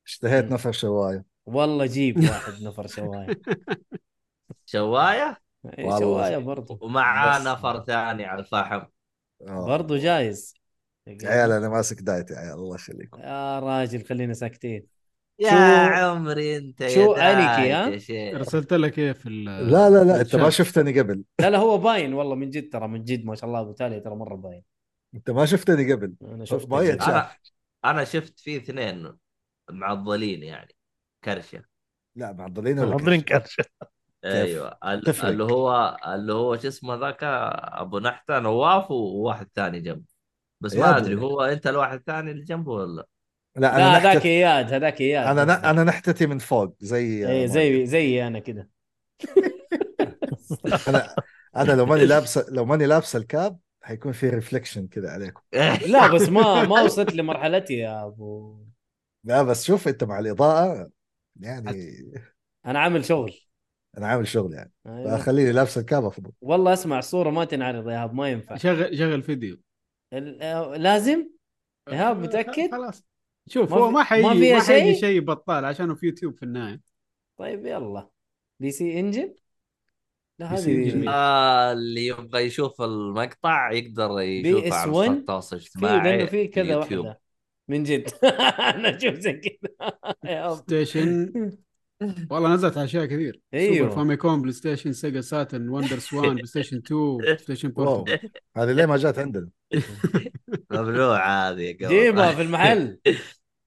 A: اشتهيت
B: مم.
A: نفر شوايه
B: والله جيب واحد نفر شوايه
C: شوايه
B: إيه،
A: والله.
B: شوايه برضو
C: ومعاه
A: بس.
C: نفر ثاني على الفحم
A: آه.
B: برضو جايز
A: عيال انا ماسك دايت يا عيال الله يخليكم
B: يا راجل خلينا ساكتين
C: يا
B: شو-
C: عمري انت يا
B: شو أنيكي، ها؟
C: دايت يا شيخ
F: ارسلت لك ايه في
B: آه.
F: ال-
A: لا لا لا انت
F: الشات.
A: ما شفتني قبل
B: لا لا هو باين والله من جد ترى من جد ما شاء الله ابو تالي ترى مره باين
A: انت ما شفتني قبل
B: انا شفت
A: باين
B: ال-
A: شاف.
C: انا انا شفت فيه اثنين معضلين يعني كرشه
A: لا معضلين ولا
D: حاضرين
A: كيف؟
D: كرشه
C: ايوه ال-
A: تفرق.
C: اللي هو اللي هو شو اسمه ذاك ابو نحته نواف وواحد ثاني جنبه بس
A: يا
C: ما
A: أبو
C: ادري
A: نحتة.
C: هو انت الواحد الثاني اللي جنبه ولا
A: لا
B: لا
A: انا
B: هذاك
A: نحتت...
B: اياد هذاك اياد
A: انا ن...
B: قصدي.
A: انا نحتتي من فوق زي
B: ايه زي زي انا كده
A: انا انا لو ماني لابسه لو ماني لابسه الكاب حيكون في ريفليكشن كذا عليكم
B: لا بس ما ما وصلت لمرحلتي يا ابو
A: لا بس شوف انت مع الاضاءه يعني
B: انا عامل شغل
A: انا عامل شغل يعني
B: أيوة.
A: فخليني لابس الكاب افضل
B: والله اسمع الصوره ما تنعرض يا هاب ما ينفع
F: شغل شغل فيديو
B: ال- آه، لازم إيهاب، متأكد؟
F: خلاص شوف
B: ما
F: هو
B: في-
F: ما حيجي
B: ما
F: ما,
B: فيها
F: حيجي
B: شيء؟
F: شيء بطال عشانه في يوتيوب في النهايه
B: طيب يلا دي سي انجن لا
F: دي سي إنجن.
B: هذه
C: آه، اللي يبغى يشوف المقطع يقدر يشوفه على
B: BS1
C: منصات التواصل
B: في
C: الاجتماعي
B: لانه في كذا
C: اليوتيوب.
B: واحده من جد انا اشوف زي كذا يا رب.
F: ستيشن والله نزلت اشياء كثير
B: أيوه.
F: سوبر فاميكون بلاي ستيشن سيجا ساتن وندر سوان بلاي ستيشن 2 بلاي ستيشن
A: واو
F: بورتبل
A: هذه ليه ما جات عندنا
C: ممنوع هذه يا قبل.
B: جيبها في المحل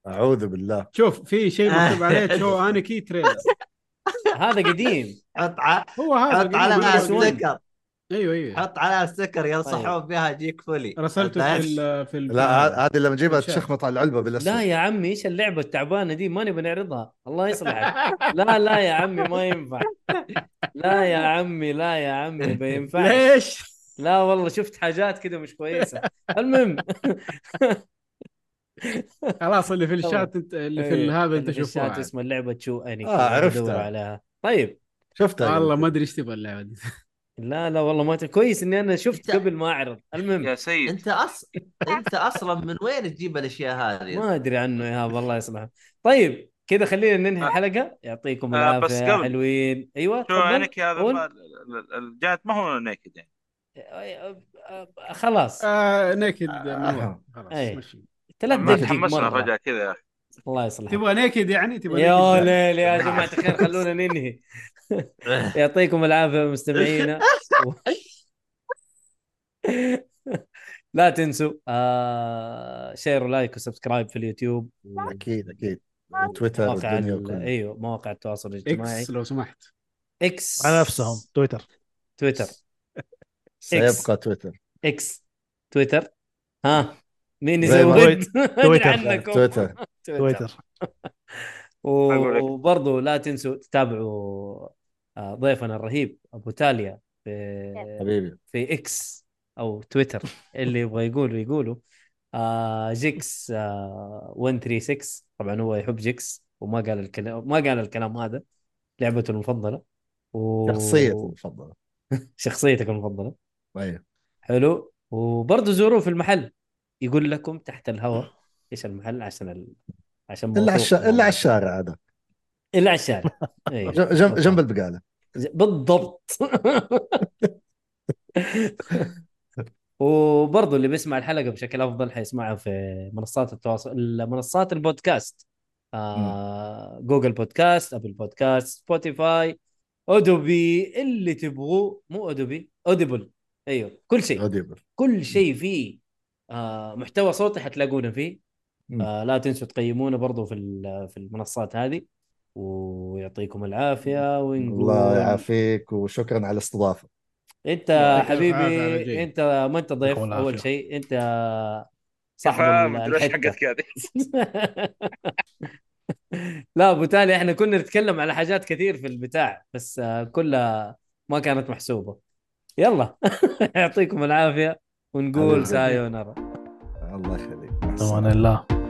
A: اعوذ بالله
F: شوف في شيء مكتوب عليه شو انيكي تريلر
B: هذا قديم
C: حط ع-
F: هو هذا
C: حط على
B: يقول لك.
C: ستيكر
F: ايوه ايوه
C: حط على ستيكر
B: طيب.
C: ينصحون بها جيك فولي
F: رسلته في ال في ال
A: لا
B: آه،
A: ه- هذه لما جيبها
F: الشاشة.
A: تشخمط على العلبه بالاسود
B: لا يا عمي ايش اللعبه التعبانه دي ما نبي نعرضها الله يصلحك لا لا يا عمي ما ينفع لا يا عمي لا يا عمي ما ينفع
C: ليش؟
B: لا والله شفت حاجات كذا مش كويسه المهم
F: خلاص اللي في الشات انت اللي في
B: إيه،
F: هذا انت
B: اللي في الشات
F: شوفوها
B: اسم اللعبه تشو اني
A: آه،
B: كذا
A: عرفتها.
B: بدور عليها طيب
A: شفتها
F: والله ما ادري ايش تبغى اللعبه دي
B: لا لا والله ما ت- كويس اني انا شفت
C: إنت-
B: قبل ما اعرض المهم
E: يا سيد
C: انت اصلا انت اصلا من وين تجيب الاشياء هذه؟
B: ما ادري عنه يا هاب الله يصلحك طيب كذا خلينا ننهي الحلقه يعطيكم
E: آه،
B: العافيه
E: بس
B: يا
E: قبل.
B: حلوين ايوه
E: شو
B: تفضل.
E: عينك يا هذا
B: قول.
E: ما- ال- ال- الجات ما هو نيكد يعني
B: آه، آه، آه، خلاص
F: آه نيكد من
A: آه.
F: ورا خلاص
B: أي.
F: مشي
E: ما
B: لا تدقق
E: تحمسنا
B: مره
E: فجاه كذا يا اخي
B: الله يصلحك
F: تبغى نيكد يعني تبغى
B: يا
F: نيكد؟
B: ليل يا جماعه الخير خلونا ننهي يعطيكم العافيه مستمعينا و- لا تنسوا آه شير ولايك وسبسكرايب في اليوتيوب
A: اكيد اكيد وتويتر
B: مواقع
A: والدنيا
B: ال-
A: كلها
B: ايوه مواقع التواصل الاجتماعي
F: اكس لو سمحت
B: اكس
D: على نفسهم تويتر
B: تويتر
A: سيبقى تويتر
B: اكس تويتر ها مين
A: زي ما-
B: يزود؟ ما أدري
D: تويتر.
B: عنكم.
A: تويتر
D: تويتر
E: أقول لك.
B: وبرضه لا تنسوا تتابعوا آه، ضيفنا الرهيب ابو تاليا في
A: حبيبي
B: في اكس او تويتر اللي يبغى يقول يقوله آه جيكس آه 136 طبعا هو يحب جيكس وما قال الكلام ما قال الكلام هذا لعبته المفضله و...
A: شخصيتي المفضله
B: شخصيتك المفضله
A: ايوه
B: حلو وبرضه زوروه في المحل يقول لكم تحت الهواء ايش المحل عشان ال... عشان
A: الا على الش-
B: موثوق.
A: الا على الشارع هذا
B: الا على الشارع أيوه.
A: جنب- جنب جنب البقاله
B: بالضبط وبرضه اللي بيسمع الحلقه بشكل افضل حيسمعها في منصات التواصل منصات البودكاست آه جوجل بودكاست ابل بودكاست سبوتيفاي اودوبي اللي تبغوه مو اودوبي اوديبل ايوه كل شيء
A: اوديبل
B: كل شيء فيه آه محتوى صوتي حتلاقونا فيه
A: مم.
B: آه لا تنسوا تقيمونا برضو في ال- في المنصات هذه ويعطيكم العافيه ونقول
A: الله يعافيك وشكرا على الاستضافه
B: انت
F: يعطيك العافية على
B: حبيبي
F: الجاي.
B: انت ما انت ضيف
D: يعطيكم
B: اول
D: العافية.
B: شيء انت صاحب ال-
E: فاهم ايش
B: الحته
E: حقتك هذه
B: لا ابو تالي احنا كنا نتكلم على حاجات كثير في البتاع بس آه، كلها ما كانت محسوبه يلا يعطيكم العافيه
A: حبيبي.
B: ونقول سايونارا
A: الله يخليك مع السلامة.
D: امان الله